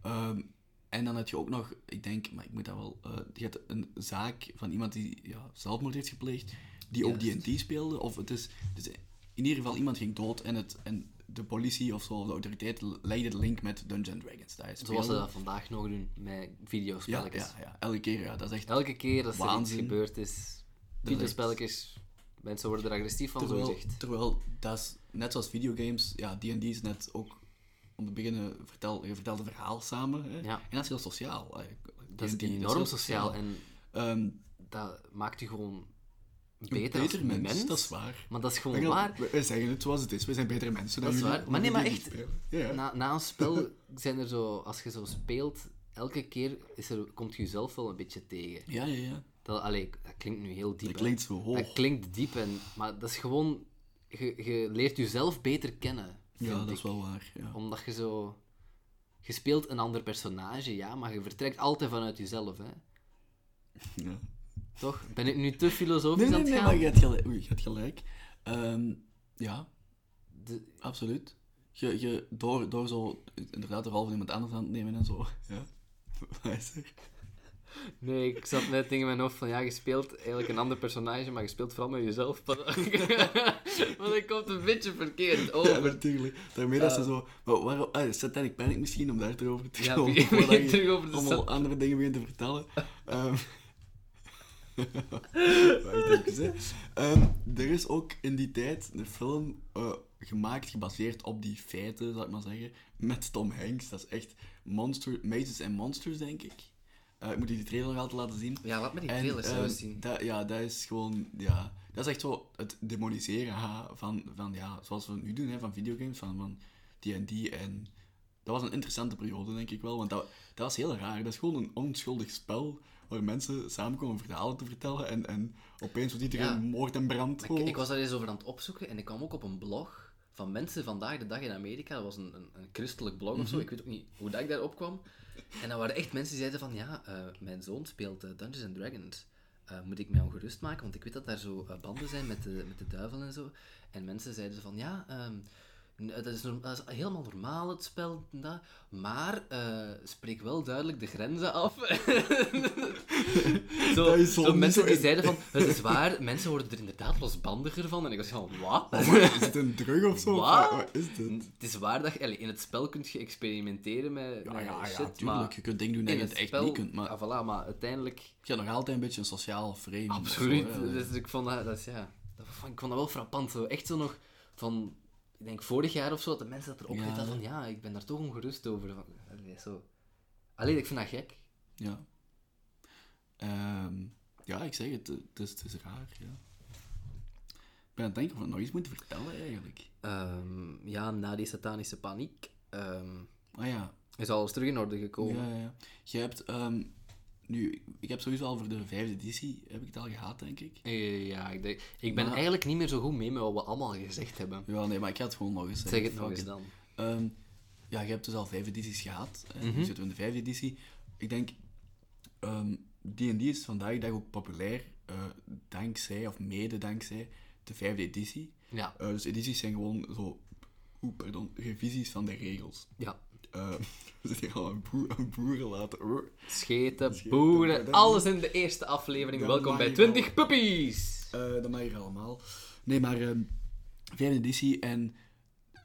Speaker 2: Ehm, en dan had je ook nog, ik denk, maar ik moet dat wel... eh, je hebt een zaak van iemand die ja, zelfmoord heeft gepleegd, die ook
Speaker 1: Juist.
Speaker 2: D&D speelde. Of het is, dus in ieder geval, iemand ging dood en, het, en de politie of zo, of de autoriteit, legde de link met Dungeons Dragons. Dat is
Speaker 1: Zoals eh, ze
Speaker 2: speelde.
Speaker 1: dat vandaag nog doen met
Speaker 2: ja,
Speaker 1: videospelletjes.
Speaker 2: ja, ja, elke keer, ja. Dat is echt
Speaker 1: Elke keer dat er iets
Speaker 2: Waanzin.
Speaker 1: gebeurd is, videospelletjes, mensen worden er agressief van, zo
Speaker 2: Terwijl,
Speaker 1: gezegd.
Speaker 2: terwijl dat is net zoals videogames, ja, D&D is net ook om te beginnen, vertel, je vertelt een verhaal samen. Hè?
Speaker 1: Ja.
Speaker 2: En dat is heel sociaal. eigenlijk.
Speaker 1: Dat is
Speaker 2: D&D heel
Speaker 1: enorm sociaal en
Speaker 2: Ehm,
Speaker 1: dat maakt u gewoon
Speaker 2: een
Speaker 1: beter, als mens.
Speaker 2: mens, dat is waar.
Speaker 1: Maar dat is
Speaker 2: We
Speaker 1: gewoon
Speaker 2: gaan-
Speaker 1: waar.
Speaker 2: We, we zeggen het zoals het is, we zijn betere mensen dan
Speaker 1: Dat is
Speaker 2: jullie,
Speaker 1: waar. Maar nee, maar
Speaker 2: die
Speaker 1: echt-
Speaker 2: niet spelen. Ja, ja.
Speaker 1: Na, na een spel zijn er zo, als je zo speelt, elke keer is er, komt je jezelf wel een beetje tegen.
Speaker 2: ja, ja, ja.
Speaker 1: Dat, allee, dat klinkt nu heel diep.
Speaker 2: Dat
Speaker 1: hè.
Speaker 2: klinkt zo hoog.
Speaker 1: Dat klinkt diep, en, maar dat is gewoon... Je, je leert jezelf beter kennen, vind
Speaker 2: ja, dat
Speaker 1: ik.
Speaker 2: is wel waar. Ja.
Speaker 1: Omdat je zo... Je speelt een ander personage, ja, maar je vertrekt altijd vanuit jezelf, hè.
Speaker 2: Ja.
Speaker 1: Toch? Ben ik nu te filosofisch
Speaker 2: Nee,
Speaker 1: aan het
Speaker 2: nee, nee,
Speaker 1: gaan?
Speaker 2: maar je hebt gelijk. Oei, je hebt gelijk. Ehm, ja,
Speaker 1: De-
Speaker 2: absoluut. Je, je, door, door zo inderdaad de rol van iemand anders aan te nemen en zo. Ja, wijzer.
Speaker 1: Nee, ik zat net tegen mijn hoofd van ja, je speelt eigenlijk een ander personage, maar je speelt vooral met jezelf. Maar maar dat komt een beetje verkeerd Oh,
Speaker 2: Ja,
Speaker 1: over.
Speaker 2: natuurlijk. Daarmee dat ze zo... Maar waarom... Ah, satanic panic misschien, om daar erover te
Speaker 1: Ja,
Speaker 2: komen.
Speaker 1: begin-
Speaker 2: voordat
Speaker 1: begin
Speaker 2: je
Speaker 1: terug over de
Speaker 2: allemaal
Speaker 1: sat-
Speaker 2: andere dingen begint te vertellen. Ehm, Wacht even, hè. Ehm, er is ook in die tijd een film eh, gemaakt, gebaseerd op die feiten, zal ik maar zeggen, met Tom Hanks. Dat is echt Monster, Mazes and Monsters, denk ik. Eh, ik moet je die trailer nog altijd laten zien.
Speaker 1: Ja, laat me die
Speaker 2: En,
Speaker 1: trailers
Speaker 2: ehm,
Speaker 1: eens zien.
Speaker 2: Dat, ja, dat is gewoon, ja, dat is echt zo het demoniseren haha, van, van ja, zoals we het nu doen, hè, van videogames, van, van D&D en... Dat was een interessante periode, denk ik wel, want dat, dat was heel raar. Dat is gewoon een onschuldig spel waar mensen samenkomen verhalen te vertellen en, en opeens wordt iedereen
Speaker 1: Ja.
Speaker 2: moord en brand.
Speaker 1: Ik,
Speaker 2: gewoon.
Speaker 1: ik was daar eens over aan het opzoeken en ik kwam ook op een blog van mensen vandaag de dag in Amerika. Dat was een, een, een christelijk blog
Speaker 2: Mhm.
Speaker 1: of zo, ik weet ook niet hoe dat ik daarop kwam. En dan waren echt mensen die zeiden van ja, eh, mijn zoon speelt eh, Dungeons and Dragons. Eh, moet ik mij ongerust maken? Want ik weet dat daar zo eh, banden zijn met de, met de duivel en zo. En mensen zeiden van ja, ehm, n- dat, is norm- dat is helemaal normaal het spel, en dat, maar eh, spreek wel duidelijk de grenzen af. zo,
Speaker 2: Dat is
Speaker 1: zo
Speaker 2: zo niet
Speaker 1: mensen
Speaker 2: zo
Speaker 1: die
Speaker 2: in-
Speaker 1: zeiden van het is waar, mensen worden er inderdaad losbandiger van. En ik was van wat?
Speaker 2: Is het een drug of zo?
Speaker 1: Wat?
Speaker 2: Wat is dit?
Speaker 1: Het is waar dat je allee, in het spel kunt je experimenteren met,
Speaker 2: Ja,
Speaker 1: met
Speaker 2: ja,
Speaker 1: shit,
Speaker 2: ja, tuurlijk.
Speaker 1: maar
Speaker 2: Je kunt dingen doen dat
Speaker 1: in
Speaker 2: je
Speaker 1: het
Speaker 2: het echt
Speaker 1: spel,
Speaker 2: niet kunt, maar
Speaker 1: Ah, voilà, maar uiteindelijk...
Speaker 2: je hebt nog altijd een beetje een sociaal frame.
Speaker 1: Absoluut.
Speaker 2: Of zo, hè.
Speaker 1: Dus ik vond dat, dat is, ja, dat vond- ik vond dat wel frappant. Zo. Echt zo nog van, ik denk vorig jaar of zo, dat de mensen dat erop
Speaker 2: Ja.
Speaker 1: ja. van, ja, ik ben daar toch ongerust over. Van, allee, zo. Allee, ik vind dat gek.
Speaker 2: Ja. Ehm, ja, ik zeg het, het is, het is raar, ja. Ik ben aan het denken of we nog iets moeten vertellen, eigenlijk.
Speaker 1: Ehm, ja, na die satanische paniek ehm,
Speaker 2: Ah ja,
Speaker 1: is alles terug in orde gekomen.
Speaker 2: ja, ja, ja. Je hebt, ehm, nu, ik heb sowieso al voor de vijfde editie, heb ik het al gehad, denk ik.
Speaker 1: Eh, ja, ik, denk, ik ben
Speaker 2: Maar-
Speaker 1: eigenlijk niet meer zo goed mee met wat we allemaal gezegd hebben.
Speaker 2: Ja, nee, maar ik ga het gewoon nog eens
Speaker 1: Zeg
Speaker 2: zeggen.
Speaker 1: het nog
Speaker 2: Fuck
Speaker 1: eens
Speaker 2: it.
Speaker 1: dan. Mhm.
Speaker 2: Ehm, ja, je hebt dus al vijf edities gehad. hè. Nu zitten we in de vijfde editie. Ik denk, ehm, D&D is vandaag de dag ook populair, eh, dankzij, of mede dankzij, de vijfde editie.
Speaker 1: Ja,
Speaker 2: Eh, dus edities zijn gewoon zo, oeh, pardon, revisies van de regels.
Speaker 1: ja.
Speaker 2: Eh, we zitten hier al aan, boer, aan boeren laten. hoor.
Speaker 1: Scheten,
Speaker 2: Scheten,
Speaker 1: boeren,
Speaker 2: boeren.
Speaker 1: alles in de eerste aflevering.
Speaker 2: Dan
Speaker 1: Welkom
Speaker 2: mag
Speaker 1: bij
Speaker 2: je wel.
Speaker 1: 20 Puppies!
Speaker 2: Eh, dat mag hier allemaal. Nee, maar ehm, vijfde editie en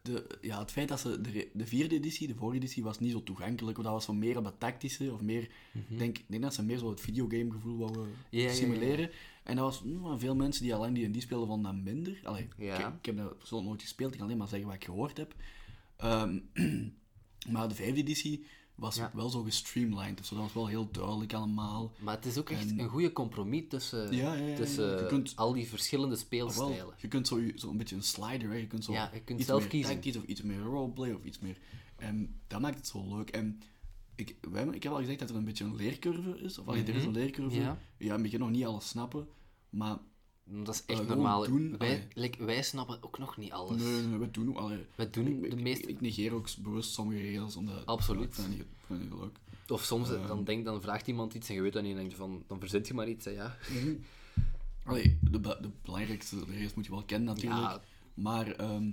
Speaker 2: de, ja, het feit dat ze de, re- de vierde editie, de vorige editie, was niet zo toegankelijk. want Dat was zo meer op dat tactische of meer, ik denk, ik denk dat ze meer zo het videogamegevoel wouden
Speaker 1: Mhm. Ja, ja, ja.
Speaker 2: simuleren. En dat was mm, maar veel mensen die al lang die spelen vonden dat minder. Allee,
Speaker 1: Ja.
Speaker 2: ik, ik heb dat persoonlijk nooit gespeeld, ik kan alleen maar zeggen wat ik gehoord heb. Ehm, maar de vijfde editie was
Speaker 1: Ja.
Speaker 2: wel zo gestreamlined, dus dat was wel heel duidelijk allemaal.
Speaker 1: Maar het is ook echt
Speaker 2: En-
Speaker 1: een goede compromis tussen,
Speaker 2: Ja, ja, ja, ja.
Speaker 1: tussen
Speaker 2: Je kunt-
Speaker 1: al die verschillende
Speaker 2: Wel,
Speaker 1: speelstijlen.
Speaker 2: je kunt zo, je- zo een beetje een slider, hè. je kunt zo
Speaker 1: Ja, je kunt
Speaker 2: iets
Speaker 1: zelf
Speaker 2: meer
Speaker 1: kiezen.
Speaker 2: tactisch of iets meer roleplay of iets meer. En dat maakt het zo leuk. En ik, we hebben- ik heb al gezegd dat er een beetje een leercurve is, of allee, er is een leercurve.
Speaker 1: Mhm, Ja.
Speaker 2: Ja. in het begin nog niet alles snappen, maar
Speaker 1: Mm, Dat is echt
Speaker 2: eh, gewoon
Speaker 1: normaal.
Speaker 2: doen,
Speaker 1: wij,
Speaker 2: allee.
Speaker 1: like, wij snappen ook nog niet alles.
Speaker 2: nee, nee, we doen ook allee,
Speaker 1: We doen
Speaker 2: ik-
Speaker 1: de
Speaker 2: ik-
Speaker 1: meeste-
Speaker 2: Ik negeer ook bewust sommige regels, omdat
Speaker 1: Absoluut.
Speaker 2: Ik vind dat niet, ik vind dat niet leuk.
Speaker 1: Of soms eh, dan, denk, dan vraagt iemand iets en je weet dat niet en dan denk je van, dan verzet je maar iets. Hè, ja.
Speaker 2: Allee, de, be- de belangrijkste regels moet je wel kennen natuurlijk.
Speaker 1: Ja.
Speaker 2: Maar ehm,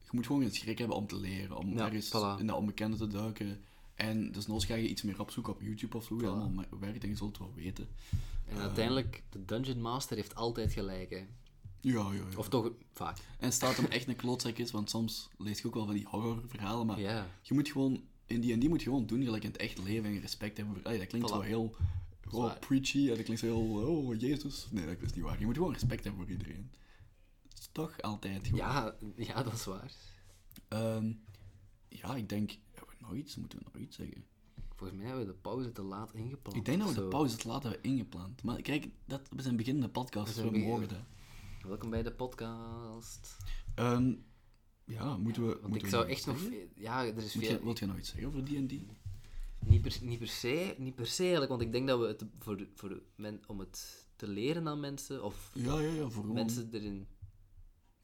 Speaker 2: je moet gewoon geen schrik hebben om te leren, om
Speaker 1: Ja,
Speaker 2: ergens
Speaker 1: voilà.
Speaker 2: in dat onbekende te duiken. En dus noods ga je iets meer opzoeken op YouTube of zo, hoe dat allemaal mer- werkt en je zult het wel weten.
Speaker 1: En uiteindelijk, de Dungeon Master heeft altijd gelijk. Hè.
Speaker 2: Ja, ja, ja.
Speaker 1: Of toch vaak.
Speaker 2: En staat hem echt een klootzak is, want soms lees je ook wel van die horrorverhalen, maar
Speaker 1: Ja.
Speaker 2: je moet gewoon, in die en die moet je gewoon doen gelijk in het echt leven en respect hebben. voor- Allee, dat klinkt
Speaker 1: Voilà.
Speaker 2: zo heel
Speaker 1: is
Speaker 2: oh,
Speaker 1: waar.
Speaker 2: preachy en dat klinkt zo heel, oh Jezus. Nee, dat is niet waar. Je moet gewoon respect hebben voor iedereen. Dat is toch altijd gewoon.
Speaker 1: Ja, ja, dat is waar.
Speaker 2: Ehm, ja, ik denk, hebben we nog iets? Moeten we nog iets zeggen?
Speaker 1: Volgens mij hebben we de pauze te laat ingepland.
Speaker 2: Ik denk dat we
Speaker 1: of
Speaker 2: de
Speaker 1: zo.
Speaker 2: pauze het later hebben ingepland. Maar kijk, dat we zijn beginnende podcast, dus
Speaker 1: zijn
Speaker 2: we
Speaker 1: begin-
Speaker 2: mogen dat.
Speaker 1: Welkom bij de podcast.
Speaker 2: Ehm, ja, moeten we...
Speaker 1: Want
Speaker 2: moeten
Speaker 1: ik
Speaker 2: we
Speaker 1: zou
Speaker 2: nog
Speaker 1: echt
Speaker 2: iets
Speaker 1: nog...
Speaker 2: zeggen?
Speaker 1: ve- Ja, er is
Speaker 2: Moet
Speaker 1: veel...
Speaker 2: je, wilt je nog iets zeggen over die en die?
Speaker 1: Niet per, niet per se, niet per se eigenlijk, want ik denk dat we het voor, voor men, om het te leren aan mensen, of
Speaker 2: Ja, ja, ja, voor gewoon...
Speaker 1: mensen erin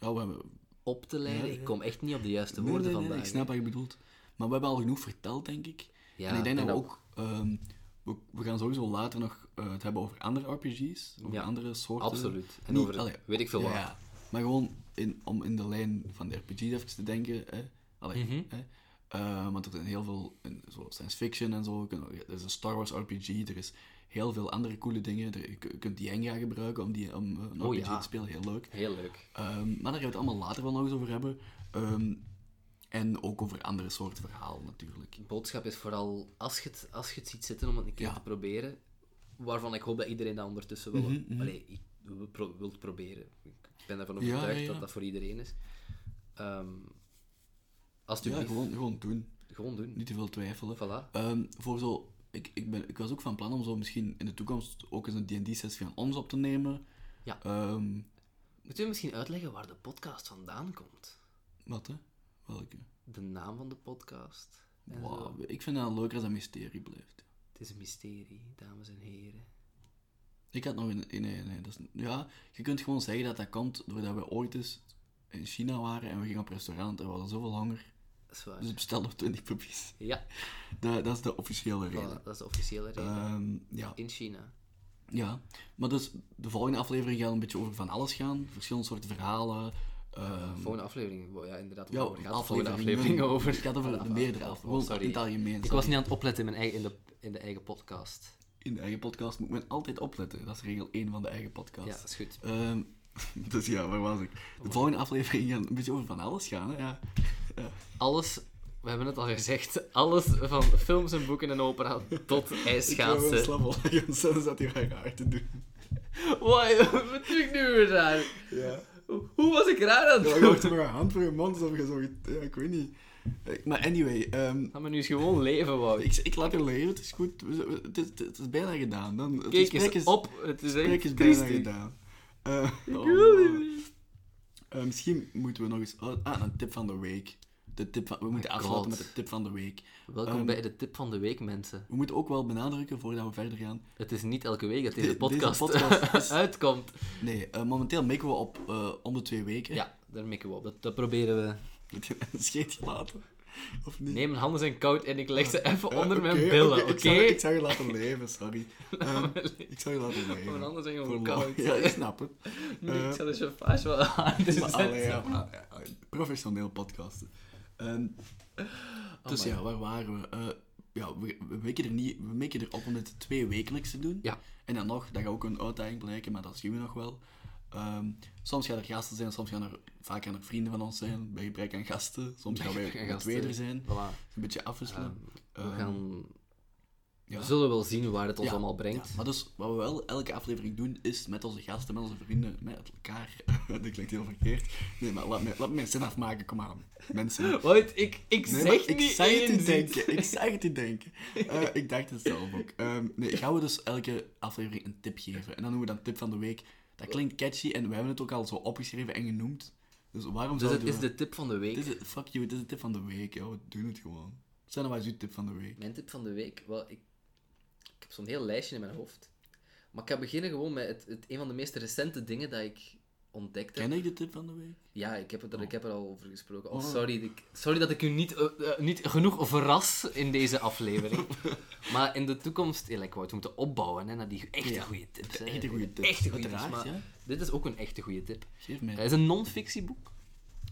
Speaker 2: Ja, we hebben...
Speaker 1: op te leiden,
Speaker 2: Ja, ja.
Speaker 1: ik kom echt niet op de juiste
Speaker 2: Nee,
Speaker 1: woorden
Speaker 2: nee, nee,
Speaker 1: vandaag.
Speaker 2: ik snap wat je bedoelt. Maar we hebben al genoeg verteld, denk ik.
Speaker 1: Ja,
Speaker 2: en ik denk dat
Speaker 1: en
Speaker 2: we
Speaker 1: dat-
Speaker 2: ook... ehm, we, we gaan sowieso later nog eh, het hebben over andere RPG's. Over
Speaker 1: Ja,
Speaker 2: andere soorten.
Speaker 1: Absoluut. En
Speaker 2: Niet-
Speaker 1: over
Speaker 2: allee,
Speaker 1: weet ik veel
Speaker 2: ja,
Speaker 1: wat.
Speaker 2: ja. Maar gewoon in, om in de lijn van de RPG's even te denken. Hè? Allee,
Speaker 1: Mhm.
Speaker 2: hè? Eh, want er zijn heel veel in, zo science fiction en zo. kunnen- Er is een Star Wars RPG. Er is heel veel andere coole dingen. Er, je kun- je kunt Jenga gebruiken om, die, om eh, een
Speaker 1: Oh,
Speaker 2: RPG
Speaker 1: ja.
Speaker 2: te spelen. Heel leuk.
Speaker 1: Heel leuk.
Speaker 2: Ehm, maar daar gaan we het allemaal later wel nog eens over hebben. Ehm, en ook over andere soorten verhalen natuurlijk.
Speaker 1: De boodschap is vooral, als je het, als je het ziet zitten om het een keer
Speaker 2: Ja.
Speaker 1: te proberen, waarvan ik hoop dat iedereen dat ondertussen wel allee, ik, wil pro- wilt proberen. Ik ben ervan
Speaker 2: Mhm, Ja, ja,
Speaker 1: overtuigd
Speaker 2: ja.
Speaker 1: dat dat voor iedereen is. Ehm
Speaker 2: Ja,
Speaker 1: alsjeblieft, gewoon,
Speaker 2: gewoon, gewoon doen.
Speaker 1: doen.
Speaker 2: Niet te veel twijfelen.
Speaker 1: Voilà.
Speaker 2: Ehm, voor zo, ik, ik, ben, ik was ook van plan om zo misschien in de toekomst ook eens een D&D-sessie van ons op te nemen.
Speaker 1: Ja.
Speaker 2: Ehm,
Speaker 1: Moeten we misschien uitleggen waar de podcast vandaan komt?
Speaker 2: wat, hè? Welke?
Speaker 1: De naam van de podcast. en zo.
Speaker 2: Wow, ik vind dat leuker als dat mysterie blijft.
Speaker 1: Het is een mysterie, dames en heren.
Speaker 2: Ik had nog een... Nee, nee, nee, dat is, ja, je kunt gewoon zeggen dat dat komt doordat we ooit eens in China waren en we gingen op restaurant en we hadden zoveel honger.
Speaker 1: Dat is waar.
Speaker 2: Dus we bestelden 20 puppies.
Speaker 1: Ja,
Speaker 2: Dat, dat is de officiële
Speaker 1: voilà,
Speaker 2: reden.
Speaker 1: dat is de officiële reden.
Speaker 2: Ehm, ja.
Speaker 1: In China.
Speaker 2: ja, maar dus de volgende aflevering gaat een beetje over van alles gaan. Verschillende soorten verhalen. ehm,
Speaker 1: Volgende aflevering. wow, Ja, inderdaad.
Speaker 2: ja,
Speaker 1: waar gaat de volgende
Speaker 2: afleveringen.
Speaker 1: aflevering over?
Speaker 2: Het gaat over de meerdere
Speaker 1: Oh,
Speaker 2: afleveringen. Gewoon
Speaker 1: sorry.
Speaker 2: in het algemeen.
Speaker 1: Ik
Speaker 2: sorry.
Speaker 1: was niet aan het opletten in, mijn eigen, in, de, in de eigen podcast.
Speaker 2: In de eigen podcast moet men altijd opletten. Dat is regel 1 van de eigen podcast.
Speaker 1: Ja, dat is goed.
Speaker 2: Ehm, dus ja, waar was ik? De volgende aflevering gaat een beetje over van alles gaan. Hè? Ja.
Speaker 1: Alles, we hebben het al gezegd, alles van films en boeken en opera tot
Speaker 2: Ik wil
Speaker 1: ijsschaatsen.
Speaker 2: wel slap gaan, zelfs dat hij haar raar te doen.
Speaker 1: Wauw, wat doe ik nu weer raar?
Speaker 2: Ja.
Speaker 1: Hoe was ik raar aan
Speaker 2: Maar
Speaker 1: het
Speaker 2: je
Speaker 1: doen?
Speaker 2: hoort maar een hand voor je mond, alsof je zo... Ja, ik weet niet. Eh, Maar anyway, ehm,
Speaker 1: Laat me nu eens gewoon leven, Wout.
Speaker 2: ik, ik laat er leren, het is goed. We- we- Het is, het is, bijna gedaan. Dan, het
Speaker 1: Kijk
Speaker 2: gesprek
Speaker 1: eens
Speaker 2: is-
Speaker 1: op, het is
Speaker 2: Het
Speaker 1: echt
Speaker 2: gesprek is bijna
Speaker 1: triestig.
Speaker 2: gedaan. Eh, oh,
Speaker 1: wil niet
Speaker 2: man.
Speaker 1: meer.
Speaker 2: Eh, misschien moeten we nog eens... oh, ah, een tip van de week. De tip van, we moeten
Speaker 1: Oh God.
Speaker 2: afsluiten met de tip van de week.
Speaker 1: Welkom
Speaker 2: Ehm,
Speaker 1: bij de tip van de week, mensen.
Speaker 2: We moeten ook wel benadrukken, voordat we verder gaan,
Speaker 1: Het is niet elke week dat
Speaker 2: de-
Speaker 1: deze podcast,
Speaker 2: deze podcast is-
Speaker 1: uitkomt.
Speaker 2: Nee, eh, momenteel mikken we op eh, om de twee weken.
Speaker 1: Ja, daar mikken we op. Dat, dat proberen we.
Speaker 2: Heb je een scheet gelaten? Of niet?
Speaker 1: Nee, mijn handen zijn koud en ik leg ze even
Speaker 2: Ja,
Speaker 1: onder mijn
Speaker 2: oké,
Speaker 1: billen, oké?
Speaker 2: Ik, zou- ik zou je laten leven, sorry. Ehm, ik zou je laten leven.
Speaker 1: Mijn handen zijn gewoon
Speaker 2: Voor
Speaker 1: koud.
Speaker 2: lol. Ja, ik snap het.
Speaker 1: Nu,
Speaker 2: Eh,
Speaker 1: ik zal de chauffage wel aan. Dus
Speaker 2: maar
Speaker 1: dat-
Speaker 2: allee, ja, maar, ja, professioneel podcasten. Ehm, dus
Speaker 1: Oh my
Speaker 2: ja, waar waren we? Eh, ja, we, we mikken er niet, we mikken erop om het twee wekelijks te doen.
Speaker 1: Ja.
Speaker 2: En dan nog, dat gaat ook een uitdaging blijken, maar dat zien we nog wel. Ehm, soms gaan er gasten zijn, soms gaan er, vaak gaan er vrienden van ons zijn, bij gebrek aan gasten. Soms gaan wij
Speaker 1: gebrek aan
Speaker 2: met
Speaker 1: gasten.
Speaker 2: tweede zijn.
Speaker 1: Voilà.
Speaker 2: Een beetje afwisselen.
Speaker 1: We
Speaker 2: Ehm,
Speaker 1: gaan...
Speaker 2: ja.
Speaker 1: We zullen wel zien waar het ons
Speaker 2: Ja,
Speaker 1: allemaal brengt.
Speaker 2: ja. Maar dus, wat we wel elke aflevering doen, is met onze gasten, met onze vrienden, met elkaar. dat klinkt heel verkeerd. Nee, maar laat me, laat me mijn zin afmaken, kom aan. Mensen. Nee,
Speaker 1: Wat? Ik, ik
Speaker 2: maar
Speaker 1: zeg
Speaker 2: ik
Speaker 1: niet
Speaker 2: zei het
Speaker 1: eens
Speaker 2: u
Speaker 1: iets.
Speaker 2: denken. Ik zei het u denken. Eh, ik dacht het zelf ook. Ehm, nee, gaan we dus elke aflevering een tip geven. En dan noemen we dan tip van de week. Dat klinkt catchy en we hebben het ook al zo opgeschreven en genoemd. Dus waarom
Speaker 1: Dus het
Speaker 2: zouden
Speaker 1: is
Speaker 2: we...
Speaker 1: de tip van de week.
Speaker 2: Dit is- fuck you, dit is de tip van de week. Joh. We doen het gewoon. Zijn nou wat is uw tip van de week?
Speaker 1: Mijn tip van de week? Wel, ik, ik heb zo'n heel lijstje in mijn hoofd. Maar ik ga beginnen gewoon met het, het, een van de meest recente dingen dat ik ontdekt heb.
Speaker 2: Ken ik de tip van de week?
Speaker 1: Ja, ik heb, het er, ik heb er al over gesproken. Oh,
Speaker 2: Oh.
Speaker 1: sorry, dat ik- sorry dat ik u niet, eh, eh, niet genoeg verras in deze aflevering. maar in de toekomst, eerlijk ik wou het moeten opbouwen hè, naar die echte
Speaker 2: Ja,
Speaker 1: goede tips. hè.
Speaker 2: echte goede tips,
Speaker 1: Echte goede tips.
Speaker 2: uiteraard,
Speaker 1: maar
Speaker 2: ja.
Speaker 1: Dit is ook een echte goede tip.
Speaker 2: Geef mij.
Speaker 1: Het is een non-fictieboek.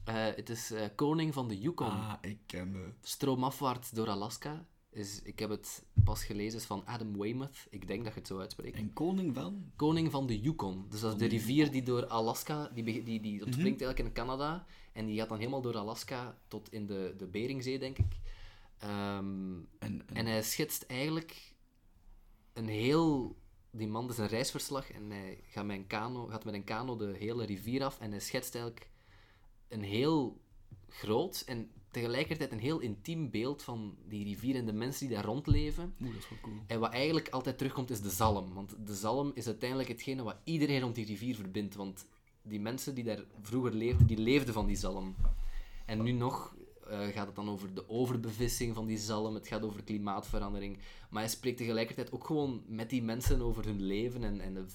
Speaker 1: Eh, het is eh, Koning van de Yukon.
Speaker 2: Ah, ik ken het.
Speaker 1: Stroomafwaarts door Alaska. Is, ik heb het pas gelezen, is van Adam Weymouth. Ik denk dat je het zo uitspreekt.
Speaker 2: En koning van?
Speaker 1: Koning van de Yukon. Mhm. Dus dat is de rivier die door Alaska, die, beg- die, die ontspringt eigenlijk in Canada. En die gaat dan helemaal door Alaska tot in de, de Beringzee, denk ik. Ehm,
Speaker 2: En, en,
Speaker 1: en hij schetst eigenlijk een heel... Die man is een reisverslag en hij gaat met, een kano, gaat met een kano de hele rivier af. En hij schetst eigenlijk een heel groot en tegelijkertijd een heel intiem beeld van die rivier en de mensen die daar rondleven.
Speaker 2: Oeh, dat is wel cool.
Speaker 1: En wat eigenlijk altijd terugkomt is de zalm. Want de zalm is uiteindelijk hetgene wat iedereen rond die rivier verbindt. Want die mensen die daar vroeger leefden, die leefden van die zalm. En nu nog, eh, gaat het dan over de overbevissing van die zalm, het gaat over klimaatverandering. Maar hij spreekt tegelijkertijd ook gewoon met die mensen over hun leven en, en de v-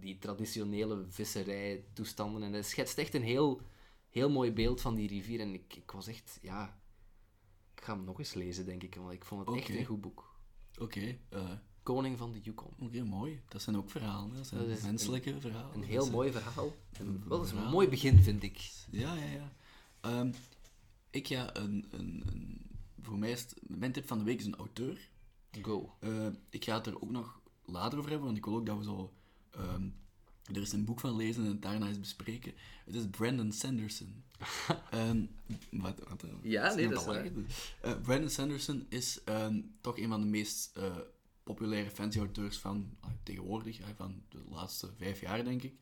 Speaker 1: die traditionele visserijtoestanden. En hij schetst echt een heel, heel mooi beeld van die rivier. En ik, ik was echt, ja... Ik ga hem nog eens lezen, denk ik, want ik vond het echt
Speaker 2: Oké.
Speaker 1: een goed boek.
Speaker 2: Oké, eh,
Speaker 1: Koning van de Yukon.
Speaker 2: oké, mooi. Dat zijn ook verhalen. hè. Dat zijn
Speaker 1: Dat is
Speaker 2: menselijke verhalen.
Speaker 1: Een
Speaker 2: Dat
Speaker 1: heel
Speaker 2: zijn-
Speaker 1: mooi verhaal. En wel eens een
Speaker 2: verhaal.
Speaker 1: mooi begin, vind ik.
Speaker 2: Ja, ja, ja. Ehm, ik ja, een, een, een, voor mij is het, mijn tip van de week is een auteur.
Speaker 1: Go.
Speaker 2: Eh, ik ga het er ook nog later over hebben, want ik wil ook dat we zo... ehm, er is een boek van lezen en het daarna eens bespreken. Het is Brandon Sanderson. Ehm, wat, wat, eh,
Speaker 1: Ja, nee,
Speaker 2: niet
Speaker 1: dat
Speaker 2: al
Speaker 1: is
Speaker 2: erg. Eh, Brandon Sanderson is ehm, toch een van de meest eh, populaire fantasy-auteurs van ah, tegenwoordig, hè, van de laatste vijf jaar, denk ik.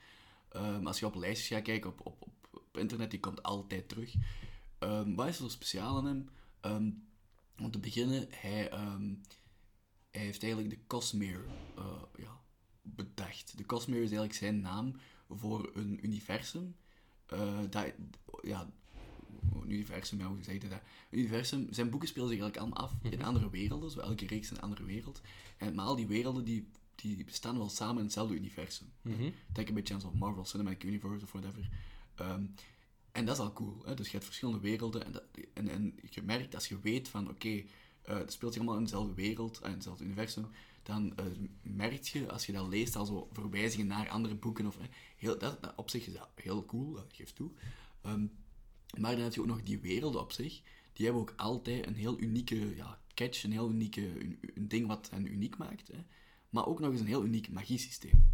Speaker 2: Ehm, als je op lijstjes gaat kijken op, op, op, op internet, die komt altijd terug. Ehm, wat is er zo speciaal aan hem? Ehm, om te beginnen, hij, ehm, hij heeft eigenlijk de Cosmere eh, ja, bedacht. De Cosmere is eigenlijk zijn naam voor een universum. Eh, dat, ja, een universum, ja, hoe zeg je dat? Een universum, zijn boeken spelen zich eigenlijk allemaal af in andere werelden, zo elke reeks een andere wereld. En, maar al die werelden die, die bestaan wel samen in hetzelfde universum. Denk een beetje aan zo'n Marvel Cinematic Universe of whatever. Ehm, en dat is al cool. Hè? Dus je hebt verschillende werelden. En, dat, en, en je merkt als je weet van oké, eh, het speelt zich allemaal in dezelfde wereld, eh, in hetzelfde universum. Dan eh, merk je, als je dat leest, al zo verwijzingen naar andere boeken. Of, hè, heel, dat, dat op zich is dat heel cool, dat geeft toe. Ehm, maar dan heb je ook nog die werelden op zich. Die hebben ook altijd een heel unieke ja, catch, een heel unieke, een, een ding wat hen uniek maakt. Hè? Maar ook nog eens een heel uniek magiesysteem.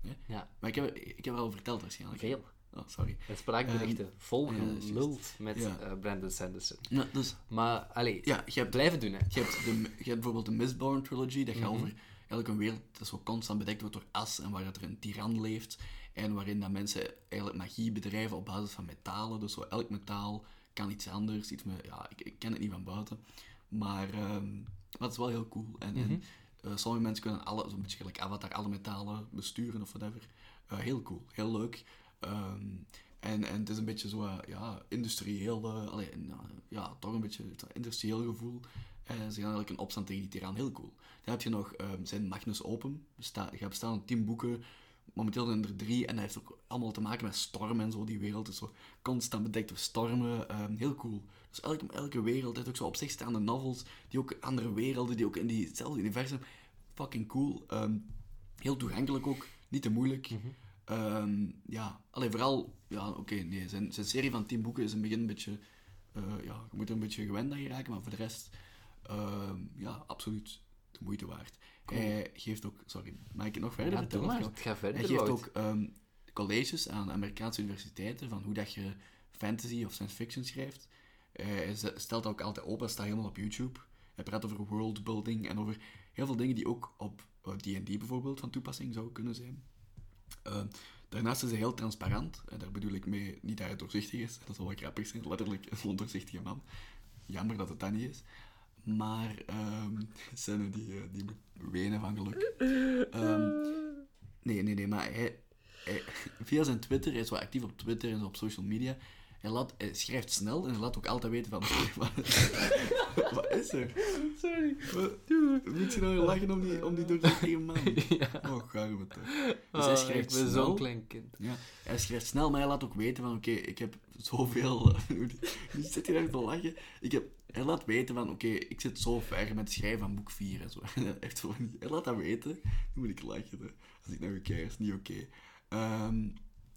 Speaker 2: Hè?
Speaker 1: Ja,
Speaker 2: Maar ik heb, ik heb er al verteld waarschijnlijk.
Speaker 1: veel.
Speaker 2: Oh, sorry.
Speaker 1: En spraakberichten vol
Speaker 2: ja, dat is
Speaker 1: geluld met
Speaker 2: Ja.
Speaker 1: eh, Brandon Sanderson.
Speaker 2: Nou, dus
Speaker 1: Maar, allee,
Speaker 2: ja, je hebt,
Speaker 1: blijven doen, hè.
Speaker 2: je, hebt de, je hebt bijvoorbeeld de Mistborn Trilogy, dat gaat over eigenlijk een wereld dat zo constant bedekt wordt door as en waar dat er een tiran leeft en waarin dat mensen eigenlijk magie bedrijven op basis van metalen. Dus zo elk metaal kan iets anders, iets met, ja, ik, ik ken het niet van buiten. Maar ehm, dat is wel heel cool. En, en eh, sommige mensen kunnen alle, zo'n beetje gelijk Avatar, alle metalen besturen of whatever. Eh, heel cool, heel leuk. Ehm, en, en het is een beetje zo, eh, ja, industrieel, eh, allee, nou, ja, toch een beetje het industrieel gevoel. En ze gaan eigenlijk een opstand tegen die tiran, heel cool. Dan heb je nog ehm, zijn Magnus Open, besta je bestaan uit tien boeken, momenteel zijn er drie, en dat heeft ook allemaal te maken met stormen en zo, die wereld is zo constant bedekt door stormen, ehm, heel cool. Dus elke, elke wereld heeft ook zo op zich staande novels, die ook andere werelden, die ook in diezelfde universum, fucking cool. Ehm, heel toegankelijk ook, niet te moeilijk.
Speaker 1: Mhm.
Speaker 2: Ehm, ja, alleen vooral, ja, oké, nee, zijn, zijn serie van 10 boeken is in het begin een beetje, eh, ja, je moet er een beetje gewend aan geraken, maar voor de rest, ehm, ja, absoluut de moeite waard. Hij geeft ook, sorry, mag ik het nog verder
Speaker 1: Ja, doe
Speaker 2: vertellen?
Speaker 1: maar. Het gaat verder,
Speaker 2: Hij geeft
Speaker 1: Wout.
Speaker 2: ook ehm, colleges aan Amerikaanse universiteiten van hoe dat je fantasy of science fiction schrijft. Eh, hij ze- stelt dat ook altijd open, het staat helemaal op YouTube. Hij praat over worldbuilding en over heel veel dingen die ook op eh, D&D bijvoorbeeld van toepassing zouden kunnen zijn. Eh, daarnaast is hij heel transparant. En daar bedoel ik mee niet dat hij doorzichtig is. Dat zal wel grappig zijn. Letterlijk een ondoorzichtige man. Jammer dat het dat niet is. Maar ehm Senne, die, eh, die moet wenen van geluk. Ehm, nee, nee, nee. Maar hij, hij- via zijn Twitter, hij is wel actief op Twitter en zo op social media. Hij, laat, hij schrijft snel en hij laat ook altijd weten van... Wat, wat is er?
Speaker 1: Sorry.
Speaker 2: Wat- Moet je nou lachen om die, om die doorzichtige man? Oh, garme toch. Dus hij
Speaker 1: Ah, ik ben
Speaker 2: schrijft snel.
Speaker 1: zo'n klein kind.
Speaker 2: Ja, hij schrijft snel, maar hij laat ook weten van, oké, ik heb zoveel... Nu zit hij daar te lachen. Ik heb, hij laat weten van, oké, ik zit zo ver met het schrijven van boek 4 en zo. Hij, heeft zo van die- hij laat dat weten. Nu moet ik lachen, hè. Als ik naar u kijk, is het niet oké. Ehm,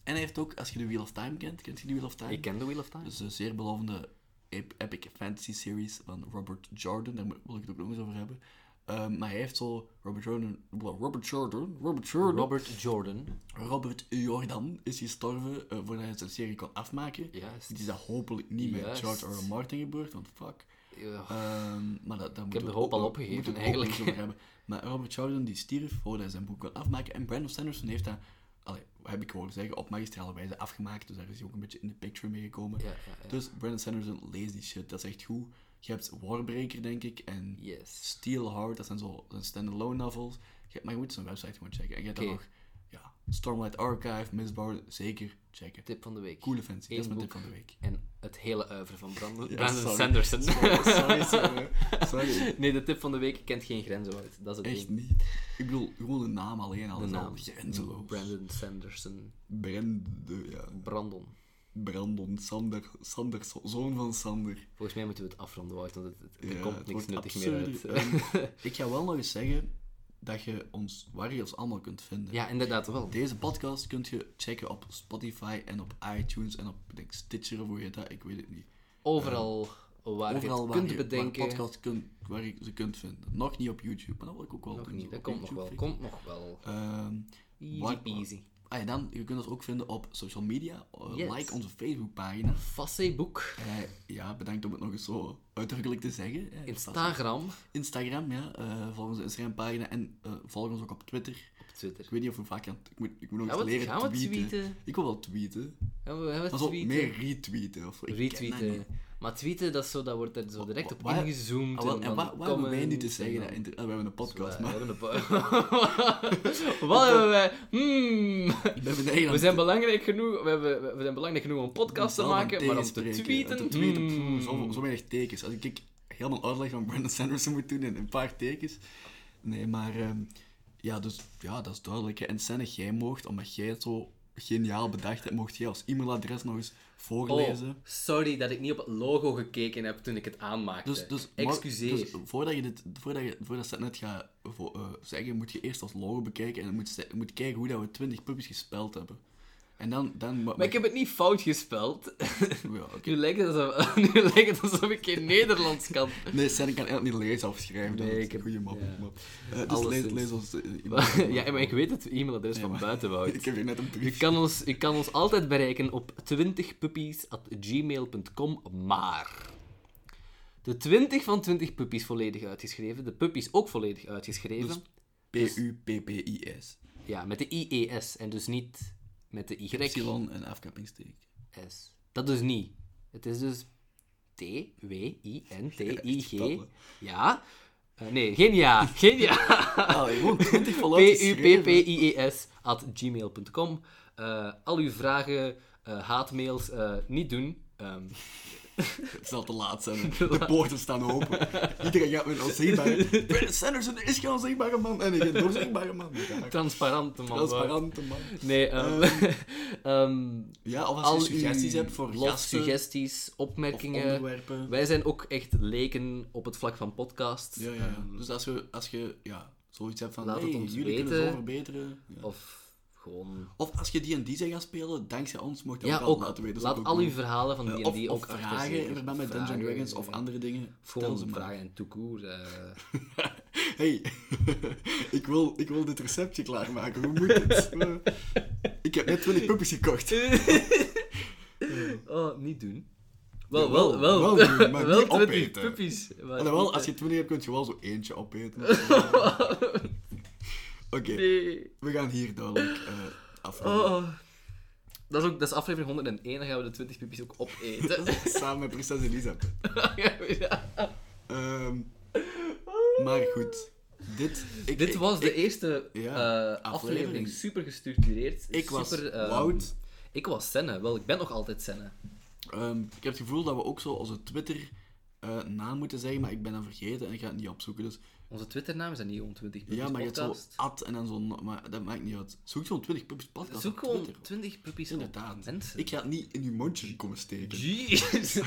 Speaker 2: en hij heeft ook, als je de Wheel of Time kent, kent je de Wheel of Time?
Speaker 1: Ik ken The Wheel of Time.
Speaker 2: Dus een zeer belovende ep- epic fantasy series van Robert Jordan. Daar wil ik het ook nog eens over hebben. Ehm, maar hij heeft zo Robert Jordan... Robert Jordan? Robert Jordan?
Speaker 1: Robert Jordan.
Speaker 2: Robert Jordan is gestorven eh, voordat hij zijn serie kon afmaken.
Speaker 1: Juist.
Speaker 2: Het is dat hopelijk niet met
Speaker 1: Juist.
Speaker 2: George R. R. Martin gebeurd, want fuck.
Speaker 1: Ja.
Speaker 2: Ehm, maar dat, dat moeten
Speaker 1: heb
Speaker 2: we
Speaker 1: de hoop
Speaker 2: ook
Speaker 1: al
Speaker 2: nog-
Speaker 1: opgegeven,
Speaker 2: moeten we ook
Speaker 1: eigenlijk.
Speaker 2: nog eens over hebben. Maar Robert Jordan die stierf voordat hij zijn boek kon afmaken. En Brandon Sanderson heeft dat, allee, heb ik horen zeggen, op magistrale wijze afgemaakt. Dus daar is hij ook een beetje in de picture mee gekomen.
Speaker 1: Ja, ja, ja.
Speaker 2: Dus Brandon Sanderson, lees die shit, dat is echt goed. Je hebt Warbreaker, denk ik, en
Speaker 1: Yes.
Speaker 2: Steelheart, dat zijn zo zijn standalone novels. Je- maar je moet zijn website gewoon checken. En je hebt dan
Speaker 1: Oké.
Speaker 2: nog ja, Stormlight Archive, Mistborn, zeker checken.
Speaker 1: Tip van de week.
Speaker 2: Coole fantasy, dat is
Speaker 1: Eén
Speaker 2: mijn tip
Speaker 1: boek.
Speaker 2: van de week.
Speaker 1: En het hele uiver van Brandon,
Speaker 2: Ja,
Speaker 1: Brandon
Speaker 2: sorry.
Speaker 1: Sanderson.
Speaker 2: Sorry, sorry, sorry. sorry.
Speaker 1: nee, de tip van de week kent geen grenzen, Wout. Dat is het
Speaker 2: Echt
Speaker 1: ding.
Speaker 2: niet. Ik bedoel, gewoon de naam alleen al.
Speaker 1: De
Speaker 2: is al
Speaker 1: naam.
Speaker 2: Grenzeloos.
Speaker 1: Brandon Sanderson.
Speaker 2: Brende, ja.
Speaker 1: Brandon.
Speaker 2: Brandon, Sander, Sander, zoon van Sander.
Speaker 1: Volgens mij moeten we het afronden, Wout, want het, het- er
Speaker 2: Ja,
Speaker 1: komt
Speaker 2: het
Speaker 1: niks
Speaker 2: wordt
Speaker 1: nuttig
Speaker 2: absurd.
Speaker 1: meer uit. Eh,
Speaker 2: Ehm, ik ga wel nog eens zeggen dat je ons warriors allemaal kunt vinden.
Speaker 1: ja, inderdaad wel.
Speaker 2: Deze podcast kunt je checken op Spotify en op iTunes en op ik denk, Stitcher of hoe je dat, ik weet het niet.
Speaker 1: Overal waar
Speaker 2: eh, Overal
Speaker 1: Ah, je
Speaker 2: waar
Speaker 1: het kunt
Speaker 2: je
Speaker 1: bedenken.
Speaker 2: waar podcast kunt, waar je ze kunt vinden. Nog niet op YouTube, maar dat wil ik ook wel
Speaker 1: Nog
Speaker 2: doen,
Speaker 1: niet,
Speaker 2: zo
Speaker 1: dat
Speaker 2: op
Speaker 1: komt nog
Speaker 2: YouTube
Speaker 1: wel.
Speaker 2: vinden.
Speaker 1: Komt nog wel.
Speaker 2: Ehm,
Speaker 1: Easy
Speaker 2: Waar-
Speaker 1: peasy.
Speaker 2: ah, en dan, je kunt ons ook vinden op social media. Eh,
Speaker 1: Yes.
Speaker 2: Like onze Facebookpagina.
Speaker 1: Facebook,
Speaker 2: Eh, ja, bedankt om het nog eens zo uitdrukkelijk te zeggen. Eh,
Speaker 1: Instagram,
Speaker 2: Instagram, ja. eh volg onze Instagram-pagina en eh, volg ons ook op Twitter.
Speaker 1: op Twitter.
Speaker 2: Ik weet niet of we vaak gaan... Ik moet, ik moet nog
Speaker 1: Gaan
Speaker 2: eens
Speaker 1: we-
Speaker 2: leren
Speaker 1: gaan we
Speaker 2: tweeten.
Speaker 1: tweeten?
Speaker 2: Ik wil wel tweeten.
Speaker 1: Hebben we, hebben we
Speaker 2: Maar zo
Speaker 1: tweeten?
Speaker 2: meer retweeten of zo. Ik ken dat
Speaker 1: Retweeten.
Speaker 2: niet.
Speaker 1: Maar tweeten, dat, is zo, dat wordt er zo direct op
Speaker 2: Waar-
Speaker 1: ingezoomd.
Speaker 2: Ah, wel,
Speaker 1: en
Speaker 2: en
Speaker 1: dan
Speaker 2: waar, waar hebben wij nu te
Speaker 1: comments en
Speaker 2: zeggen? Dat
Speaker 1: dan-
Speaker 2: inter- ah, we hebben een podcast,
Speaker 1: We
Speaker 2: maar
Speaker 1: hebben een po- Wat hebben wij? Hmm.
Speaker 2: we hebben een eigen...
Speaker 1: We zijn belangrijk genoeg, we, hebben, we- we zijn belangrijk genoeg om een podcast te
Speaker 2: zelf aan
Speaker 1: maken, maar om te
Speaker 2: tegenspreken.
Speaker 1: tweeten...
Speaker 2: Te tweeten, pff,
Speaker 1: hmm.
Speaker 2: zo, zo weinig tekens. Als ik ik helemaal uitleg van Brandon Sanderson moet doen in een paar tekens. Nee, maar ehm, ja, dus, ja, dat is duidelijk. hè. En Senne, jij mocht, omdat jij het zo geniaal bedacht hebt, mocht jij als e-mailadres nog eens
Speaker 1: Oh,
Speaker 2: voorlezen.
Speaker 1: sorry dat ik niet op het logo gekeken heb toen ik het aanmaakte.
Speaker 2: Dus, dus, maar-
Speaker 1: Eh, Excuseer.
Speaker 2: dus voordat je dit, voordat je, voordat Senne het gaat vo- eh, zeggen, moet je eerst als logo bekijken en moet, ze- moet kijken hoe dat we 20 puppies gespeld hebben. En dan... dan
Speaker 1: maar ik heb het niet fout gespeld.
Speaker 2: Ja, oké.
Speaker 1: Nu lijkt het alsof, nu lijkt het alsof ik geen Nederlands kan.
Speaker 2: Nee, Senne kan eigenlijk niet lezen of schrijven.
Speaker 1: Nee,
Speaker 2: dat
Speaker 1: ik heb-
Speaker 2: ik heb... Goeie map.
Speaker 1: ja.
Speaker 2: map. Eh, dus
Speaker 1: Alleszins.
Speaker 2: lees, lees ons... eh, iemand-
Speaker 1: ja, maar ik weet het e-mailadres van buiten, Wout.
Speaker 2: Ik heb hier net een
Speaker 1: U
Speaker 2: brief.
Speaker 1: kan, ons, u kan ons altijd bereiken op 20puppies.gmail.com, maar... De 20 van 20 puppies volledig uitgeschreven, de puppies ook volledig uitgeschreven.
Speaker 2: P-U-P-P-I-S.
Speaker 1: Ja, met de IES en dus niet met de YS.
Speaker 2: Epsilon en afkappingsteek.
Speaker 1: Dat dus niet. Het is dus T, W, I, N, T, I, G.
Speaker 2: spellen.
Speaker 1: Ja. Eh, nee, geen ja. Geen ja.
Speaker 2: Ah, gewoon 20 voluit
Speaker 1: P-U-P-P-I-E-S E at gmail.com. Eh, al uw vragen, eh, haatmails, eh, niet doen. Ehm,
Speaker 2: Het zal te laat zijn. De poorten staan open. Iedereen gaat met een onzichtbare... Bernie Sanderson is geen onzichtbare man. En een doorzichtbare man. Ja,
Speaker 1: transparante man.
Speaker 2: Transparante man.
Speaker 1: Nee, ehm, ehm,
Speaker 2: Ja, of als je
Speaker 1: al
Speaker 2: suggesties
Speaker 1: uw
Speaker 2: hebt voor
Speaker 1: lof,
Speaker 2: gasten
Speaker 1: suggesties,
Speaker 2: of
Speaker 1: opmerkingen.
Speaker 2: onderwerpen.
Speaker 1: Wij zijn ook echt leken op het vlak van podcasts. Ehm,
Speaker 2: Ja, ja, ja. Dus als je, als je ja, zoiets hebt van...
Speaker 1: Mm. Laat het
Speaker 2: hey,
Speaker 1: ons
Speaker 2: jullie
Speaker 1: weten.
Speaker 2: kunnen zo verbeteren. Ja.
Speaker 1: Of gewoon...
Speaker 2: Of als je die en die zijn gaan spelen, dankzij ons mocht je
Speaker 1: Ja,
Speaker 2: dat
Speaker 1: ook.
Speaker 2: laten weten.
Speaker 1: laat al uw
Speaker 2: uw
Speaker 1: verhalen van die en die
Speaker 2: Eh, of,
Speaker 1: ook
Speaker 2: of
Speaker 1: achter
Speaker 2: vragen
Speaker 1: zeker.
Speaker 2: in verband met Dungeons
Speaker 1: Vragen,
Speaker 2: Dragons of
Speaker 1: ja.
Speaker 2: andere dingen. Vertel
Speaker 1: Gewoon
Speaker 2: ze maar.
Speaker 1: vragen eh. en toekoer.
Speaker 2: Hey, ik, wil, ik wil dit receptje klaarmaken. Hoe moet het? Eh, ik heb net 20 puppies gekocht.
Speaker 1: oh, niet doen. Wel, wel,
Speaker 2: Jawel,
Speaker 1: wel.
Speaker 2: wel doen, maar
Speaker 1: wel
Speaker 2: niet
Speaker 1: 20
Speaker 2: opeten.
Speaker 1: puppies. maar
Speaker 2: Alhoewel,
Speaker 1: niet,
Speaker 2: als je
Speaker 1: eh,
Speaker 2: 20 hebt, kun je wel zo eentje opeten. Oké,
Speaker 1: eh, Nee.
Speaker 2: we gaan hier duidelijk eh afronden.
Speaker 1: Oh. Dat is, ook, dat is aflevering 101, dan gaan we de 20 puppies ook opeten.
Speaker 2: Samen met prinses Elisabeth.
Speaker 1: Ja.
Speaker 2: Ehm, maar goed, dit... Ik,
Speaker 1: Dit
Speaker 2: ik-
Speaker 1: was de eerste
Speaker 2: ja,
Speaker 1: eh, aflevering.
Speaker 2: aflevering.
Speaker 1: super gestructureerd.
Speaker 2: Ik was
Speaker 1: super, ehm,
Speaker 2: Wout.
Speaker 1: Ik was Senne, wel, ik ben nog altijd Senne.
Speaker 2: Ehm, ik heb het gevoel dat we ook zo onze Twitter eh, naam moeten zeggen, maar ik ben dat vergeten en ik ga het niet opzoeken. Dus
Speaker 1: Onze Twitternaam is niet 20 puppies
Speaker 2: ja, maar je hebt zo
Speaker 1: podcast.
Speaker 2: at en dan zo'n... Maar dat maakt niet uit. Zoek zo'n 20 puppies podcast
Speaker 1: Zoek
Speaker 2: op
Speaker 1: gewoon
Speaker 2: Twitter.
Speaker 1: 20 puppies op
Speaker 2: Inderdaad.
Speaker 1: mensen.
Speaker 2: Ik ga het niet in uw mondje komen steken.
Speaker 1: Jezus.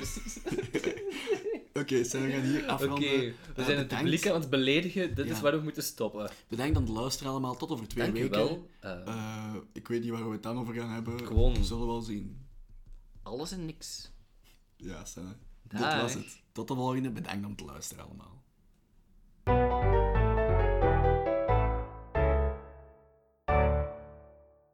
Speaker 2: Oké, zijn we gaan hier
Speaker 1: Oké,
Speaker 2: afronden.
Speaker 1: we
Speaker 2: Eh,
Speaker 1: zijn het
Speaker 2: bedankt.
Speaker 1: publiek aan het beledigen. Dit
Speaker 2: Ja.
Speaker 1: is waar we moeten stoppen.
Speaker 2: Bedankt aan het luisteren allemaal. Tot over twee
Speaker 1: Dank u
Speaker 2: weken.
Speaker 1: wel. Eh,
Speaker 2: Eh, ik weet niet waar we het dan over gaan hebben.
Speaker 1: Gewoon-
Speaker 2: We zullen wel zien.
Speaker 1: alles en niks.
Speaker 2: Ja, Senne. Dit
Speaker 1: Dag.
Speaker 2: was het. Tot de volgende. Bedankt om te luisteren allemaal.